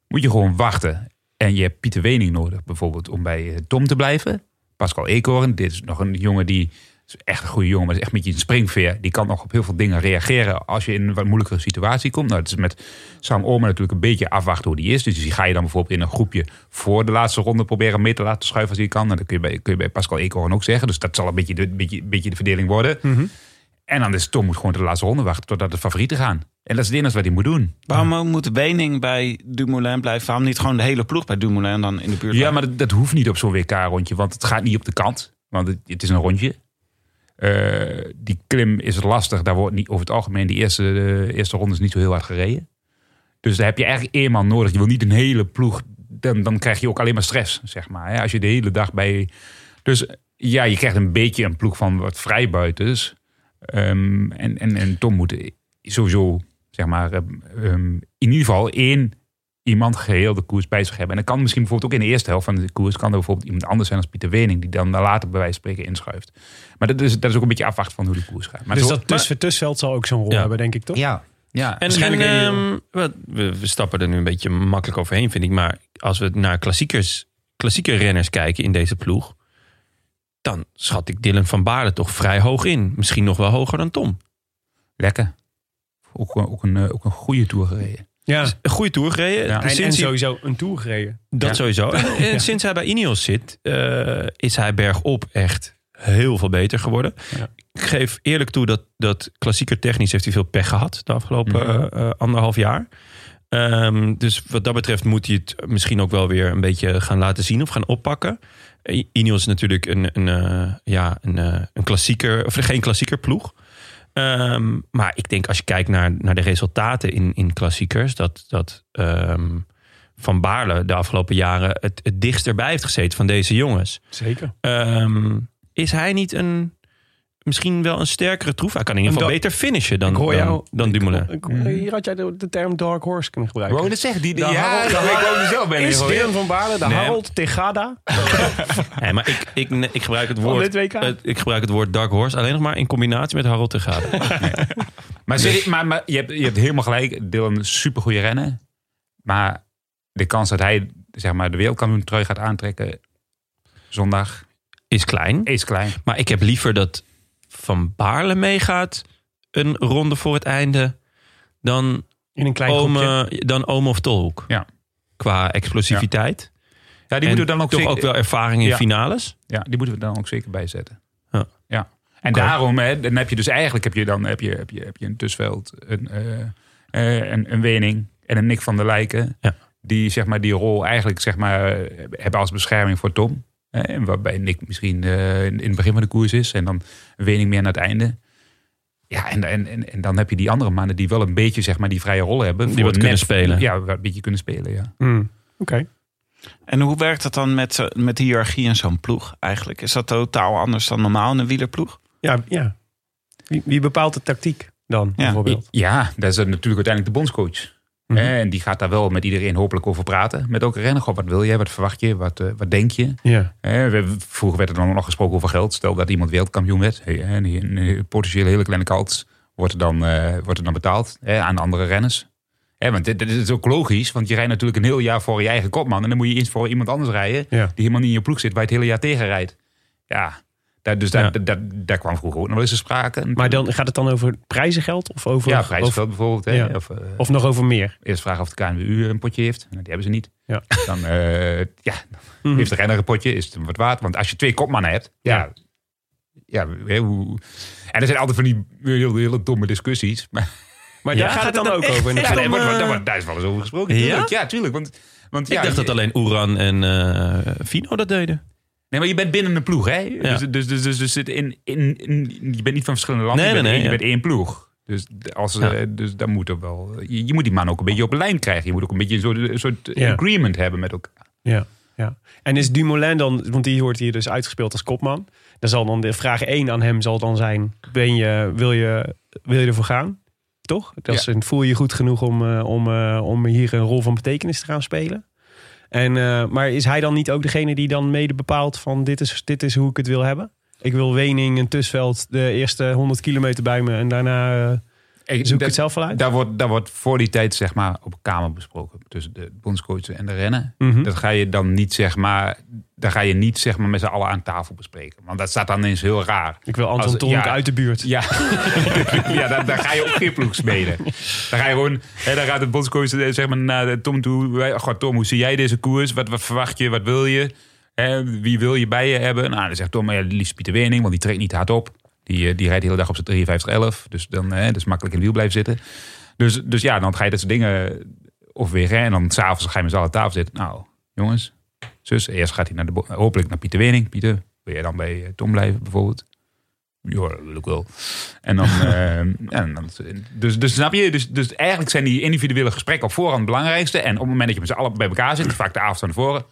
Speaker 5: moet je gewoon wachten. En je hebt Pieter Wening nodig, bijvoorbeeld, om bij eh, Tom te blijven. Pascal Eekhoorn, dit is nog een jongen die... is echt een goede jongen, maar is echt een beetje een springveer. Die kan nog op heel veel dingen reageren als je in een wat moeilijkere situatie komt. Nou, het is met Sam Omer natuurlijk een beetje afwachten hoe die is. Dus die ga je dan bijvoorbeeld in een groepje voor de laatste ronde proberen mee te laten schuiven als hij kan. En dat kun je bij, kun je bij Pascal Eekhoorn ook zeggen. Dus dat zal een beetje de, beetje, beetje de verdeling worden. En dan is Tom moet gewoon de laatste ronde wachten totdat de favorieten gaan. En dat is het enige wat hij moet doen.
Speaker 7: Waarom moet Wening bij Dumoulin blijven? Waarom niet gewoon de hele ploeg bij Dumoulin dan in de buurt?
Speaker 5: Ja, maar dat, dat hoeft niet op zo'n WK-rondje, want het gaat niet op de kant. Want het, het is een rondje. Eh, die klim is lastig. Daar wordt niet, over het algemeen die eerste, eh, eerste ronde is niet zo heel hard gereden. Dus daar heb je eigenlijk één man nodig. Je wil niet een hele ploeg. Dan, dan krijg je ook alleen maar stress, zeg maar. Hè? Als je de hele dag bij... Dus ja, je krijgt een beetje een ploeg van wat vrijbuiters. Ehm en, en, en Tom moet sowieso, zeg maar... ehm, ehm, in ieder geval één iemand geheel de koers bij zich hebben. En dat kan misschien bijvoorbeeld ook in de eerste helft van de koers... kan er bijvoorbeeld iemand anders zijn als Pieter Wening... die dan later bij wijze van spreken inschuift. Maar dat is, dat is ook een beetje afwachten van hoe de koers gaat. Maar
Speaker 2: dus
Speaker 5: zo-
Speaker 2: dat tussen Tusveld zal ook zo'n rol
Speaker 1: Ja.
Speaker 2: hebben, denk ik toch?
Speaker 5: Ja, ja.
Speaker 1: En,
Speaker 2: Waarschijnlijk
Speaker 1: en,
Speaker 2: een-
Speaker 1: ehm, wat- we, we stappen er nu een beetje makkelijk overheen, vind ik. Maar als we naar klassiekers, klassieke renners kijken in deze ploeg... dan schat ik Dylan van Baarle toch vrij hoog in. Misschien nog wel hoger dan Tom.
Speaker 5: Lekker. Ook, ook, een, eh, ook een goede tour gereden.
Speaker 2: Ja.
Speaker 1: Dus een goede tour gereden.
Speaker 5: Ja.
Speaker 2: En,
Speaker 1: Sinds
Speaker 2: en
Speaker 1: hij-
Speaker 2: sowieso een tour gereden.
Speaker 1: dat sowieso. En, en sinds hij bij Ineos zit, eh, is hij bergop echt heel veel beter geworden.
Speaker 2: Ja.
Speaker 1: Ik geef eerlijk toe dat, dat klassieker technisch heeft hij veel pech gehad... de afgelopen
Speaker 2: Mhm.
Speaker 1: eh, eh, anderhalf jaar. Ehm, dus wat dat betreft moet hij het misschien ook wel weer een beetje gaan laten zien of gaan oppakken. I- Ineos is natuurlijk een, een, eh, ja, een, eh, een klassieker, of geen klassieker ploeg. Ehm, maar ik denk als je kijkt naar, naar de resultaten in, in klassiekers, dat, dat ehm, Van Baarle de afgelopen jaren het, het dichtst erbij heeft gezeten van deze jongens.
Speaker 2: Zeker.
Speaker 1: Ehm, is hij niet een, misschien wel een sterkere troef? Hij kan in ieder geval
Speaker 2: Ik
Speaker 1: beter finishen dan,
Speaker 2: ik hoor jou.
Speaker 1: dan, dan Dumoulin.
Speaker 2: Hier had jij de, de term dark horse kunnen gebruiken.
Speaker 5: Wou dat zeggen? Die, die,
Speaker 2: Nou,
Speaker 5: ja,
Speaker 2: Harold-
Speaker 5: dat weet ik ook zelf ben
Speaker 2: is
Speaker 5: ik alweer.
Speaker 2: Dylan van Baarle de
Speaker 1: Nee.
Speaker 2: Harold Tegada?
Speaker 1: Nee, maar ik, ik, nee, ik gebruik het
Speaker 5: Oh,
Speaker 1: woord.
Speaker 2: dit WK?
Speaker 1: het- ik gebruik het woord Dark Horse alleen nog maar in combinatie met Harold te gaan.
Speaker 5: Maar, serie- maar, maar je, hebt, je hebt helemaal gelijk. Dylan een supergoeie rennen. Maar de kans dat hij zeg maar, de wereldkampioen trui gaat aantrekken... zondag.
Speaker 1: Is klein.
Speaker 5: Is klein.
Speaker 1: Maar ik heb liever dat Van Baarle meegaat een ronde voor het einde dan
Speaker 2: In een klein
Speaker 1: Oom,
Speaker 2: groepje.
Speaker 1: eh, dan Oom of Tolhoek.
Speaker 5: Ja.
Speaker 1: Qua explosiviteit.
Speaker 5: Ja, die
Speaker 1: En
Speaker 5: moeten we dan ook
Speaker 1: toch
Speaker 5: zeker-
Speaker 1: ook wel ervaring in
Speaker 5: Ja.
Speaker 1: finales.
Speaker 5: Ja, die moeten we dan ook zeker bijzetten.
Speaker 1: Ja.
Speaker 5: ja. En daarom hè, dan heb je dus eigenlijk heb je dan heb je, heb je, heb je een Tussveld, een, eh, eh, een, een Wening en een Nick van der Lijken.
Speaker 1: Ja.
Speaker 5: Die zeg maar die rol eigenlijk zeg maar eh, hebben als bescherming voor Tom. Hè, en waarbij Nick misschien eh, in in het begin van de koers is en dan Wening meer naar het einde. Ja, en, en, en, en dan heb je die andere mannen die wel een beetje zeg maar die vrije rol hebben.
Speaker 1: Die
Speaker 5: voor
Speaker 1: wat
Speaker 5: net-
Speaker 1: kunnen spelen.
Speaker 5: Ja, wat een beetje kunnen spelen, ja.
Speaker 2: Hmm. Oké.
Speaker 7: En hoe werkt dat dan met, eh, met de hiërarchie in zo'n ploeg eigenlijk? Is dat totaal anders dan normaal in een wielerploeg?
Speaker 2: Ja, ja. Wie, wie bepaalt de tactiek dan, bijvoorbeeld?
Speaker 5: Ja, dat is natuurlijk uiteindelijk de bondscoach.
Speaker 2: Mhm.
Speaker 5: En die gaat daar wel met iedereen hopelijk over praten. Met ook renner. Goh, wat wil jij? Wat verwacht je? Wat, eh, wat denk je?
Speaker 2: Ja.
Speaker 5: Hè, we- vroeger werd er dan nog gesproken over geld. Stel dat iemand wereldkampioen werd. hè, En een eh, potentieel hele kleine kans wordt er dan, eh, wordt er dan betaald hè, aan de andere renners. Hè, want dit, dit is ook logisch. Want je rijdt natuurlijk een heel jaar voor je eigen kopman. En dan moet je eens voor iemand anders rijden.
Speaker 2: Ja.
Speaker 5: Die helemaal niet in je ploeg zit. Waar je het hele jaar tegen rijdt. Ja, daar, dus daar,
Speaker 1: Ja.
Speaker 5: daar, daar, daar kwam vroeger ook nog wel eens een sprake.
Speaker 2: Maar dan, gaat het dan over prijzengeld? Of over,
Speaker 5: ja, prijsveld bijvoorbeeld. Hè,
Speaker 2: Ja.
Speaker 5: of, eh,
Speaker 2: Of, of nog over meer?
Speaker 5: Eerst vragen of de KNWU een potje heeft. Nou, die hebben ze niet.
Speaker 2: Ja.
Speaker 5: Dan eh, ja,
Speaker 2: Mhm.
Speaker 5: heeft de renner een potje, is het hem wat waard. Want als je twee kopmannen hebt, ja. ja. hè, hoe... En er zijn altijd van die hele, hele domme discussies. Maar
Speaker 2: Maar
Speaker 1: Ja,
Speaker 2: daar gaat het dan ook over.
Speaker 5: ja,
Speaker 2: inderdaad.
Speaker 5: daar, wordt-
Speaker 1: eh,
Speaker 5: daar wordt- daar is wel eens over gesproken.
Speaker 1: Ja?
Speaker 5: Tuurlijk, ja, tuurlijk. Want, want,
Speaker 1: ik
Speaker 5: ja,
Speaker 1: dacht dat
Speaker 5: je-
Speaker 1: alleen Oeran en eh, Fino dat deden.
Speaker 5: Nee, maar je bent binnen een ploeg, hè? Dus, dus, dus, dus, dus zit in, in, in- je bent niet van verschillende landen.
Speaker 1: Nee,
Speaker 5: je bent,
Speaker 1: nee,
Speaker 5: één-
Speaker 1: nee,
Speaker 5: je bent één ploeg. Dus, d- als,
Speaker 1: Ja.
Speaker 5: eh, dus dan moet er wel. Je, je moet die man ook een beetje op een lijn krijgen. Je moet ook een beetje een soort, een soort
Speaker 2: Ja.
Speaker 5: agreement hebben met elkaar.
Speaker 2: Ja, ja. En is Dumoulin dan, want die wordt hier dus uitgespeeld als kopman. Dan zal dan de vraag 1 aan hem zal dan zijn: ben je, wil, je, wil je ervoor gaan? Toch? Dat is een, voel je je goed genoeg om, eh, om, eh, om hier een rol van betekenis te gaan spelen? En, eh, maar is hij dan niet ook degene die dan mede bepaalt van dit is, dit is hoe ik het wil hebben? Ik wil Wening en Tussveld de eerste 100 kilometer bij me en daarna eh,
Speaker 5: Ik-
Speaker 2: zoek ik
Speaker 5: dat-
Speaker 2: het zelf wel uit.
Speaker 5: Daar wordt, daar wordt voor die tijd zeg maar, op kamer besproken. Tussen de bondscoach en de renner.
Speaker 2: Mhm.
Speaker 5: Dat ga je dan niet, zeg maar, daar ga je niet zeg maar, met z'n allen aan tafel bespreken. Want dat staat dan eens heel raar.
Speaker 2: Ik wil Anton
Speaker 5: Als-
Speaker 2: Tonk
Speaker 5: ja.
Speaker 2: uit de buurt.
Speaker 5: Ja, ja daar, daar ga je ook geen ploeg spelen. Daar ga je gewoon, hè, daar gaat de bondscoach eh, zeg maar, naar Tom toe. Eh, Goh, Tom, hoe zie jij deze koers? Wat, wat verwacht je? Wat wil je? Hè, wie wil je bij je hebben? Nou, dan zegt Tom, ja, liefst Pieter Wening, want die trekt niet hard op. Die, eh, die rijdt de hele dag op zijn 5311. Dus dan hè, dat is makkelijk in het wiel blijven zitten. Dus, dus ja, dan ga je dat soort dingen overwegen. hè. En dan s'avonds ga je met z'n allen aan tafel zitten. Nou, jongens, zus, eerst gaat hij naar de, bo- hopelijk naar Pieter Wening. Pieter, wil jij dan bij eh, Tom blijven bijvoorbeeld? Ja, dat wil ik wel. En dan, eh, en dan dus, dus snap je, dus, dus eigenlijk zijn die individuele gesprekken op voorhand het belangrijkste. En op het moment dat je met z'n allen bij elkaar zit, vaak de avond van tevoren,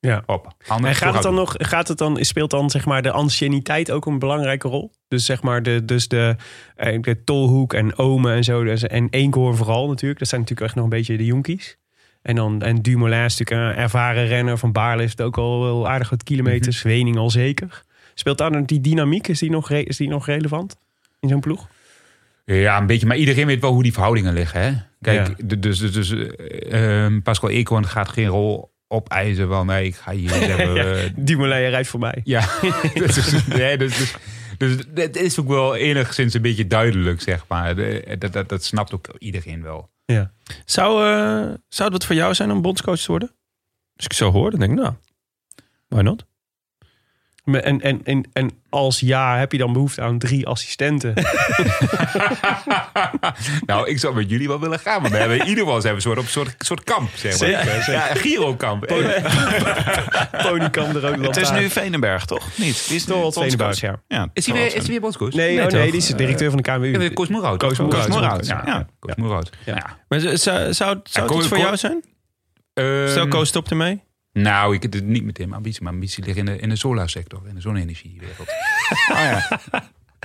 Speaker 2: Ja.
Speaker 5: op. Handen,
Speaker 2: En gaat het dan
Speaker 5: vooruit.
Speaker 2: nog, gaat het dan, speelt dan zeg maar de anciëniteit ook een belangrijke rol? Dus zeg maar de, dus de, eh, de tolhoek en omen en zo. dus- en Eenkoor vooral natuurlijk. Dat zijn natuurlijk echt nog een beetje de jonkies. En dan en Dumoulin is natuurlijk een ervaren renner. Van Baarle heeft ook al wel aardig wat kilometers. Wening al zeker. Speelt daar dan die dynamiek? Is die nog, re- is die nog relevant in zo'n ploeg?
Speaker 5: Ja, een beetje. Maar iedereen weet wel hoe die verhoudingen liggen. Hè? Kijk,
Speaker 2: Ja.
Speaker 5: d- dus, dus, dus eh, eh, Pascal Eekhoorn gaat geen rol opeisen. Wel, nee, ik ga hier niet hebben. eh,
Speaker 2: Dumoulin rijdt voor mij.
Speaker 5: ja, dus, dus, nee, dus, dus, dus het is ook wel enigszins een beetje duidelijk, zeg maar. De- Dat, dat, dat snapt ook iedereen wel.
Speaker 2: Ja.
Speaker 1: Zou, eh, zou het wat voor jou zijn om bondscoach te worden? Als ik het zo hoor, dan denk ik, nou, why not?
Speaker 2: Maar En, en, en, en als ja, heb je dan behoefte aan drie assistenten?
Speaker 5: nou, ik zou met jullie wel willen gaan. Want we hebben in ieder geval zijn we een soort, op een soort, soort kamp, zeg maar.
Speaker 2: Zeker, zeker.
Speaker 5: Ja, een Giro-kamp.
Speaker 2: Pony kan er ook
Speaker 7: Het is nu Venenberg, toch? Niet? Die is nu
Speaker 2: Torwald
Speaker 7: bondscoach.
Speaker 2: Venenberg, ja.
Speaker 7: Ja,
Speaker 5: Is hij weer, is hij weer bondscoach?
Speaker 2: Nee,
Speaker 1: Nee,
Speaker 2: oh,
Speaker 1: toch?
Speaker 2: nee, die is de directeur van de
Speaker 5: Ja,
Speaker 2: KNWU.
Speaker 5: Koos Moerhout.
Speaker 2: Koos Moerhout.
Speaker 5: Ja,
Speaker 7: Ja.
Speaker 5: Koos Moerhout. Nou Ja.
Speaker 1: Maar zou, zou, zou het
Speaker 5: Ja,
Speaker 1: zou het
Speaker 5: kom-
Speaker 1: iets voor
Speaker 5: kom-
Speaker 1: jou zijn?
Speaker 5: Ehm,
Speaker 1: Stel, Koos stopt ermee.
Speaker 5: Nou, ik het niet meteen mijn ambitie. Mijn ambitie ligt in de, in de solarsector, in de zonne-energiewereld.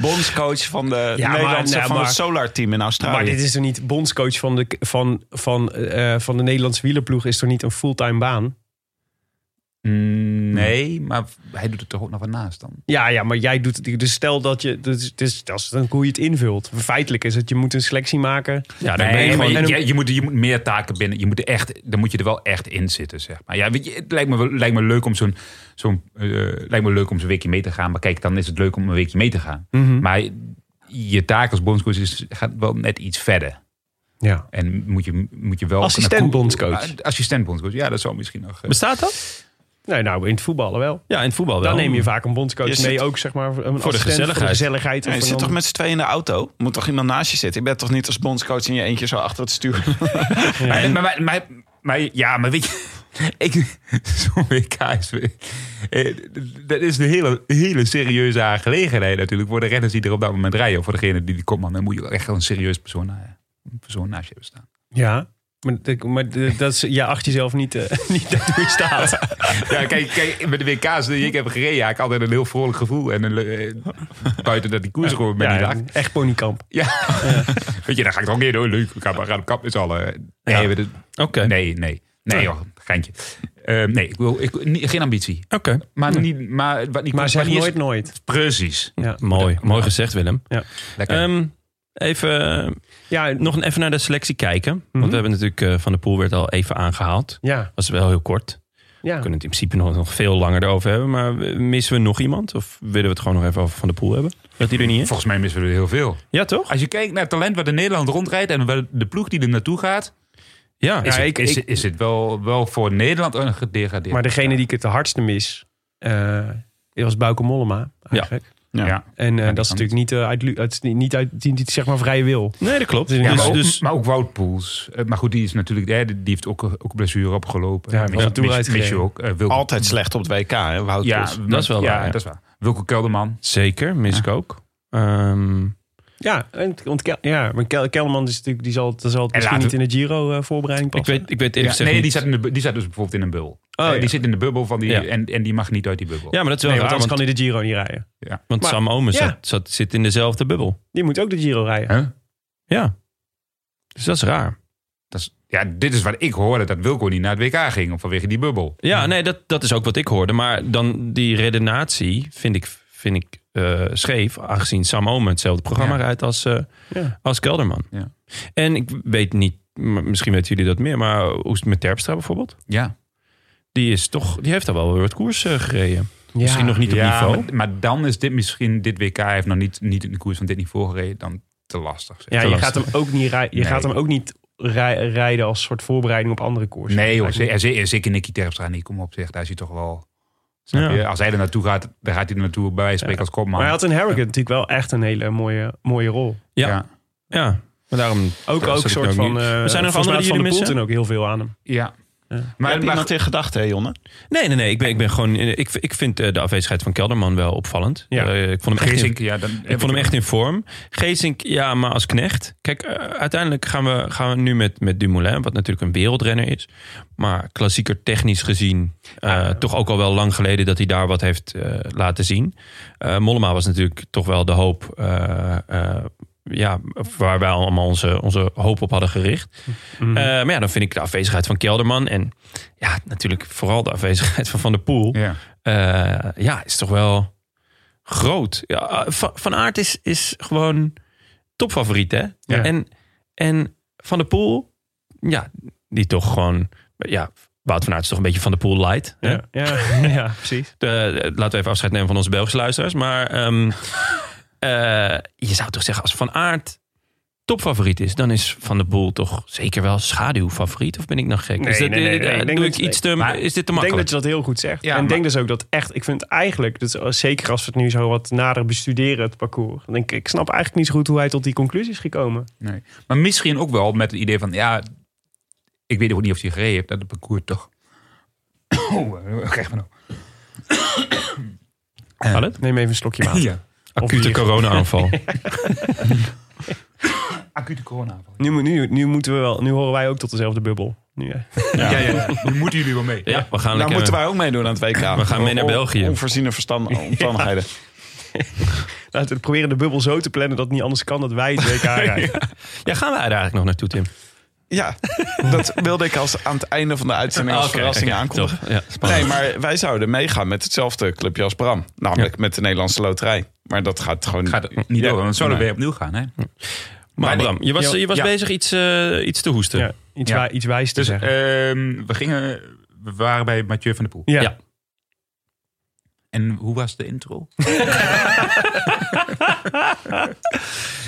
Speaker 7: Bondscoach van de
Speaker 2: Ja, maar-
Speaker 7: Nederlandse
Speaker 2: nou,
Speaker 7: van
Speaker 2: maar-
Speaker 7: het Solar Team in Australië.
Speaker 2: Maar dit is er niet bondscoach van eh, de, van, van, eh, van de Nederlandse wielerploeg. Is toch niet een fulltime baan?
Speaker 5: Nee, maar hij doet het toch ook nog wat naast dan.
Speaker 2: Ja, ja, maar jij doet het. Dus stel dat je. Dus, dus, dat is dan hoe je het invult. Feitelijk is het, je moet een selectie maken.
Speaker 5: Ja,
Speaker 2: dan
Speaker 5: nee, maar
Speaker 2: gewoon-
Speaker 5: je,
Speaker 2: en dan-
Speaker 5: je, je moet, je moet meer taken binnen. Je moet er echt, dan moet je er wel echt in zitten, zeg maar. Ja, weet je, het lijkt me, wel- lijkt me leuk om zo'n... zo'n eh, lijkt me leuk om zo'n weekje mee te gaan. Maar kijk, dan is het leuk om een weekje mee te gaan.
Speaker 2: Mhm.
Speaker 5: Maar je taak als bondscoach is, gaat wel net iets verder.
Speaker 2: Ja.
Speaker 5: En moet je, moet je wel...
Speaker 2: Assistent bondscoach.
Speaker 5: Ah, Assistent bondscoach, ja, dat zou misschien nog... eh,
Speaker 1: Bestaat dat?
Speaker 2: Nee, nou, in het voetballen wel.
Speaker 1: Ja, in het voetbal wel.
Speaker 2: Dan neem je vaak een bondscoach
Speaker 7: Je
Speaker 2: mee,
Speaker 7: zit-
Speaker 2: ook zeg maar. Een assistent Voor
Speaker 1: gezelligheid.
Speaker 2: de gezelligheid.
Speaker 7: Ja,
Speaker 2: of
Speaker 7: je
Speaker 2: een
Speaker 7: zit toch
Speaker 2: ander-
Speaker 7: met z'n tweeën in de auto? Moet toch iemand naast je zitten? Ik ben toch niet als bondscoach in je eentje zo achter het stuur?
Speaker 5: Maar, maar, maar, maar- maar- ja, maar weet je... Ik, zo'n WK is... eh, Dat is een hele, hele serieuze aangelegenheid natuurlijk. Voor de renners die er op dat moment rijden. Of voor degene die die komt. Dan moet je wel echt wel een serieus persoon, na- een persoon naast je hebben staan.
Speaker 2: Ja. Maar, dat- maar dat dat is, je acht jezelf niet, eh, niet daartoe in staat.
Speaker 5: Ja, kijk, kijk met de WK's die ik heb gereden... Ja, ik had altijd een heel vrolijk gevoel. En een, le- eh, buiten dat die koers gewoon met die dag.
Speaker 2: echt ponykamp.
Speaker 5: Weet je, dan ga ik toch een keer door. Leuk, we gaan, we gaan op kap met z'n allen. Nee,
Speaker 1: Ja.
Speaker 5: we- dat-
Speaker 1: Oké.
Speaker 5: nee, nee. Nee, joh, geintje. Eh, nee, ik wil, ik, niet- geen ambitie.
Speaker 1: Oké.
Speaker 5: Maar, niet, maar wat niet
Speaker 2: Maar zeg
Speaker 5: wanneer is-
Speaker 2: nooit nooit.
Speaker 5: Precies.
Speaker 2: Ja.
Speaker 1: Mooi, mooi gezegd, Willem.
Speaker 5: Lekker.
Speaker 1: Ehm, even, eh,
Speaker 2: Ja, en-
Speaker 1: nog even naar de selectie kijken. Want we hebben natuurlijk eh, Van de Poel werd al even aangehaald.
Speaker 2: ja,
Speaker 1: was wel heel kort.
Speaker 2: ja.
Speaker 1: We kunnen het in principe nog, nog veel langer erover hebben. Maar missen we nog iemand? Of willen we het gewoon nog even over Van de Poel hebben? Dat die er niet is?
Speaker 5: Volgens mij missen we er heel veel.
Speaker 1: Ja, toch?
Speaker 5: Als je kijkt naar het talent wat in Nederland rondrijdt en wel de ploeg die er naartoe gaat,
Speaker 1: Ja,
Speaker 5: is,
Speaker 1: is het-
Speaker 5: het, is, het- is het wel, wel voor Nederland een gedegradeerd.
Speaker 2: Maar degene die ik het de hardste mis, eh, was Bauke Mollema. Eigenlijk.
Speaker 5: ja. Ja.
Speaker 2: En eh,
Speaker 5: die
Speaker 2: dat is
Speaker 5: kan
Speaker 2: natuurlijk niet, eh, uit, lu- uit, niet uit die, die, zeg maar vrije wil.
Speaker 1: Nee, dat klopt.
Speaker 2: Ja,
Speaker 1: Dus-
Speaker 5: maar, ook,
Speaker 1: dus,
Speaker 5: maar ook Wout Poels. Eh, Maar goed, die is natuurlijk. eh, Die die heeft ook, eh, ook blessure opgelopen.
Speaker 2: Ja, was een Tour
Speaker 5: mis,
Speaker 2: uitgereden.
Speaker 5: mis je ook. eh, Wilco-
Speaker 7: Altijd slecht op het WK, hè, Wout
Speaker 5: Ja,
Speaker 7: Poels.
Speaker 1: Dat is wel
Speaker 5: ja,
Speaker 1: waar, ja.
Speaker 5: Dat is waar. Wilco Kelderman.
Speaker 1: zeker, mis ik ook. Ehm,
Speaker 2: Ja, en, want Kel- ja maar Kel, Kelman is natuurlijk, die zal, die zal het misschien
Speaker 5: laten-
Speaker 2: niet in de Giro-voorbereiding
Speaker 1: ik
Speaker 2: passen.
Speaker 1: weet, ik weet
Speaker 5: Ja,
Speaker 1: eerlijk gezegd
Speaker 5: nee,
Speaker 1: niet-
Speaker 5: die zat, in de, bu- die zat dus bijvoorbeeld in een bubbel.
Speaker 2: Oh,
Speaker 5: Eh,
Speaker 2: ja.
Speaker 5: Die zit in de bubbel van die.
Speaker 1: Ja.
Speaker 5: En, en die mag niet uit die bubbel.
Speaker 1: Ja, maar dat is wel
Speaker 2: nee, want
Speaker 1: raar,
Speaker 2: anders
Speaker 1: want,
Speaker 2: kan hij de Giro niet rijden.
Speaker 1: want
Speaker 2: maar-
Speaker 1: Sam Omen
Speaker 2: Ja.
Speaker 1: zat, zat, zit in dezelfde bubbel.
Speaker 2: Die moet ook de Giro rijden.
Speaker 5: Huh?
Speaker 1: Ja. Dus dat is raar.
Speaker 5: Dat is, ja, dit is wat ik hoorde dat Wilco niet naar het WK ging om vanwege die bubbel.
Speaker 1: Ja, nee, dat, dat is ook wat ik hoorde. Maar dan die redenatie vind ik, vind ik eh, scheef. Aangezien Sam Omen hetzelfde programma
Speaker 5: Ja.
Speaker 1: rijdt als, eh,
Speaker 2: Ja.
Speaker 1: als Kelderman.
Speaker 5: Ja.
Speaker 1: En ik weet niet, m- misschien weten jullie dat meer. Maar hoe is het met Terpstra bijvoorbeeld?
Speaker 5: Ja.
Speaker 1: Die, is toch, die heeft al wel weer wat koers eh, gereden. Misschien nog niet op niveau.
Speaker 5: Maar, maar dan is dit misschien dit WK heeft nog niet, niet in de koers van dit niveau gereden dan te lastig. zeg.
Speaker 2: Ja,
Speaker 5: Te
Speaker 2: je,
Speaker 5: lastig.
Speaker 2: gaat hem ook niet, rij, je
Speaker 5: Nee.
Speaker 2: gaat hem ook niet rij- rijden als soort voorbereiding op andere koersen.
Speaker 5: Nee, hoor,
Speaker 2: Lijkt me-
Speaker 5: ze- er zit- er zeker Nicky Terpstra niet. Kom op, zeg, daar is hij toch wel. Snap
Speaker 1: Ja.
Speaker 5: je? Als hij er naartoe gaat, dan gaat hij er naartoe bij wijze van spreken als kopman.
Speaker 2: Maar hij had in Harrogate natuurlijk wel echt een hele mooie, mooie rol.
Speaker 1: Ja. ja. Maar daarom...
Speaker 2: Ook,
Speaker 1: dat
Speaker 2: ook
Speaker 1: zat
Speaker 2: een
Speaker 1: ik
Speaker 2: soort
Speaker 1: ook
Speaker 2: van...
Speaker 1: niet.
Speaker 2: eh
Speaker 1: er nog
Speaker 2: volgens mij
Speaker 1: andere die
Speaker 2: had
Speaker 1: jullie
Speaker 2: Van de
Speaker 1: missen?
Speaker 2: Poel toen ook heel veel aan hem.
Speaker 5: Ja.
Speaker 2: Ja.
Speaker 7: Maar
Speaker 5: Maar,
Speaker 7: heb je
Speaker 5: maar
Speaker 7: iemand in gedachten, hè, Jonne?
Speaker 1: Nee, nee, nee. Ik ben, ik ben gewoon... Ik, ik vind eh, de afwezigheid van Kelderman wel opvallend.
Speaker 2: Ja.
Speaker 1: Eh, ik vond hem echt in-
Speaker 5: Geesink, ja, dan heb
Speaker 1: Ik vond hem echt in vorm. Geesink, ja, maar als knecht. Kijk, eh, uiteindelijk gaan we, gaan we nu met, met Dumoulin, wat natuurlijk een wereldrenner is. Maar klassieker technisch gezien, eh, toch ook al wel lang geleden dat hij daar wat heeft eh, laten zien. Eh, Mollema was natuurlijk toch wel de hoop eh, eh, ja, waar wij allemaal onze, onze hoop op hadden gericht. Eh, maar ja, dan vind ik de afwezigheid van Kelderman en ja, natuurlijk vooral de afwezigheid van Van der Poel
Speaker 5: Ja.
Speaker 1: eh, ja, is toch wel groot. Ja, van, van Aert is, is gewoon topfavoriet, hè?
Speaker 5: Ja.
Speaker 1: En, en Van der Poel, ja, die toch gewoon... Ja, Wout van Aert is toch een beetje Van der Poel light. hè?
Speaker 2: Ja, ja, ja precies.
Speaker 1: De- de- laten we even afscheid nemen van onze Belgische luisteraars. Maar ehm, eh, je zou toch zeggen, als Van Aert topfavoriet is... dan is Van der Poel toch zeker wel schaduwfavoriet? Of ben ik nog gek?
Speaker 2: Nee,
Speaker 1: is
Speaker 2: nee, nee, nee, ik
Speaker 1: eh,
Speaker 2: denk
Speaker 1: doe
Speaker 2: dat
Speaker 1: ik
Speaker 2: je-
Speaker 1: iets te...
Speaker 5: maar
Speaker 1: is dit te
Speaker 2: Ik denk
Speaker 1: makkelijk?
Speaker 2: dat je dat heel goed zegt.
Speaker 5: Ja,
Speaker 2: en ik
Speaker 5: maar-
Speaker 2: denk dus ook dat echt, ik vind eigenlijk, dus zeker als we het nu zo wat nader bestuderen, het parcours. Dan denk ik, ik snap eigenlijk niet zo goed hoe hij tot die conclusie is gekomen.
Speaker 5: Nee. Maar misschien ook wel met het idee van, ja, ik weet ook niet of hij gereden heeft, dat het parcours toch. Oh, eh, krijg van nou.
Speaker 1: Gaat het?
Speaker 2: Neem even een slokje water.
Speaker 5: Ja.
Speaker 1: Acute
Speaker 2: bier.
Speaker 1: corona-aanval.
Speaker 5: Acute corona.
Speaker 2: Nu, moet- nu, nu, moeten we wel, nu horen wij ook tot dezelfde bubbel. Nu, eh.
Speaker 5: Ja, ja, Nu moeten jullie wel mee.
Speaker 1: Ja, we gaan
Speaker 7: Nou
Speaker 1: lekker...
Speaker 7: moeten wij ook meedoen aan het WK.
Speaker 1: We gaan mee naar
Speaker 7: On-
Speaker 1: België.
Speaker 7: Onvoorziene verstand- omstandigheden.
Speaker 2: Laten we proberen de bubbel zo te plannen dat het niet anders kan dat wij het WK rijden.
Speaker 1: Ja, gaan wij daar eigenlijk nog naartoe, Tim?
Speaker 7: Ja. Ja, dat wilde ik als aan het einde van de uitzending als
Speaker 1: Ah, Oké,
Speaker 7: verrassing
Speaker 1: oké,
Speaker 7: aankondigen.
Speaker 1: top. Ja, spannend.
Speaker 7: nee, maar wij zouden meegaan met hetzelfde clubje als Bram. Namelijk met de Nederlandse Loterij. Maar dat gaat gewoon
Speaker 5: Gaat niet door, want zo dan
Speaker 7: Nee.
Speaker 5: weer opnieuw gaan. Hè?
Speaker 1: Maar
Speaker 5: nee.
Speaker 1: Bram, je was,
Speaker 2: Ja,
Speaker 1: je was
Speaker 5: ja.
Speaker 1: bezig iets, eh, iets te hoesten.
Speaker 2: Ja, iets,
Speaker 5: Ja.
Speaker 2: wa- iets wijs te
Speaker 5: Dus
Speaker 2: zeggen.
Speaker 5: ehm, we gingen, we waren bij Mathieu van der Poel.
Speaker 2: ja.
Speaker 1: ja.
Speaker 5: En hoe was de intro?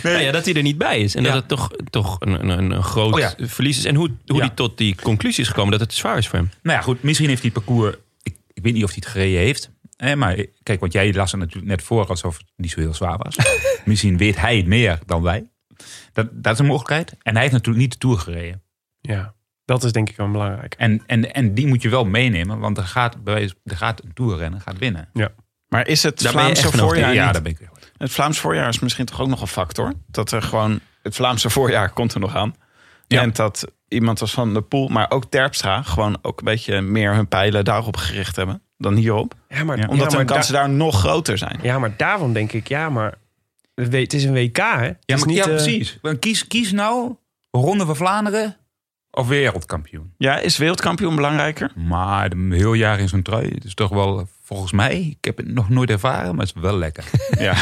Speaker 1: Nou ja, dat hij er niet bij is. En
Speaker 5: Ja.
Speaker 1: dat het toch, toch een, een- een, een groot
Speaker 5: Oh ja.
Speaker 1: verlies is. En hoe, hoe
Speaker 5: Ja.
Speaker 1: hij tot die conclusie is gekomen dat het zwaar is voor hem.
Speaker 5: Nou ja, goed, misschien heeft hij het parcours. Ik, ik weet niet of hij het gereden heeft. Hè, maar kijk, want jij las het natuurlijk net voor alsof het niet zo heel zwaar was. misschien weet hij het meer dan wij. Dat, dat is een mogelijkheid. En hij heeft natuurlijk niet de Tour gereden.
Speaker 2: Ja, dat is denk ik wel belangrijk.
Speaker 5: En, en, en die moet je wel meenemen, want er gaat, bij wijze- er gaat een toerrennen gaat winnen.
Speaker 7: Maar is het
Speaker 1: Daar ben je
Speaker 7: Vlaamse
Speaker 1: echt vanaf,
Speaker 7: voorjaar
Speaker 5: ja,
Speaker 7: niet-
Speaker 5: daar ben ik weer.
Speaker 7: Het Vlaams voorjaar is misschien toch ook nog een factor. Dat er gewoon... Het Vlaamse voorjaar komt er nog aan.
Speaker 5: Ja.
Speaker 7: En dat iemand als Van der Poel, maar ook Terpstra... gewoon ook een beetje meer hun pijlen daarop gericht hebben dan hierop.
Speaker 2: Ja, maar, ja,
Speaker 7: Omdat
Speaker 2: maar
Speaker 7: hun kansen daar nog groter zijn.
Speaker 2: Ja, maar daarom denk ik, ja, maar het we- het is een WK, hè? Het
Speaker 5: Ja,
Speaker 2: is
Speaker 5: maar,
Speaker 2: niet,
Speaker 5: ja
Speaker 2: eh,
Speaker 5: precies. Want Kies, kies nou Ronde van Vlaanderen of wereldkampioen.
Speaker 7: Ja, is wereldkampioen belangrijker?
Speaker 5: Maar een heel jaar in zo'n trui, het is toch wel, volgens mij, ik heb het nog nooit ervaren, maar het is wel lekker.
Speaker 7: Ja.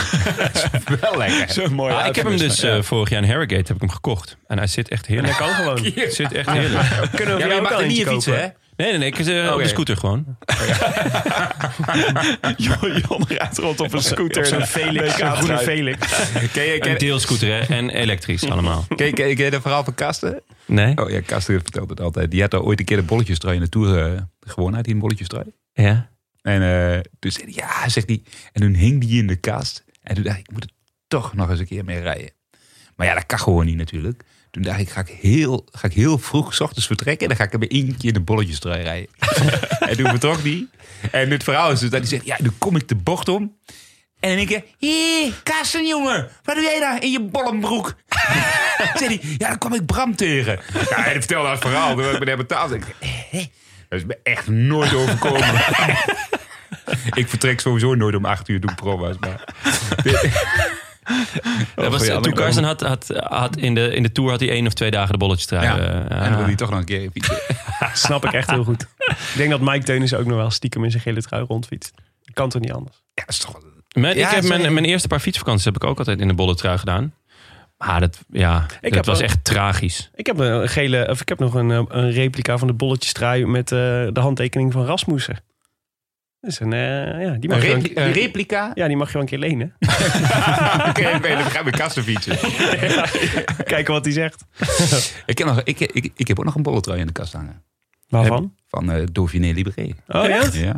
Speaker 5: wel lekker.
Speaker 7: Zo'n mooie
Speaker 1: Ah, ik heb hem dus eh, vorig jaar in Harrogate heb ik hem gekocht. En hij zit echt
Speaker 2: Dat
Speaker 1: heerlijk.
Speaker 2: kan gewoon. Kunnen
Speaker 1: Hij zit echt heerlijk.
Speaker 2: we voor
Speaker 5: Ja, maar
Speaker 2: jou
Speaker 5: je
Speaker 2: ook
Speaker 5: mag
Speaker 2: al
Speaker 5: er niet
Speaker 2: eentje
Speaker 5: in fietsen,
Speaker 2: kopen?
Speaker 5: hè?
Speaker 1: Nee, nee, nee. Ik, eh, Op
Speaker 5: Oké. Oh,
Speaker 1: de scooter gewoon.
Speaker 7: Jon rijdt rond op een scooter.
Speaker 2: Zo'n Felix, zo'n groene Felix.
Speaker 5: Ken je, ken,
Speaker 1: Een deelscooter hè? en elektrisch allemaal.
Speaker 5: ken, ken, ken je dat verhaal van Kasten?
Speaker 1: Nee?
Speaker 5: Oh ja, Kasten vertelt het altijd. Die had al ooit een keer de bolletjestrui in de Tour eh, gewonnen. Had hij een bolletjestrui?
Speaker 1: Ja.
Speaker 5: En eh, toen zei hij, ja, zegt hij. En toen hing die in de kast. En toen dacht ik, ik moet er toch nog eens een keer mee rijden. Maar ja, dat kan gewoon niet natuurlijk. Toen dacht ik, ga ik heel, ga ik heel vroeg 's ochtends vertrekken. En dan ga ik er bij eentje in de bolletjes rijden. en toen vertrok die. En het verhaal is dus dat hij zegt, ja, dan kom ik de bocht om. En in één keer, hé, Karsten jongen, wat doe jij daar in je bollenbroek? zei hij, ja, dan kwam ik Bram tegen. Ja, hij vertelde dat verhaal, toen ik me daar betaald. Ik dacht, hé, dat is me echt nooit overkomen. ik vertrek sowieso nooit om acht uur, doe ik proba's. Maar.
Speaker 1: Dat was, toen Carsten had, had, had in, de, in de Tour had hij één of twee dagen de bolletjes trui.
Speaker 5: Ja,
Speaker 1: eh,
Speaker 5: en dan wil hij toch nog een keer fietsen.
Speaker 2: Snap ik echt heel goed. Ik denk dat Mike Teunis ook nog wel stiekem in zijn gele trui rondfietst. Dat kan toch niet anders?
Speaker 5: Ja, dat is toch wel...
Speaker 1: Mijn,
Speaker 5: Ja,
Speaker 1: eh, ik heb
Speaker 5: sorry.
Speaker 1: mijn, mijn eerste paar fietsvakanties heb ik ook altijd in de bolletrui gedaan. Maar dat, ja,
Speaker 2: heb
Speaker 1: dat was
Speaker 2: ook-
Speaker 1: echt tragisch.
Speaker 2: Ik heb, een gele, of ik heb nog een, eh, een replica van de bolletjes trui met eh, de handtekening van Rasmussen. Dat is een, eh, ja, die mag
Speaker 5: Een,
Speaker 2: je wel
Speaker 5: repli- een
Speaker 2: een keer-
Speaker 5: replica?
Speaker 2: ja, die mag je wel een keer lenen.
Speaker 5: Oké, nee, dan ga ik met Karsten fietsen.
Speaker 2: Kijken wat hij zegt.
Speaker 5: ik, heb nog, ik, ik, ik heb ook nog een bolletrui in de kast hangen.
Speaker 2: Waarvan?
Speaker 5: Van eh Dauphiné Libéré.
Speaker 2: Oh ja?
Speaker 5: Ja,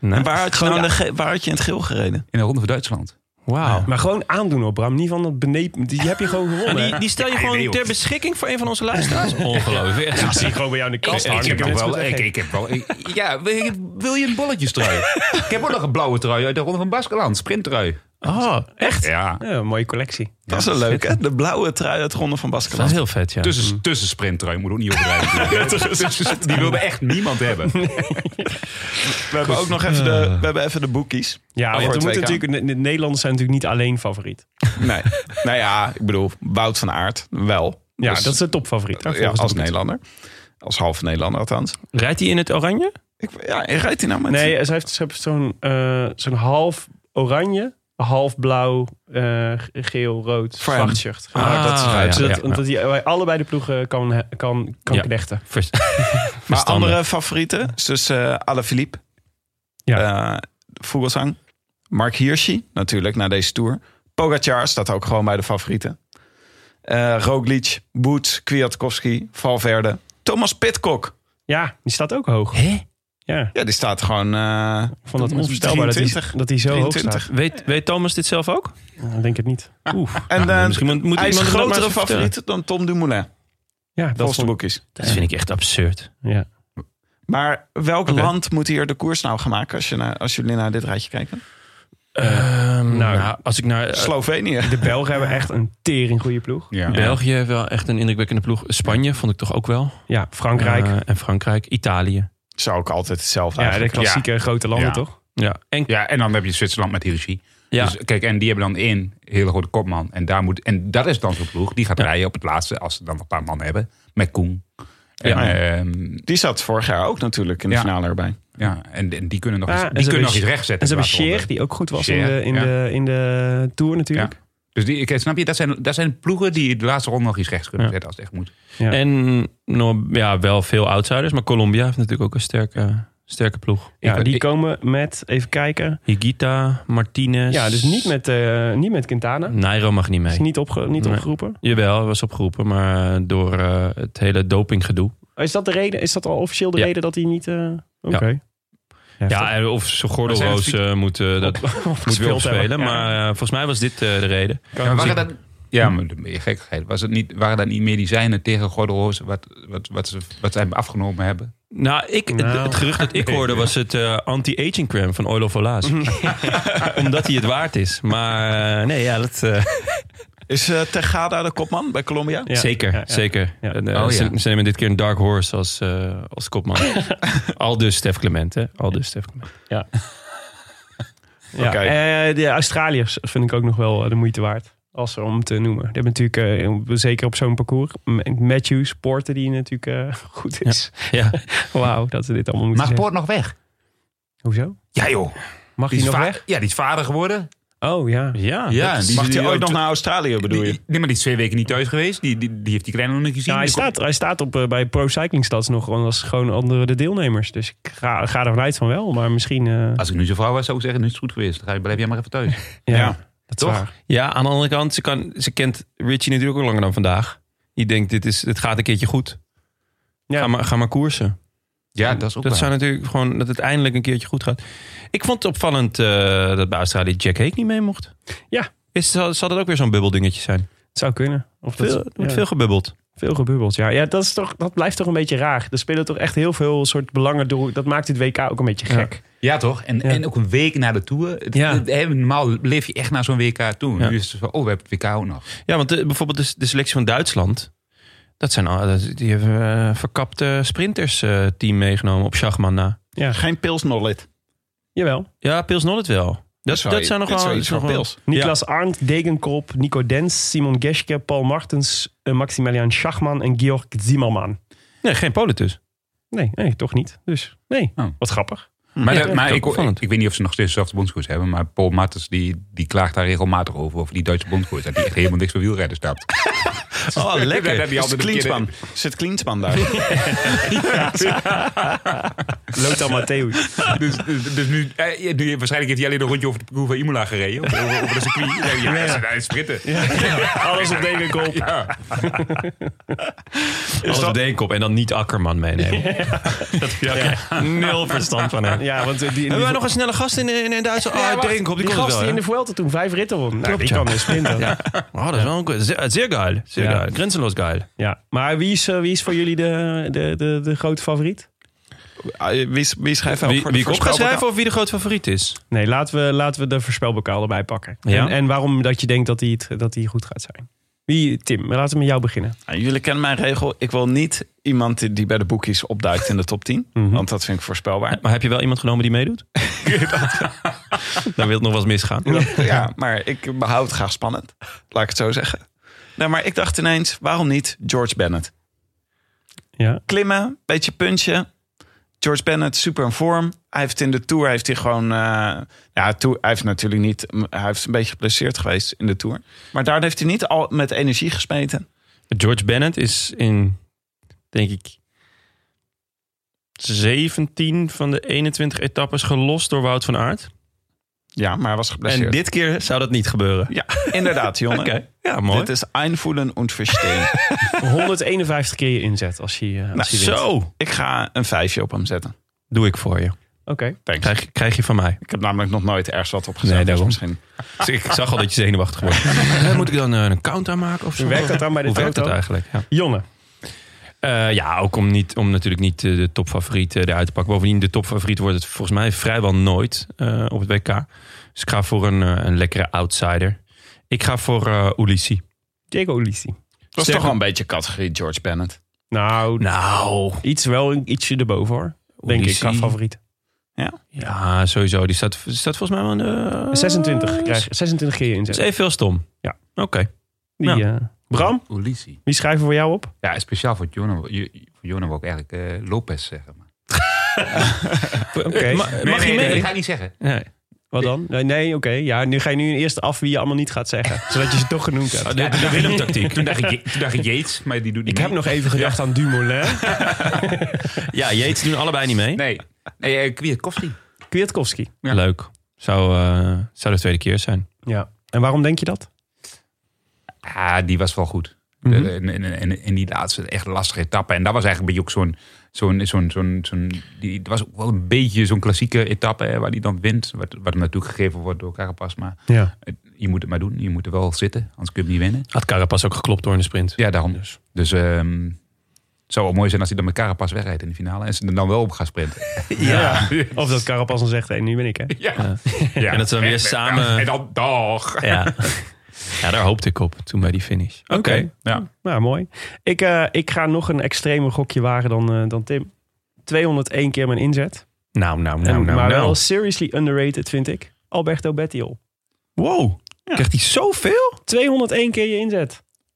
Speaker 1: Nou,
Speaker 7: En waar had, je nou de ge- waar had je in het geel gereden?
Speaker 5: in de Ronde van Duitsland.
Speaker 1: Wauw.
Speaker 2: Maar gewoon aandoen op Bram. Niet van dat beneep. Die heb je gewoon
Speaker 1: En
Speaker 2: gewonnen.
Speaker 5: Nou,
Speaker 1: die, die stel je
Speaker 5: Ja,
Speaker 1: gewoon
Speaker 5: nee, joh.
Speaker 1: ter beschikking voor een van onze luisteraars? Ongelooflijk. Echt.
Speaker 2: zie ik gewoon bij jou in de kast hangen.
Speaker 5: heb
Speaker 2: kan
Speaker 5: nog
Speaker 2: het
Speaker 5: wel,
Speaker 2: goed
Speaker 5: ik,
Speaker 2: zeggen.
Speaker 5: ik heb wel... ik- ja, wil je, wil je een bolletjestrui? ik heb ook nog een blauwe trui uit de Ronde van Baskeland. Sprinttrui.
Speaker 1: Oh,
Speaker 5: Ah,
Speaker 1: echt?
Speaker 5: Ja.
Speaker 2: Ja, een mooie collectie.
Speaker 7: Dat is wel leuk, hè? De blauwe trui uit Ronde van
Speaker 1: Dat is
Speaker 7: Baskeland.
Speaker 1: heel vet, ja.
Speaker 5: Tussen, tussen sprinttrui, moet ook niet overdrijven. Tussen- die wilde echt niemand hebben.
Speaker 7: We hebben ook nog even de, we hebben even de boekies.
Speaker 2: Ja,
Speaker 7: Voor
Speaker 2: want we
Speaker 7: het
Speaker 2: moeten
Speaker 7: WK.
Speaker 2: natuurlijk, de, de Nederlanders zijn natuurlijk niet alleen favoriet.
Speaker 7: Nee. nou ja, ik bedoel, Wout van Aert wel.
Speaker 2: Ja,
Speaker 7: Dus,
Speaker 2: dat is de topfavoriet.
Speaker 7: ja,
Speaker 2: hè, volgens
Speaker 7: als
Speaker 2: de-
Speaker 7: Nederlander. Als half Nederlander althans.
Speaker 1: Rijdt hij in het oranje?
Speaker 7: Ik, ja, en rijdt hij nou met...
Speaker 2: Nee, ze heeft, ze heeft zo'n eh, zo'n half oranje, half blauw, eh, geel, rood
Speaker 7: Voor hem.
Speaker 2: vlagtshirt.
Speaker 1: Ah, dat is
Speaker 2: Ja,
Speaker 1: ja,
Speaker 2: zodat
Speaker 1: ja, ja.
Speaker 2: Dat hij bij allebei de ploegen kan, he- kan, kan
Speaker 1: Ja.
Speaker 2: knechten.
Speaker 1: Vers-
Speaker 7: maar
Speaker 1: Verstandig.
Speaker 7: andere favorieten? is Dus eh Alaphilippe.
Speaker 2: Ja.
Speaker 7: Eh, Vogelsang. Mark Hirschi, natuurlijk, na deze tour. Pogacar staat ook gewoon bij de favorieten. Eh Roglic, Boots, Kwiatkowski, Valverde. Thomas Pitcock.
Speaker 2: Ja, die staat ook hoog.
Speaker 1: Hè?
Speaker 2: Ja,
Speaker 7: Ja, die staat gewoon... eh,
Speaker 2: ik vond dat
Speaker 7: Thomas
Speaker 2: onvoorstelbaar dat hij,
Speaker 7: 23.
Speaker 2: dat hij zo hoog
Speaker 7: 23.
Speaker 2: staat.
Speaker 1: Weet, weet Thomas dit zelf ook?
Speaker 2: Ja, ik denk het niet.
Speaker 1: Oeh.
Speaker 7: En
Speaker 1: Nou,
Speaker 7: eh,
Speaker 1: misschien moet, moet
Speaker 7: hij is
Speaker 1: iemand het nog maar
Speaker 7: grotere
Speaker 1: eens vertellen.
Speaker 7: favoriet dan Tom Dumoulin.
Speaker 2: Ja, dat
Speaker 7: Volgens de
Speaker 2: vond-
Speaker 7: boekjes.
Speaker 5: Eh,
Speaker 1: Dat vind ik echt absurd.
Speaker 2: ja.
Speaker 7: Maar welk
Speaker 1: Oké.
Speaker 7: land moet hier de koers nou gaan maken als, je naar, als jullie naar dit rijtje kijken?
Speaker 1: Ehm, nou, als ik naar... eh,
Speaker 7: Slovenië.
Speaker 2: De Belgen hebben echt een tering goede ploeg.
Speaker 5: Ja.
Speaker 1: België heeft wel echt een indrukwekkende ploeg. Spanje vond ik toch ook wel.
Speaker 2: Ja, Frankrijk.
Speaker 1: Eh, en Frankrijk. Italië.
Speaker 7: Zou ik altijd hetzelfde
Speaker 2: ja, de
Speaker 7: eigenlijk.
Speaker 2: klassieke grote landen
Speaker 5: Ja.
Speaker 2: toch?
Speaker 1: Ja. En
Speaker 5: Ja, en dan heb je Zwitserland met Hiroshi.
Speaker 1: Ja.
Speaker 5: Dus, kijk, en die hebben dan één hele goede kopman. En, daar moet, en dat is dan zo'n ploeg. Die gaat rijden op het laatste, als ze dan nog een paar man hebben. Met Koen. En,
Speaker 1: Ja.
Speaker 5: ehm,
Speaker 7: Die zat vorig jaar ook natuurlijk in de
Speaker 5: Ja.
Speaker 7: finale erbij.
Speaker 5: ja, en, en die kunnen nog,
Speaker 2: Ah,
Speaker 5: iets,
Speaker 2: en
Speaker 5: die
Speaker 2: ze
Speaker 5: kunnen nog
Speaker 2: hebben-
Speaker 5: iets rechtzetten.
Speaker 2: En ze hebben
Speaker 5: de laatste
Speaker 2: Sheer,
Speaker 5: ronde.
Speaker 2: die ook goed was in,
Speaker 5: Scheer,
Speaker 2: de, in,
Speaker 5: ja.
Speaker 2: de, in de Tour natuurlijk.
Speaker 5: Ja. Dus die, kijk, snap je, dat zijn, dat zijn ploegen die de laatste ronde nog iets rechts kunnen
Speaker 1: Ja.
Speaker 5: zetten als het echt moet.
Speaker 2: Ja.
Speaker 1: En nog, ja, wel veel outsiders. Maar Colombia heeft natuurlijk ook een sterke, sterke ploeg.
Speaker 2: Ja,
Speaker 5: Ik-
Speaker 2: die
Speaker 5: ik-
Speaker 2: komen met, even kijken.
Speaker 1: Higuita, Martinez.
Speaker 2: Ja, dus niet met, eh, niet met Quintana.
Speaker 1: Nairo mag niet mee.
Speaker 2: Is niet, opge, niet
Speaker 1: Nee.
Speaker 2: opgeroepen.
Speaker 1: Jawel, was opgeroepen. Maar eh, door eh, het hele dopinggedoe.
Speaker 2: Oh, Is dat de reden? Is dat al officieel de
Speaker 1: Ja.
Speaker 2: reden dat hij niet... eh, Oké.
Speaker 1: Ja, en of ze
Speaker 5: Maar zijn het
Speaker 1: gordelroos
Speaker 5: fiets-
Speaker 1: eh, moet, eh, dat moet weer opspelen.
Speaker 2: Ja.
Speaker 1: Maar eh, volgens mij was dit eh, de reden.
Speaker 5: Ja,
Speaker 1: Dus
Speaker 5: waren
Speaker 1: ik-
Speaker 5: dat, Hm? ja, maar de meer gekkigheid. Was het niet, waren dat niet medicijnen tegen Gordelhoos wat, wat, wat, ze, wat ze hebben afgenomen hebben?
Speaker 1: Nou, ik, het-
Speaker 2: Nou.
Speaker 1: het gerucht dat ik hoorde was het eh, anti-aging crème van Oilo Volaas. Omdat hij het waard is. Maar eh, nee, ja, dat... eh,
Speaker 7: Is eh, Tejada de kopman bij Colombia?
Speaker 2: Ja.
Speaker 1: zeker,
Speaker 2: Ja, ja.
Speaker 1: zeker.
Speaker 2: Ja.
Speaker 1: En, eh,
Speaker 5: Oh,
Speaker 1: ze,
Speaker 5: ja.
Speaker 1: ze nemen dit keer een dark horse als, eh, als kopman. Al dus Stef Clement, hè? Al dus Stef Clement.
Speaker 2: Ja,
Speaker 7: Oké.
Speaker 2: eh, de Australiërs vind ik ook nog wel eh, de moeite waard. Als om te noemen. Die hebben natuurlijk, eh, zeker op zo'n parcours, M- Matthews, Porter, die natuurlijk eh, goed is.
Speaker 1: Ja.
Speaker 2: Wauw, dat ze dit allemaal moeten
Speaker 5: Mag
Speaker 2: zeggen.
Speaker 5: Poort nog weg?
Speaker 2: Hoezo?
Speaker 5: Ja joh.
Speaker 2: Mag
Speaker 5: Die
Speaker 2: hij
Speaker 5: is
Speaker 2: nog
Speaker 5: va-
Speaker 2: weg?
Speaker 5: Ja, die is vader geworden.
Speaker 2: Oh ja.
Speaker 1: Ja,
Speaker 5: ja,
Speaker 1: dat-
Speaker 5: die,
Speaker 7: Mag
Speaker 5: die-
Speaker 7: hij ooit
Speaker 5: die-
Speaker 7: nog naar Australië, bedoel
Speaker 5: die,
Speaker 7: je?
Speaker 5: die- nee, maar die is twee weken niet thuis geweest. Die, die, die heeft die kleine nog niet gezien.
Speaker 2: Nou, hij,
Speaker 5: Die komt-
Speaker 2: staat, hij staat op, eh, bij Pro Cycling Stats nog gewoon als gewoon andere de deelnemers. Dus ik ga, ga ervan uit van wel, maar misschien... eh,
Speaker 5: Als ik nu zijn vrouw was, zou ik zeggen, nu is het goed geweest. Dan ga je- blijf jij maar even thuis.
Speaker 2: ja,
Speaker 7: ja,
Speaker 2: dat is
Speaker 5: toch?
Speaker 2: waar.
Speaker 1: ja, aan de andere kant, ze, kan, ze kent Richie natuurlijk ook langer dan vandaag. Die denkt, dit, is, dit gaat een keertje goed.
Speaker 2: Ja.
Speaker 1: Ga, maar, ga maar koersen.
Speaker 5: Ja, dat is ook
Speaker 1: Dat
Speaker 5: waar.
Speaker 1: zou natuurlijk gewoon dat het eindelijk een keertje goed gaat. Ik vond het opvallend eh, dat bij Australië Jack Hake niet mee mocht.
Speaker 2: Ja.
Speaker 1: Is, zal, zal dat ook weer zo'n bubbeldingetje zijn?
Speaker 2: Het zou kunnen. Of dat-
Speaker 1: Veel, er wordt
Speaker 2: ja.
Speaker 1: veel gebubbeld.
Speaker 2: Veel gebubbeld, ja. Ja, dat, is toch, dat blijft toch een beetje raar. Er spelen toch echt heel veel soort belangen door. Dat maakt dit WK ook een beetje
Speaker 1: Ja.
Speaker 2: gek.
Speaker 5: Ja, toch? En,
Speaker 2: Ja.
Speaker 5: en ook een week na de Tour. Het-
Speaker 2: Ja.
Speaker 5: het- hè, normaal leef je echt naar zo'n WK toe.
Speaker 1: Ja.
Speaker 5: Nu is het zo, oh, we hebben het WK ook nog.
Speaker 1: Ja, want de- bijvoorbeeld de, de selectie van Duitsland. Dat zijn al, dat- die hebben eh, verkapte sprinters eh, team meegenomen op Schachman na.
Speaker 7: Geen pilsnollet.
Speaker 2: Jawel.
Speaker 1: Ja, Pils Nollet wel. Dat, dat,
Speaker 7: zou-
Speaker 1: zijn nog
Speaker 7: dit
Speaker 1: wel...
Speaker 7: zou
Speaker 1: dat
Speaker 7: iets
Speaker 1: zijn
Speaker 7: van
Speaker 1: nog wel-
Speaker 7: Pils.
Speaker 2: Niklas Arndt, Degenkop, Nico Dens, Simon Geschke, Paul Martens, eh, Maximilian Schachman en Georg Zimmerman.
Speaker 1: Nee, geen Polen dus.
Speaker 2: Nee, nee, toch niet. Dus nee,
Speaker 5: Oh.
Speaker 2: wat grappig.
Speaker 5: Maar,
Speaker 1: Ja,
Speaker 5: dat-
Speaker 1: ja,
Speaker 5: maar
Speaker 1: dat is
Speaker 5: ik,
Speaker 1: opvallend.
Speaker 5: ik, ik weet niet of ze nog steeds dezelfde bondscoach hebben. Maar Paul Matters die, die klaagt daar regelmatig over. Over die Duitse bondscoach. Dat die echt helemaal niks van wielrennen stapt.
Speaker 1: Oh,
Speaker 5: Dat-
Speaker 1: lekker.
Speaker 5: dat die
Speaker 7: Is
Speaker 5: altijd een
Speaker 7: Klinsman.
Speaker 5: keer-
Speaker 7: Zit Klinsman daar?
Speaker 2: Lothar Matthäus.
Speaker 5: Dus, dus, dus nu, eh, ja, nu- waarschijnlijk heeft hij alleen een rondje over de parcours van Imola gereden. Of over, over de circuit. Ja, ja, ze zijn aan het sprinten.
Speaker 2: Alles op Degenkop.
Speaker 5: Ja.
Speaker 1: Alles op de ene kop en dan niet Akkerman meenemen. Dat, ja, oké. Nul verstand van hem.
Speaker 2: Ja, want eh, die, die,
Speaker 1: Hebben wij nog een snelle gast in, in, in Duitsland?
Speaker 2: Ja,
Speaker 1: Ah,
Speaker 2: wacht,
Speaker 1: Degenkop, die,
Speaker 2: die
Speaker 1: komt
Speaker 2: gast
Speaker 1: wel.
Speaker 2: die in
Speaker 1: hè?
Speaker 2: de Vuelta toen vijf ritten won. Nou, die
Speaker 1: ja.
Speaker 2: kan dus sprinten. Ja.
Speaker 1: Oh, dat is wel een goeie. Zeer, zeer geil. Zeer
Speaker 2: Ja.
Speaker 1: geil. Grenzenloos geil.
Speaker 2: Maar wie is, eh, wie is voor jullie de, de, de, de grote favoriet?
Speaker 7: Ah, Wie, is- wie schrijft ook
Speaker 1: Wie,
Speaker 7: voor de
Speaker 1: wie ik op ga
Speaker 7: voorspelbokaal?
Speaker 1: schrijven of wie de groot favoriet is?
Speaker 2: Nee, laten we, laten we de voorspelbokaal erbij pakken.
Speaker 1: Ja.
Speaker 2: En, en waarom dat je denkt dat die, het- dat die goed gaat zijn. Wie, Tim, laten we met jou beginnen.
Speaker 7: Ah, Jullie kennen mijn regel. Ik wil niet iemand die- die bij de boekjes opduikt in de top 10.
Speaker 2: Mhm.
Speaker 7: Want dat vind ik voorspelbaar.
Speaker 1: Maar heb je wel iemand genomen die meedoet? Dan wil het nog wel eens misgaan.
Speaker 7: Ja, maar ik behoud het graag spannend. Laat ik het zo zeggen. Nou, maar ik dacht ineens, waarom niet George Bennett?
Speaker 2: Ja.
Speaker 7: Klimmen, beetje punchen. George Bennett, super in vorm. Hij heeft in de Tour, heeft hij gewoon... eh, ja, tour, hij heeft natuurlijk niet... Hij heeft een beetje geblesseerd geweest in de Tour. Maar daar heeft hij niet al met energie gesmeten.
Speaker 1: George Bennett is in, denk ik, 17 van de 21 etappes gelost door Wout van Aert.
Speaker 7: Ja, maar hij was
Speaker 1: En
Speaker 7: geblesseerd.
Speaker 1: dit keer zou dat niet gebeuren.
Speaker 7: Ja, inderdaad, jongen.
Speaker 1: Ja, mooi.
Speaker 7: Dit is einvoelen und verstehen.
Speaker 2: 151 keer je inzet als je, eh, als
Speaker 7: Nou,
Speaker 2: je wint. Oké.
Speaker 1: Zo,
Speaker 7: ik ga een vijfje op hem zetten.
Speaker 1: doe ik voor je.
Speaker 7: Thanks.
Speaker 1: Krijg, krijg je van mij.
Speaker 7: Ik heb namelijk nog nooit ergens wat op gezet.
Speaker 1: Nee,
Speaker 7: dus
Speaker 1: daarom.
Speaker 7: misschien.
Speaker 1: Dus ik zag al dat je zenuwachtig wordt. Eh, Moet ik dan eh, een count aanmaken of zo?
Speaker 2: Hoe werkt dat dan bij de
Speaker 1: Hoe werkt dat
Speaker 2: toto?
Speaker 1: eigenlijk? Ja.
Speaker 2: Jonne.
Speaker 1: Eh, ja, ook om, niet, om natuurlijk niet eh, de topfavoriet eh, eruit te pakken. Bovendien, de topfavoriet wordt het volgens mij vrijwel nooit eh, op het WK. Dus ik ga voor een, eh, een lekkere outsider. Ik ga voor eh Ulissi.
Speaker 2: Diego Ulissi.
Speaker 7: Dat is toch wel een beetje categorie George Bennett.
Speaker 2: Nou,
Speaker 1: Nou,
Speaker 2: iets wel een- ietsje erboven hoor. Denk ik,
Speaker 1: Ulissi.
Speaker 2: qua favoriet.
Speaker 7: Ja.
Speaker 1: Ja, sowieso. Die staat, staat volgens mij wel een...
Speaker 5: eh,
Speaker 2: 26 krijg 26 keer inzet.
Speaker 1: Dat is evenveel stom.
Speaker 2: Ja.
Speaker 1: Oké.
Speaker 2: Die,
Speaker 1: Nou.
Speaker 2: eh, Bram,
Speaker 5: Ulisi.
Speaker 2: wie schrijven we voor jou op?
Speaker 5: Ja, speciaal voor Jonah, voor Jonah wil ik eigenlijk eh, Lopez zeggen. Maar.
Speaker 2: Oké.
Speaker 1: Eh, Ma- mag je
Speaker 5: Nee, nee,
Speaker 1: mee? Oh,
Speaker 5: nee, dat ga ik niet zeggen.
Speaker 1: Nee.
Speaker 2: Wat dan? Nee, nee oké. Ja, nu ga je nu eerst af wie je allemaal niet gaat zeggen. zodat je ze toch genoemd hebt.
Speaker 1: De, de Willem-tactiek.
Speaker 5: Toen dacht, ik, Je- toen dacht ik Yates, maar die doet niet
Speaker 2: Ik heb
Speaker 5: mee.
Speaker 2: nog even gedacht aan Dumoulin.
Speaker 1: Ja, Jeets doen allebei niet mee.
Speaker 5: Nee, nee eh, Kwiatkowski.
Speaker 2: Kwiatkowski.
Speaker 5: Ja.
Speaker 1: Leuk. Zou, eh, zou de tweede keer zijn.
Speaker 2: Ja. En waarom denk je dat?
Speaker 5: Ah, die was wel goed. De-
Speaker 2: Mhm.
Speaker 5: en, en, en, en die laatste echt lastige etappe. En dat was eigenlijk bij Joek zo'n... zo'n zo'n zo'n zo'n die, het was ook wel een beetje zo'n klassieke etappe hè, waar die dan wint. Wat, wat hem natuurlijk gegeven wordt door Carapaz. Maar
Speaker 2: Ja.
Speaker 5: het- je moet het maar doen. Je moet er wel zitten, anders kun je hem niet winnen.
Speaker 1: Had Carapaz ook geklopt door in de sprint.
Speaker 5: Ja, daarom dus. Dus ehm, het zou wel mooi zijn als hij dan met Carapaz wegrijdt in de finale. En ze er dan wel op gaan sprinten.
Speaker 2: Ja. Of dat Carapaz dan zegt, hé, nu ben ik hè.
Speaker 5: Ja.
Speaker 1: En dat ze dan weer samen-
Speaker 5: En dan dag.
Speaker 1: Ja. ja, daar hoopte ik op toen bij die finish. Oké.
Speaker 5: Ja.
Speaker 2: Nou, mooi. Ik, eh, ik ga nog een extremer gokje wagen dan, eh, dan Tim. 201 keer mijn inzet.
Speaker 1: Nou, nou,
Speaker 2: En-
Speaker 1: nou, nou,
Speaker 2: maar wel
Speaker 1: nou.
Speaker 2: seriously underrated, vind ik. Alberto Bettiol.
Speaker 1: Wow. Krijgt hij zoveel?
Speaker 2: 201 keer je inzet.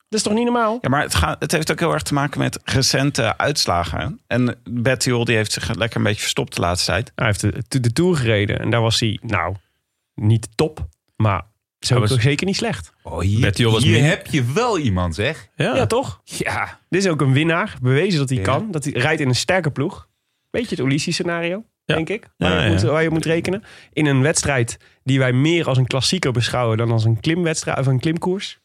Speaker 2: Dat is toch niet normaal?
Speaker 7: Ja, maar het, gaat, het heeft ook heel erg te maken met recente uitslagen. En Betty Hol die heeft zich lekker een beetje verstopt de laatste tijd.
Speaker 2: Hij heeft de, de, de Tour gereden en daar was hij, nou, niet top. Maar zo
Speaker 1: was-
Speaker 2: was... zeker niet slecht.
Speaker 5: Oh, hier
Speaker 1: Betty Hol was
Speaker 5: hier
Speaker 1: min-
Speaker 5: heb je wel iemand, zeg.
Speaker 1: Ja.
Speaker 2: Ja, toch?
Speaker 5: Ja.
Speaker 2: Dit is ook een winnaar. Bewezen dat hij
Speaker 5: Ja.
Speaker 2: kan. Dat hij rijdt in een sterke ploeg. Beetje het Ulysses-scenario,
Speaker 1: Ja.
Speaker 2: denk ik. Waar,
Speaker 1: Ja,
Speaker 2: je
Speaker 1: ja.
Speaker 2: Moet, waar je moet rekenen. In een wedstrijd die wij meer als een klassieker beschouwen... dan als een klimwedstrijd of een klimkoers.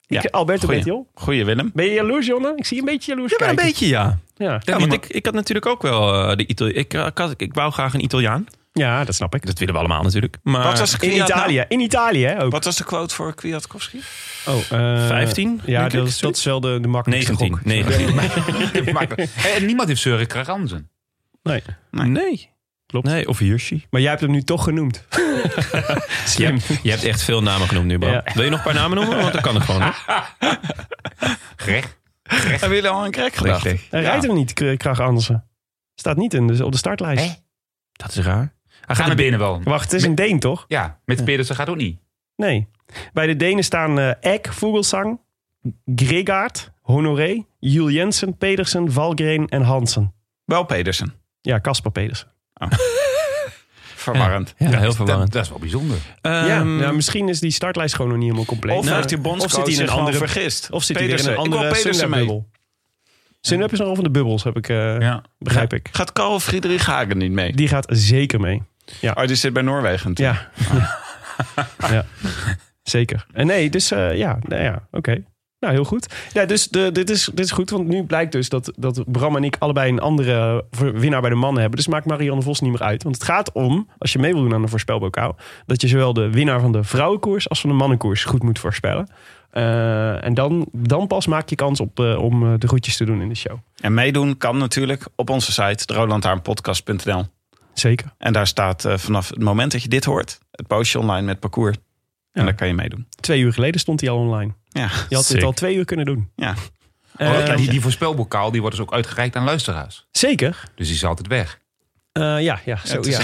Speaker 7: Ja.
Speaker 2: Ik, Alberto
Speaker 7: Goeie.
Speaker 2: Bettiol.
Speaker 7: Goeie Willem.
Speaker 2: Ben je jaloers, Jonne? Ik zie een beetje jaloers
Speaker 1: Ja, maar een
Speaker 2: kijken.
Speaker 1: beetje ja.
Speaker 2: Ja.
Speaker 1: Ja, want ik, ik had natuurlijk ook wel eh, de Itali ik, eh, ik, had- ik wou graag een Italiaan.
Speaker 2: ja, dat snap ik.
Speaker 1: Dat willen we allemaal natuurlijk. Maar
Speaker 7: Wat was de
Speaker 2: In
Speaker 7: Ja, nou-
Speaker 2: Italië. In Italië, hè, ook.
Speaker 7: Wat was de quote voor Kwiatkowski?
Speaker 2: Oh, eh,
Speaker 1: 15,
Speaker 2: Ja,
Speaker 1: denk ik,
Speaker 2: dat, is- dat is wel de, de makkelijkste
Speaker 1: 19.
Speaker 2: gok.
Speaker 1: 19.
Speaker 5: en niemand heeft Søren Kraransen.
Speaker 2: Nee.
Speaker 1: Nee. Klopt. Nee, of Hirschi.
Speaker 2: Maar jij hebt hem nu toch genoemd.
Speaker 1: Je hebt, je hebt echt veel namen genoemd nu, Bram.
Speaker 2: Ja.
Speaker 1: Wil je nog een paar namen noemen? Want dat kan er gewoon.
Speaker 7: Ah,
Speaker 1: hè?
Speaker 5: Gerecht.
Speaker 7: Hebben jullie al een crack gedacht?
Speaker 2: Hij rijdt hem niet, K- Krach Andersen. Staat niet in de, op de startlijst.
Speaker 5: Hè?
Speaker 1: Dat is raar.
Speaker 5: We gaan er binnen wel.
Speaker 2: Wacht, het is een Deen, toch?
Speaker 5: Ja, met Pedersen gaat ook niet.
Speaker 2: Nee. Bij de Denen staan eh Eck, Vogelsang, Gregaard, Honoré, Jules Jensen, Pedersen, Valgren en Hansen.
Speaker 7: Wel Pedersen.
Speaker 2: Ja, Casper Pedersen.
Speaker 7: Verwarrend.
Speaker 1: Ja, heel verwarrend.
Speaker 5: Dat, dat is wel bijzonder.
Speaker 2: ja,
Speaker 1: Ehm,
Speaker 2: nou, misschien is die startlijst gewoon nog niet helemaal compleet.
Speaker 7: Of
Speaker 2: Nou,
Speaker 7: heeft die bondscoach
Speaker 2: of zit hij in
Speaker 7: zich
Speaker 2: een
Speaker 7: gewoon
Speaker 2: andere-
Speaker 7: vergist?
Speaker 2: of zit hij weer in een
Speaker 7: Pedersen. Ik wil
Speaker 2: andere
Speaker 7: Pedersen
Speaker 2: Sunweb-bubbel. Sunweb is nogal van de bubbels, heb ik, eh,
Speaker 5: Ja.
Speaker 2: begrijp ik.
Speaker 7: Gaat Carl Friedrich Hagen niet mee?
Speaker 2: Die gaat zeker mee.
Speaker 7: Oh, die zit bij Noorwegen. natuurlijk.
Speaker 2: Ja. ja. Zeker. En nee, dus eh, ja, nou ja oké. Nou, heel goed. Ja, dus de, dit, is, dit is goed, want nu blijkt dus dat, dat Bram en ik allebei een andere voor- winnaar bij de mannen hebben. Dus maakt Marianne Vos niet meer uit. Want het gaat om, als je mee wil doen aan de voorspelbokaal, dat je zowel de winnaar van de vrouwenkoers als van de mannenkoers goed moet voorspellen. Eh, en dan, dan pas maak je kans op, eh, om eh, de groetjes te doen in de show.
Speaker 7: En meedoen kan natuurlijk op onze site, rolantaarnpodcast.nl.
Speaker 2: Zeker.
Speaker 7: En daar staat eh, vanaf het moment dat je dit hoort, het postje online met parcours. En
Speaker 2: Ja.
Speaker 7: daar kan je meedoen.
Speaker 2: Twee uur geleden stond hij al online.
Speaker 7: Ja.
Speaker 2: Je had
Speaker 1: Sick.
Speaker 2: dit al twee uur kunnen doen.
Speaker 7: Ja.
Speaker 2: Eh,
Speaker 5: Oh, die, die voorspelbokaal die wordt dus ook uitgereikt aan luisteraars.
Speaker 2: zeker.
Speaker 5: Dus die is altijd weg.
Speaker 2: Eh, ja, ja, zo,
Speaker 7: het is
Speaker 2: ja.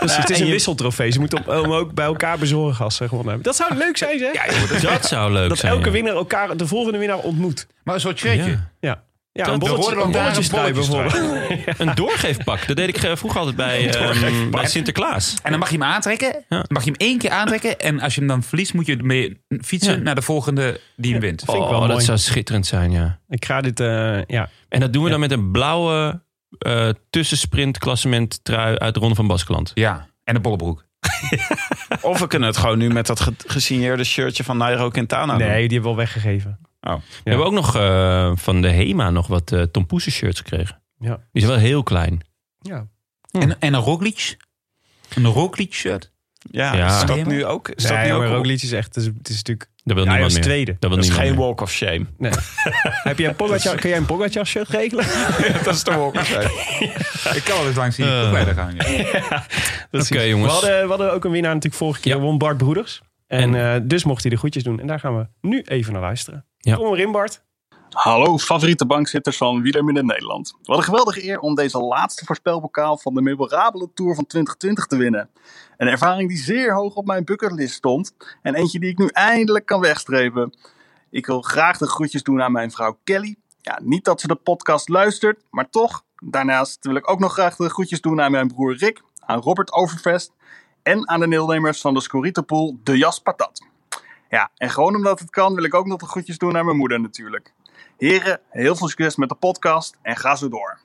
Speaker 2: dus het is
Speaker 7: en
Speaker 2: een
Speaker 7: je-
Speaker 2: wisseltrofee. Ze moeten hem hem ook bij elkaar bezorgen als ze gewonnen hebben. Dat zou leuk zijn, zeg.
Speaker 1: dat zou leuk
Speaker 2: dat
Speaker 1: zijn.
Speaker 2: elke
Speaker 1: ja.
Speaker 2: winnaar elkaar, de volgende winnaar ontmoet.
Speaker 5: Maar een soort shirtje.
Speaker 1: Ja.
Speaker 2: Ja, ja
Speaker 1: Dat-
Speaker 2: een
Speaker 5: De
Speaker 2: bolletje,
Speaker 5: Roland
Speaker 2: een
Speaker 5: daar
Speaker 2: bolletje
Speaker 5: een bolletjestrui.
Speaker 2: bijvoorbeeld.
Speaker 1: Een doorgeefpak. Dat deed ik eh, vroeger altijd bij, ehm bij Sinterklaas.
Speaker 5: En dan mag je hem aantrekken.
Speaker 1: Ja.
Speaker 5: Dan mag je hem één keer aantrekken. En als je hem dan verliest, moet je ermee fietsen
Speaker 1: Ja.
Speaker 5: naar de volgende die hem wint.
Speaker 2: vind ik wel
Speaker 1: oh, dat
Speaker 2: mooi.
Speaker 1: zou schitterend zijn, ja.
Speaker 2: Ik ga dit, eh, ja.
Speaker 7: Ah,
Speaker 1: En dat doen we dan met een blauwe eh tussensprint klassement trui uit de Ronde van Baskeland.
Speaker 5: Ja, en een bollebroek.
Speaker 7: Of we kunnen het gewoon nu met dat ge- gesigneerde shirtje van Nairo Quintana
Speaker 2: Nee,
Speaker 7: doen.
Speaker 2: die hebben we al weggegeven.
Speaker 1: We hebben ook nog eh, van de HEMA nog wat eh Tom Poesen shirts gekregen.
Speaker 2: Ja.
Speaker 1: Die zijn wel heel klein.
Speaker 2: Ja.
Speaker 5: En, en een Roglic. Een Roglic shirt.
Speaker 7: Ja,
Speaker 1: Ja.
Speaker 7: is dat nu ook? Is
Speaker 2: Is dat
Speaker 7: dat
Speaker 2: nee,
Speaker 7: nu
Speaker 2: maar
Speaker 7: ook?
Speaker 2: ook liedjes echt, het is, het is natuurlijk...
Speaker 1: Dat wil
Speaker 2: Ja, hij
Speaker 1: niemand
Speaker 2: was
Speaker 1: meer.
Speaker 2: tweede.
Speaker 1: Dat wil
Speaker 7: Dat is
Speaker 1: niemand
Speaker 7: geen
Speaker 1: meer.
Speaker 7: walk of shame.
Speaker 2: Heb jij een Pogacar, kun jij een Pogacar shirt regelen?
Speaker 7: dat is de walk of shame.
Speaker 5: Ik kan wel eens langs die
Speaker 1: Eh.
Speaker 5: uh. verder gaan. ja.
Speaker 2: Precies.
Speaker 1: Oké, jongens.
Speaker 2: We hadden, we hadden ook een winnaar natuurlijk vorige keer,
Speaker 1: Ja.
Speaker 2: won Bart Broeders. En,
Speaker 1: En-
Speaker 2: eh, dus mocht hij de groetjes doen. En daar gaan we nu even naar luisteren.
Speaker 1: Ja.
Speaker 2: Kom maar in, Bart.
Speaker 9: Hallo, favoriete bankzitters van Wielermin in Nederland. Wat een geweldige eer om deze laatste voorspelbokaal van de memorabele Tour van 2020 te winnen. Een ervaring die zeer hoog op mijn bucketlist stond en eentje die ik nu eindelijk kan wegstrepen. Ik wil graag de groetjes doen aan mijn vrouw Kelly. Ja, niet dat ze de podcast luistert, maar toch. Daarnaast wil ik ook nog graag de groetjes doen aan mijn broer Rick, aan Robert Overvest en aan de deelnemers van de Scorito-pool De Jas Patat. Ja, en gewoon omdat het kan wil ik ook nog de groetjes doen aan mijn moeder natuurlijk. Heren, heel veel succes met de podcast en ga zo door.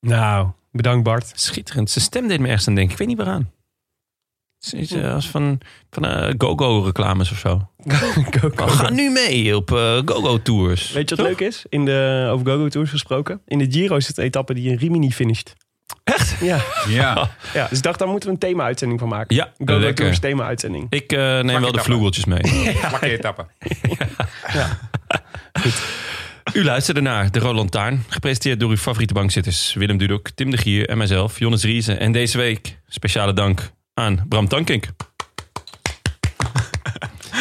Speaker 1: Nou, bedankt Bart. Schitterend. Zijn stem deed me ergens aan denken. Ik weet niet waaraan. Het is eh, als van, van eh, GoGo-reclames of zo. Oh, ga nu mee op eh, GoGo-tours.
Speaker 2: Weet je wat leuk is? In de, over GoGo Tours gesproken. In de Giro is het een etappe die in Rimini finisht.
Speaker 1: Echt?
Speaker 2: Ja.
Speaker 1: Ja.
Speaker 2: ja. Dus ik dacht, daar moeten we een thema-uitzending van maken.
Speaker 1: Ja,
Speaker 2: GoGo
Speaker 1: lekker.
Speaker 2: Tours thema-uitzending.
Speaker 1: Ik eh, neem wel de
Speaker 2: etappe.
Speaker 1: vloegeltjes mee.
Speaker 5: Makkelijke etappe.
Speaker 1: U luisterde naar De Roland Taarn, gepresenteerd door uw favoriete bankzitters Willem Dudok, Tim de Gier en mijzelf, Jonas Riese. En deze week speciale dank aan Bram Tankink.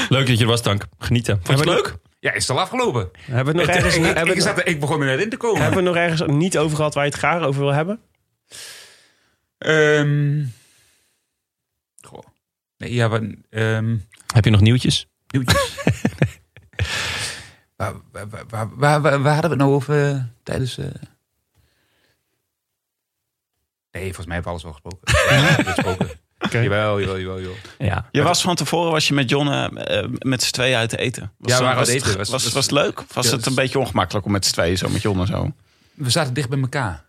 Speaker 1: Leuk dat je er was, Tank. Genieten. Vond je het leuk?
Speaker 5: Ja, is het al afgelopen?
Speaker 2: Hebben we het nog
Speaker 5: Ik-
Speaker 2: ergens
Speaker 5: ik-
Speaker 2: niet-
Speaker 5: ik-
Speaker 2: hebben we
Speaker 5: ik
Speaker 2: het
Speaker 5: zat er- Ik begon er net in te komen.
Speaker 2: Hebben we het nog ergens niet over gehad waar je het graag over wil hebben?
Speaker 5: Ehm, goh. Nee, ja, wat, ehm,
Speaker 1: Heb je nog nieuwtjes?
Speaker 5: nieuwtjes. waar, waar, waar- waar, waar, waar- waar hadden we het nou over eh, tijdens... eh? Nee, volgens mij hebben we alles wel gesproken. Ja, we hebben gesproken. Jawel, jawel, jawel. jawel.
Speaker 1: Ja.
Speaker 7: Je was van tevoren was je met John eh, eh, met z'n tweeën uit eten. Was,
Speaker 5: Ja, we waren
Speaker 7: was
Speaker 5: uit
Speaker 7: het-
Speaker 5: eten.
Speaker 7: Was,
Speaker 5: Was-
Speaker 7: was,
Speaker 5: was-
Speaker 7: het leuk? Of Was
Speaker 5: Ja,
Speaker 7: het een beetje ongemakkelijk om met z'n tweeën zo met John en zo?
Speaker 5: We zaten dicht bij elkaar.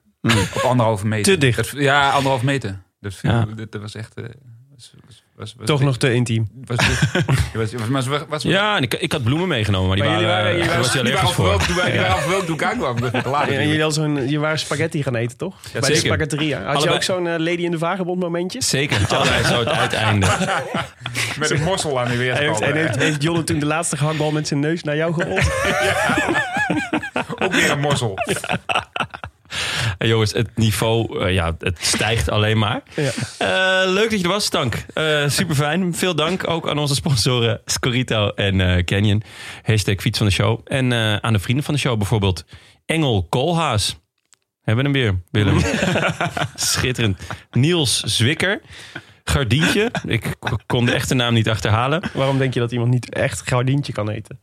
Speaker 5: Op anderhalve meter.
Speaker 2: Te dicht.
Speaker 5: Dat- ja, anderhalve meter. Dat, viel-
Speaker 1: Ja.
Speaker 5: dat, dat was echt... eh, was, was, was, was,
Speaker 2: Toch nog te intiem.
Speaker 5: Was, was, was, was, was, was, was,
Speaker 1: Ja, en ik, ik had bloemen meegenomen, maar die
Speaker 2: Maar jullie
Speaker 1: waren,
Speaker 2: waren-
Speaker 1: eh,
Speaker 2: jullie
Speaker 1: daar
Speaker 2: waren-
Speaker 1: was hij
Speaker 5: Die waren
Speaker 1: allergisch voor.
Speaker 5: voor welk doe ik ja. welk doe ik aan kwam. Dat is later
Speaker 2: En Ah, jullie,
Speaker 5: natuurlijk.
Speaker 2: hadden zo'n, je waren spaghetti gaan eten, toch? Bij de
Speaker 1: zeker.
Speaker 2: spaghetteria. Had je
Speaker 1: Allebei.
Speaker 2: ook zo'n eh, Lady in de Vagebond momentje?
Speaker 1: Zeker, allebei zo het uiteinde.
Speaker 5: Met een mossel aan de
Speaker 2: En heeft,
Speaker 5: weerskant.
Speaker 2: en heeft, heeft Jonne toen de laatste gehaktbal met zijn neus naar jou gerold?
Speaker 5: Ook weer een mossel.
Speaker 1: Hey, jongens, het niveau eh, ja, het stijgt alleen maar.
Speaker 2: Ja.
Speaker 1: Eh, leuk dat je er was, Tank. super fijn. Veel dank ook aan onze sponsoren Scorito en eh, Canyon. Hashtag fiets van de show. En eh, aan de vrienden van de show bijvoorbeeld Engel Koolhaas. Hebben we hem weer, Willem. Schitterend. Niels Zwikker. Gardientje. Ik k- kon de echte naam niet achterhalen.
Speaker 2: Waarom denk je dat iemand niet echt gardientje kan eten?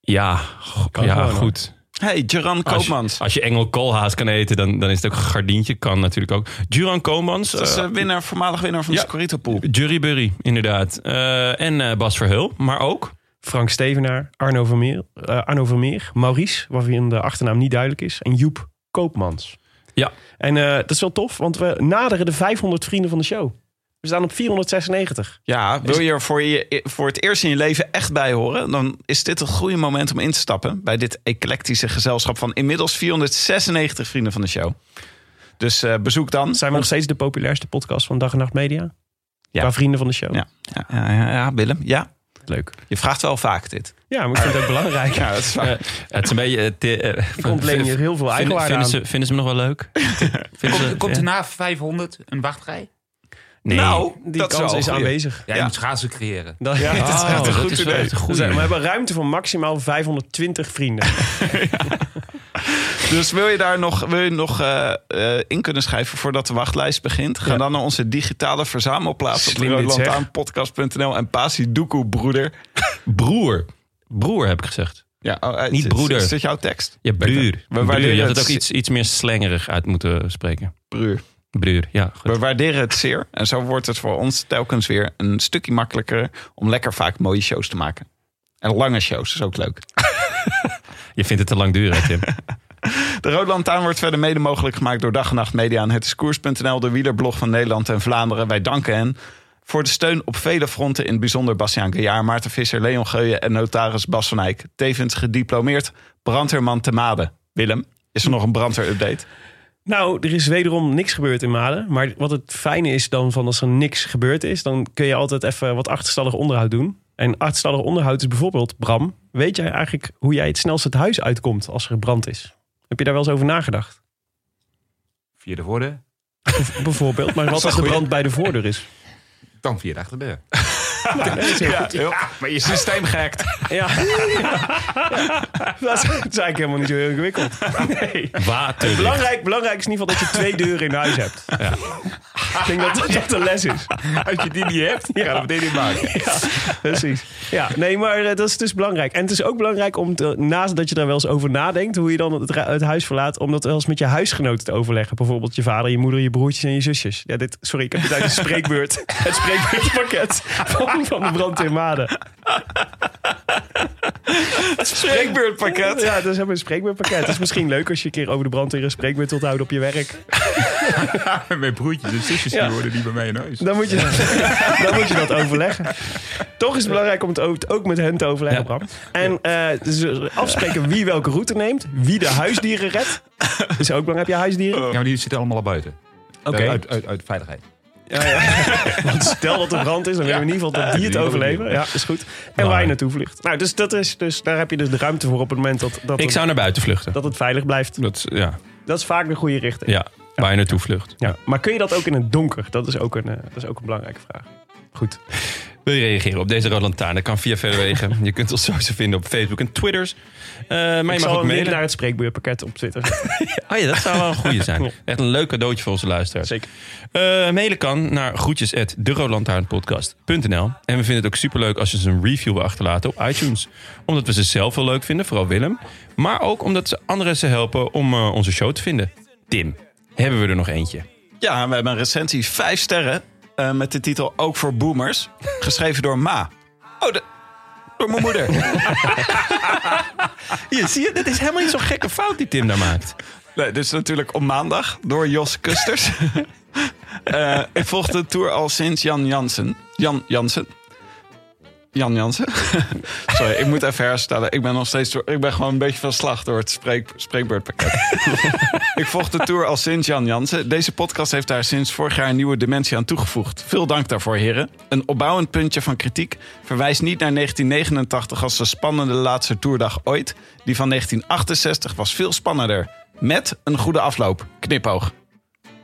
Speaker 1: Ja, go-
Speaker 2: Kan
Speaker 1: ja
Speaker 2: gewoon, hoor.
Speaker 1: goed.
Speaker 7: Hey, Geran
Speaker 1: Als je-
Speaker 7: Koopmans.
Speaker 1: Als je Engel Koolhaas kan eten, dan, dan is het ook gardientje. Kan natuurlijk ook. Duran Koolmans.
Speaker 7: Dat is
Speaker 1: eh,
Speaker 7: eh, winnaar, voormalig winnaar van de
Speaker 1: ja.
Speaker 7: Scorito Pool.
Speaker 1: Jury Burry, inderdaad. Eh, en eh, Bas Verheul, maar ook.
Speaker 2: Frank Stevenaar, Arno Vermeer, eh, Arno Vermeer Maurice, waarvan de achternaam niet duidelijk is, en Joep Koopmans.
Speaker 1: Ja.
Speaker 2: En eh, dat is wel tof, want we naderen de 500 vrienden van de show. We staan op 496.
Speaker 7: Ja, wil je er voor, je, voor het eerst in je leven echt bij horen? Dan is dit een goede moment om in te stappen. Bij dit eclectische gezelschap van inmiddels 496 vrienden van de show. Dus eh, bezoek dan.
Speaker 2: Zijn we nog steeds de populairste podcast van Dag en Nacht Media?
Speaker 7: Ja.
Speaker 2: Qua vrienden van de show.
Speaker 7: Ja, ja, ja, ja, ja, Willem. Ja,
Speaker 2: Leuk.
Speaker 7: je vraagt wel vaak dit.
Speaker 2: Ja, maar ik vind het ook belangrijk.
Speaker 7: Ja, dat is waar.
Speaker 1: Eh, het is een beetje. eh, te- eh,
Speaker 2: Ik ontleen hier heel veel
Speaker 1: vinden,
Speaker 2: eigenwaarde
Speaker 1: vinden, ze,
Speaker 2: aan.
Speaker 1: vinden ze me nog wel leuk? Vinden ze-
Speaker 5: Komt, komt
Speaker 1: ja?
Speaker 5: er na 500 een wachtrij?
Speaker 1: Nee.
Speaker 7: nou,
Speaker 2: Die
Speaker 7: dat
Speaker 2: kans
Speaker 7: wel
Speaker 2: is
Speaker 7: een goeie.
Speaker 2: aanwezig.
Speaker 5: Ja, je moet schaatsen creëren.
Speaker 2: Dan- Ja,
Speaker 1: Oh,
Speaker 2: dat is echt een goed
Speaker 1: is wel
Speaker 2: idee.
Speaker 1: echt een goeie.
Speaker 2: Dus, eh, we hebben ruimte voor maximaal 520 vrienden.
Speaker 7: Dus wil je daar nog, wil je nog eh, eh, in kunnen schrijven voordat de wachtlijst begint? Ga dan naar onze digitale verzamelplaats op
Speaker 2: Slim dit, zeg.
Speaker 7: roodlantaarnpodcast.nl en Pasi Doekoe, broeder.
Speaker 1: Broer. Broer heb ik gezegd.
Speaker 7: Ja, oh, eh,
Speaker 1: Niet
Speaker 7: is-
Speaker 1: broeder.
Speaker 7: Is dat jouw tekst?
Speaker 1: Ja, bruur.
Speaker 7: waarderen
Speaker 1: Bruur, Je had het
Speaker 7: het-
Speaker 1: ook iets, iets meer slengerig uit moeten spreken.
Speaker 7: Broer.
Speaker 1: Bruur, ja. Goed.
Speaker 7: We waarderen het zeer. En zo wordt het voor ons telkens weer een stukje makkelijker om lekker vaak mooie shows te maken. En lange shows is ook leuk.
Speaker 1: Je vindt het te lang duren, hè, Tim.
Speaker 7: De Rode Lantaarn wordt verder mede mogelijk gemaakt door Dag en Nacht Media en Het is Koers.nl, de wielerblog van Nederland en Vlaanderen. Wij danken hen voor de steun op vele fronten, in het bijzonder Bastiaan Gejaar, Maarten Visser, Leon Geuyen en notaris Bas van Eyck. Tevens gediplomeerd brandweerman te Made. Willem, is er nog een brandweer-update?
Speaker 2: Nou, er is wederom niks gebeurd in Maden. Maar wat het fijne is dan van als er niks gebeurd is, dan kun je altijd even wat achterstallig onderhoud doen. En achterstallig onderhoud is bijvoorbeeld, Bram, weet jij eigenlijk hoe jij het snelst het huis uitkomt als er brand is? Heb je daar wel eens over nagedacht?
Speaker 5: Via de voordeur,
Speaker 2: Bijvoorbeeld, maar wat als de brand bij de voordeur is?
Speaker 5: dan via de achterdeur.
Speaker 2: Ja, heel-
Speaker 7: maar je systeem gehackt.
Speaker 2: Ja. Dat is eigenlijk helemaal niet zo heel ingewikkeld. Nee.
Speaker 1: Water.
Speaker 2: Belangrijk, belangrijk is in ieder geval dat je twee deuren in huis hebt. Ik denk dat dat, dat de les is.
Speaker 5: Als je die niet hebt, ja. dan meteen niet maken.
Speaker 2: Ja, precies. Ja, nee, maar eh, dat is dus belangrijk. En het is ook belangrijk om, te, naast dat je daar wel eens over nadenkt, hoe je dan het, ra- het huis verlaat, om dat wel eens met je huisgenoten te overleggen. Bijvoorbeeld je vader, je moeder, je broertjes en je zusjes. Ja, dit, sorry, ik heb het uit de spreekbeurt, het spreekbeurtpakket van, van de brand in Maden. Het
Speaker 7: spreekbeurtpakket.
Speaker 2: Ja, dat is helemaal een spreekbeurtpakket. Het is misschien leuk als je een keer over de brand in een spreekbeurt wilt houden op je werk.
Speaker 5: Mijn broertjes en zusjes die
Speaker 2: Ja.
Speaker 5: worden niet bij mij in huis.
Speaker 2: Dan moet je, dan moet je dat overleggen. Toch is het belangrijk om het ook- ook met hen te overleggen, Bram. En eh, dus afspreken wie welke route neemt. Wie de huisdieren redt. Is ook belangrijk. Heb je huisdieren?
Speaker 5: Ja, maar die zitten allemaal al buiten. Eh,
Speaker 2: Oké.
Speaker 5: Uit, uit, uit veiligheid.
Speaker 2: Want stel dat er brand is, dan willen we in ieder geval dat die het
Speaker 5: Ja.
Speaker 2: overleven. Ja, is goed. En waar je naartoe vliegt. Nou, dus, dat is, dus daar heb je dus de ruimte voor op het moment dat, dat,
Speaker 1: Ik
Speaker 2: het,
Speaker 1: zou naar buiten vluchten.
Speaker 2: dat het veilig blijft.
Speaker 1: Dat, is- ja,
Speaker 2: Dat is vaak de goede richting.
Speaker 1: ja, waar je naartoe vlucht.
Speaker 2: Ja. Maar kun je dat ook in het donker? Dat is ook een, eh, dat is ook een belangrijke vraag. Goed.
Speaker 1: Wil je reageren op deze Rode Lantaarn? Dat kan via verder wegen. Je kunt ons sowieso vinden op Facebook en Twitters. Eh, maar
Speaker 2: ik
Speaker 1: je mag ook
Speaker 2: zal hem weer
Speaker 1: mailen.
Speaker 2: naar het spreekbeurpakket op zitten.
Speaker 1: Oh ja, dat zou wel een goede zijn.
Speaker 2: Ja.
Speaker 1: Echt een leuk cadeautje voor onze luisteraars.
Speaker 2: Zeker.
Speaker 1: Eh, mailen kan naar groetjes at deroodlantaarnpodcast.nl. En we vinden het ook superleuk als je ze een review wil achterlaten op iTunes. Omdat we ze zelf wel leuk vinden, vooral Willem. Maar ook omdat ze anderen ze helpen om eh, onze show te vinden. Tim, hebben we er nog eentje?
Speaker 7: Ja, we hebben een recensie. Vijf sterren. eh, met de titel Ook voor Boomers. Geschreven door Ma. Oh, de- door mijn moeder.
Speaker 1: Hier, zie je, dit is helemaal niet zo'n gekke fout die Tim daar maakt.
Speaker 7: Nee, dit is natuurlijk op maandag door Jos Kusters. Eh, ik volg de tour al sinds Jan Jansen. Jan Jansen. Jan Jansen. Sorry, ik moet even herstellen. Ik ben nog steeds. door- Ik ben gewoon een beetje van slag door het spreek, spreekbeurtpakket. ik volg de tour al sinds Jan Jansen. Deze podcast heeft daar sinds vorig jaar een nieuwe dimensie aan toegevoegd. Veel dank daarvoor, heren. Een opbouwend puntje van kritiek verwijst niet naar 1989 als de spannende laatste toerdag ooit. Die van 1968 was veel spannender. Met een goede afloop. Knipoog.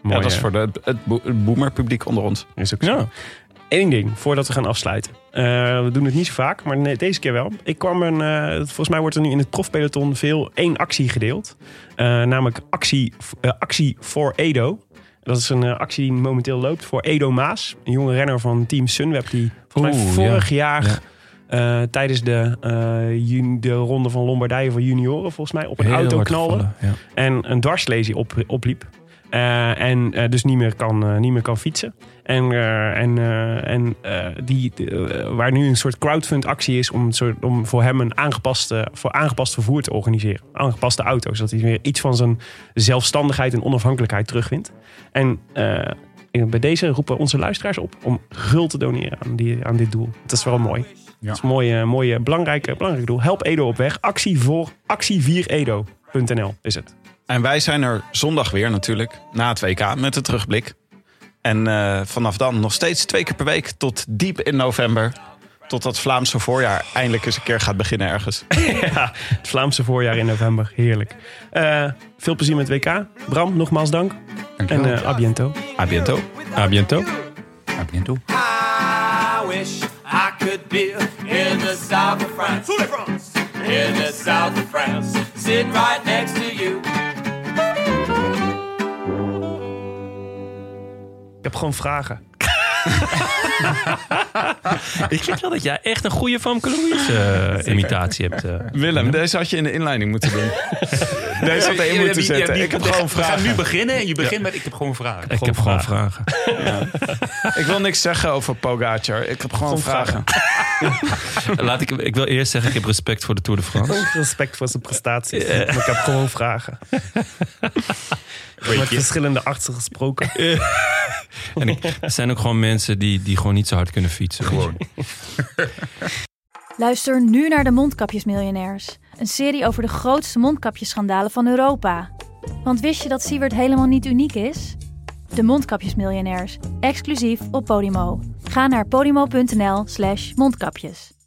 Speaker 2: Mooi,
Speaker 7: ja, dat is
Speaker 2: hè?
Speaker 7: voor de, het, bo- het boomerpubliek onder ons.
Speaker 2: Is ook zo. Eén ding voordat we gaan afsluiten. Eh, we doen het niet zo vaak, maar nee, deze keer wel. Ik kwam een. eh, volgens mij wordt er nu in het profpeloton veel één actie gedeeld. Eh, namelijk actie, eh, actie voor Edo. Dat is een eh, actie die momenteel loopt voor Edo Maas. Een jonge renner van Team Sunweb. Die volgens mij
Speaker 1: Oeh,
Speaker 2: vorig jaar eh, tijdens de, eh, jun- de ronde van Lombardije voor junioren volgens mij op een
Speaker 1: Heel
Speaker 2: auto
Speaker 1: hard
Speaker 2: knallen
Speaker 1: gevallen, ja.
Speaker 2: en een dwarslesie op, opliep. Eh, en eh, dus niet meer kan, eh, niet meer kan fietsen. En, eh, en, eh, en eh, die, de, eh, waar nu een soort crowdfund actie is om, een soort, om voor hem een aangepaste, voor aangepast vervoer te organiseren. Aangepaste auto's. Zodat hij weer iets van zijn zelfstandigheid en onafhankelijkheid terugwint. En eh, bij deze roepen onze luisteraars op om gul te doneren aan, die, aan dit doel. Dat is wel mooi. Dat is een mooie, mooie belangrijke, belangrijk doel. Help Edo op weg. Actie voor actie4edo.nl is het.
Speaker 7: En wij zijn er zondag weer natuurlijk, na het WK, met de terugblik. En eh, vanaf dan nog steeds twee keer per week tot diep in november. Tot dat Vlaamse voorjaar eindelijk eens een keer gaat beginnen ergens.
Speaker 2: Ja, het Vlaamse voorjaar in november. Heerlijk. Eh, veel plezier met WK. Bram, nogmaals dank. En eh à biento.
Speaker 7: A biento.
Speaker 1: A biento.
Speaker 5: Ja, ik ben toe.
Speaker 6: I wish I could be in the south of France. In the south of France. Sitting right next to you.
Speaker 2: Ik heb gewoon vragen.
Speaker 1: Ik vind wel dat jij echt een goede Van Louise imitatie hebt. eh.
Speaker 7: Willem, deze had je in de inleiding moeten doen. deze had je in moeten zetten. Ik heb gewoon
Speaker 5: We gaan nu
Speaker 7: vragen.
Speaker 5: beginnen en je begint met ik heb gewoon vragen.
Speaker 1: Ik heb gewoon vragen.
Speaker 7: Ik wil niks zeggen over Pogacar. Ik heb gewoon vragen.
Speaker 1: Laat ik, ik wil eerst zeggen, ik heb respect voor de Tour de France.
Speaker 2: Respect voor zijn prestaties. Maar ik heb gewoon vragen. Ik heb met verschillende artsen gesproken.
Speaker 1: En ik, er zijn ook gewoon mensen die, die gewoon niet zo hard kunnen fietsen. Gewoon.
Speaker 10: Luister nu naar de Mondkapjesmiljonairs. Een serie over de grootste mondkapjesschandalen van Europa. Want wist je dat Siewert helemaal niet uniek is? De Mondkapjesmiljonairs, exclusief op Podimo. Ga naar podimo.nl slash mondkapjes.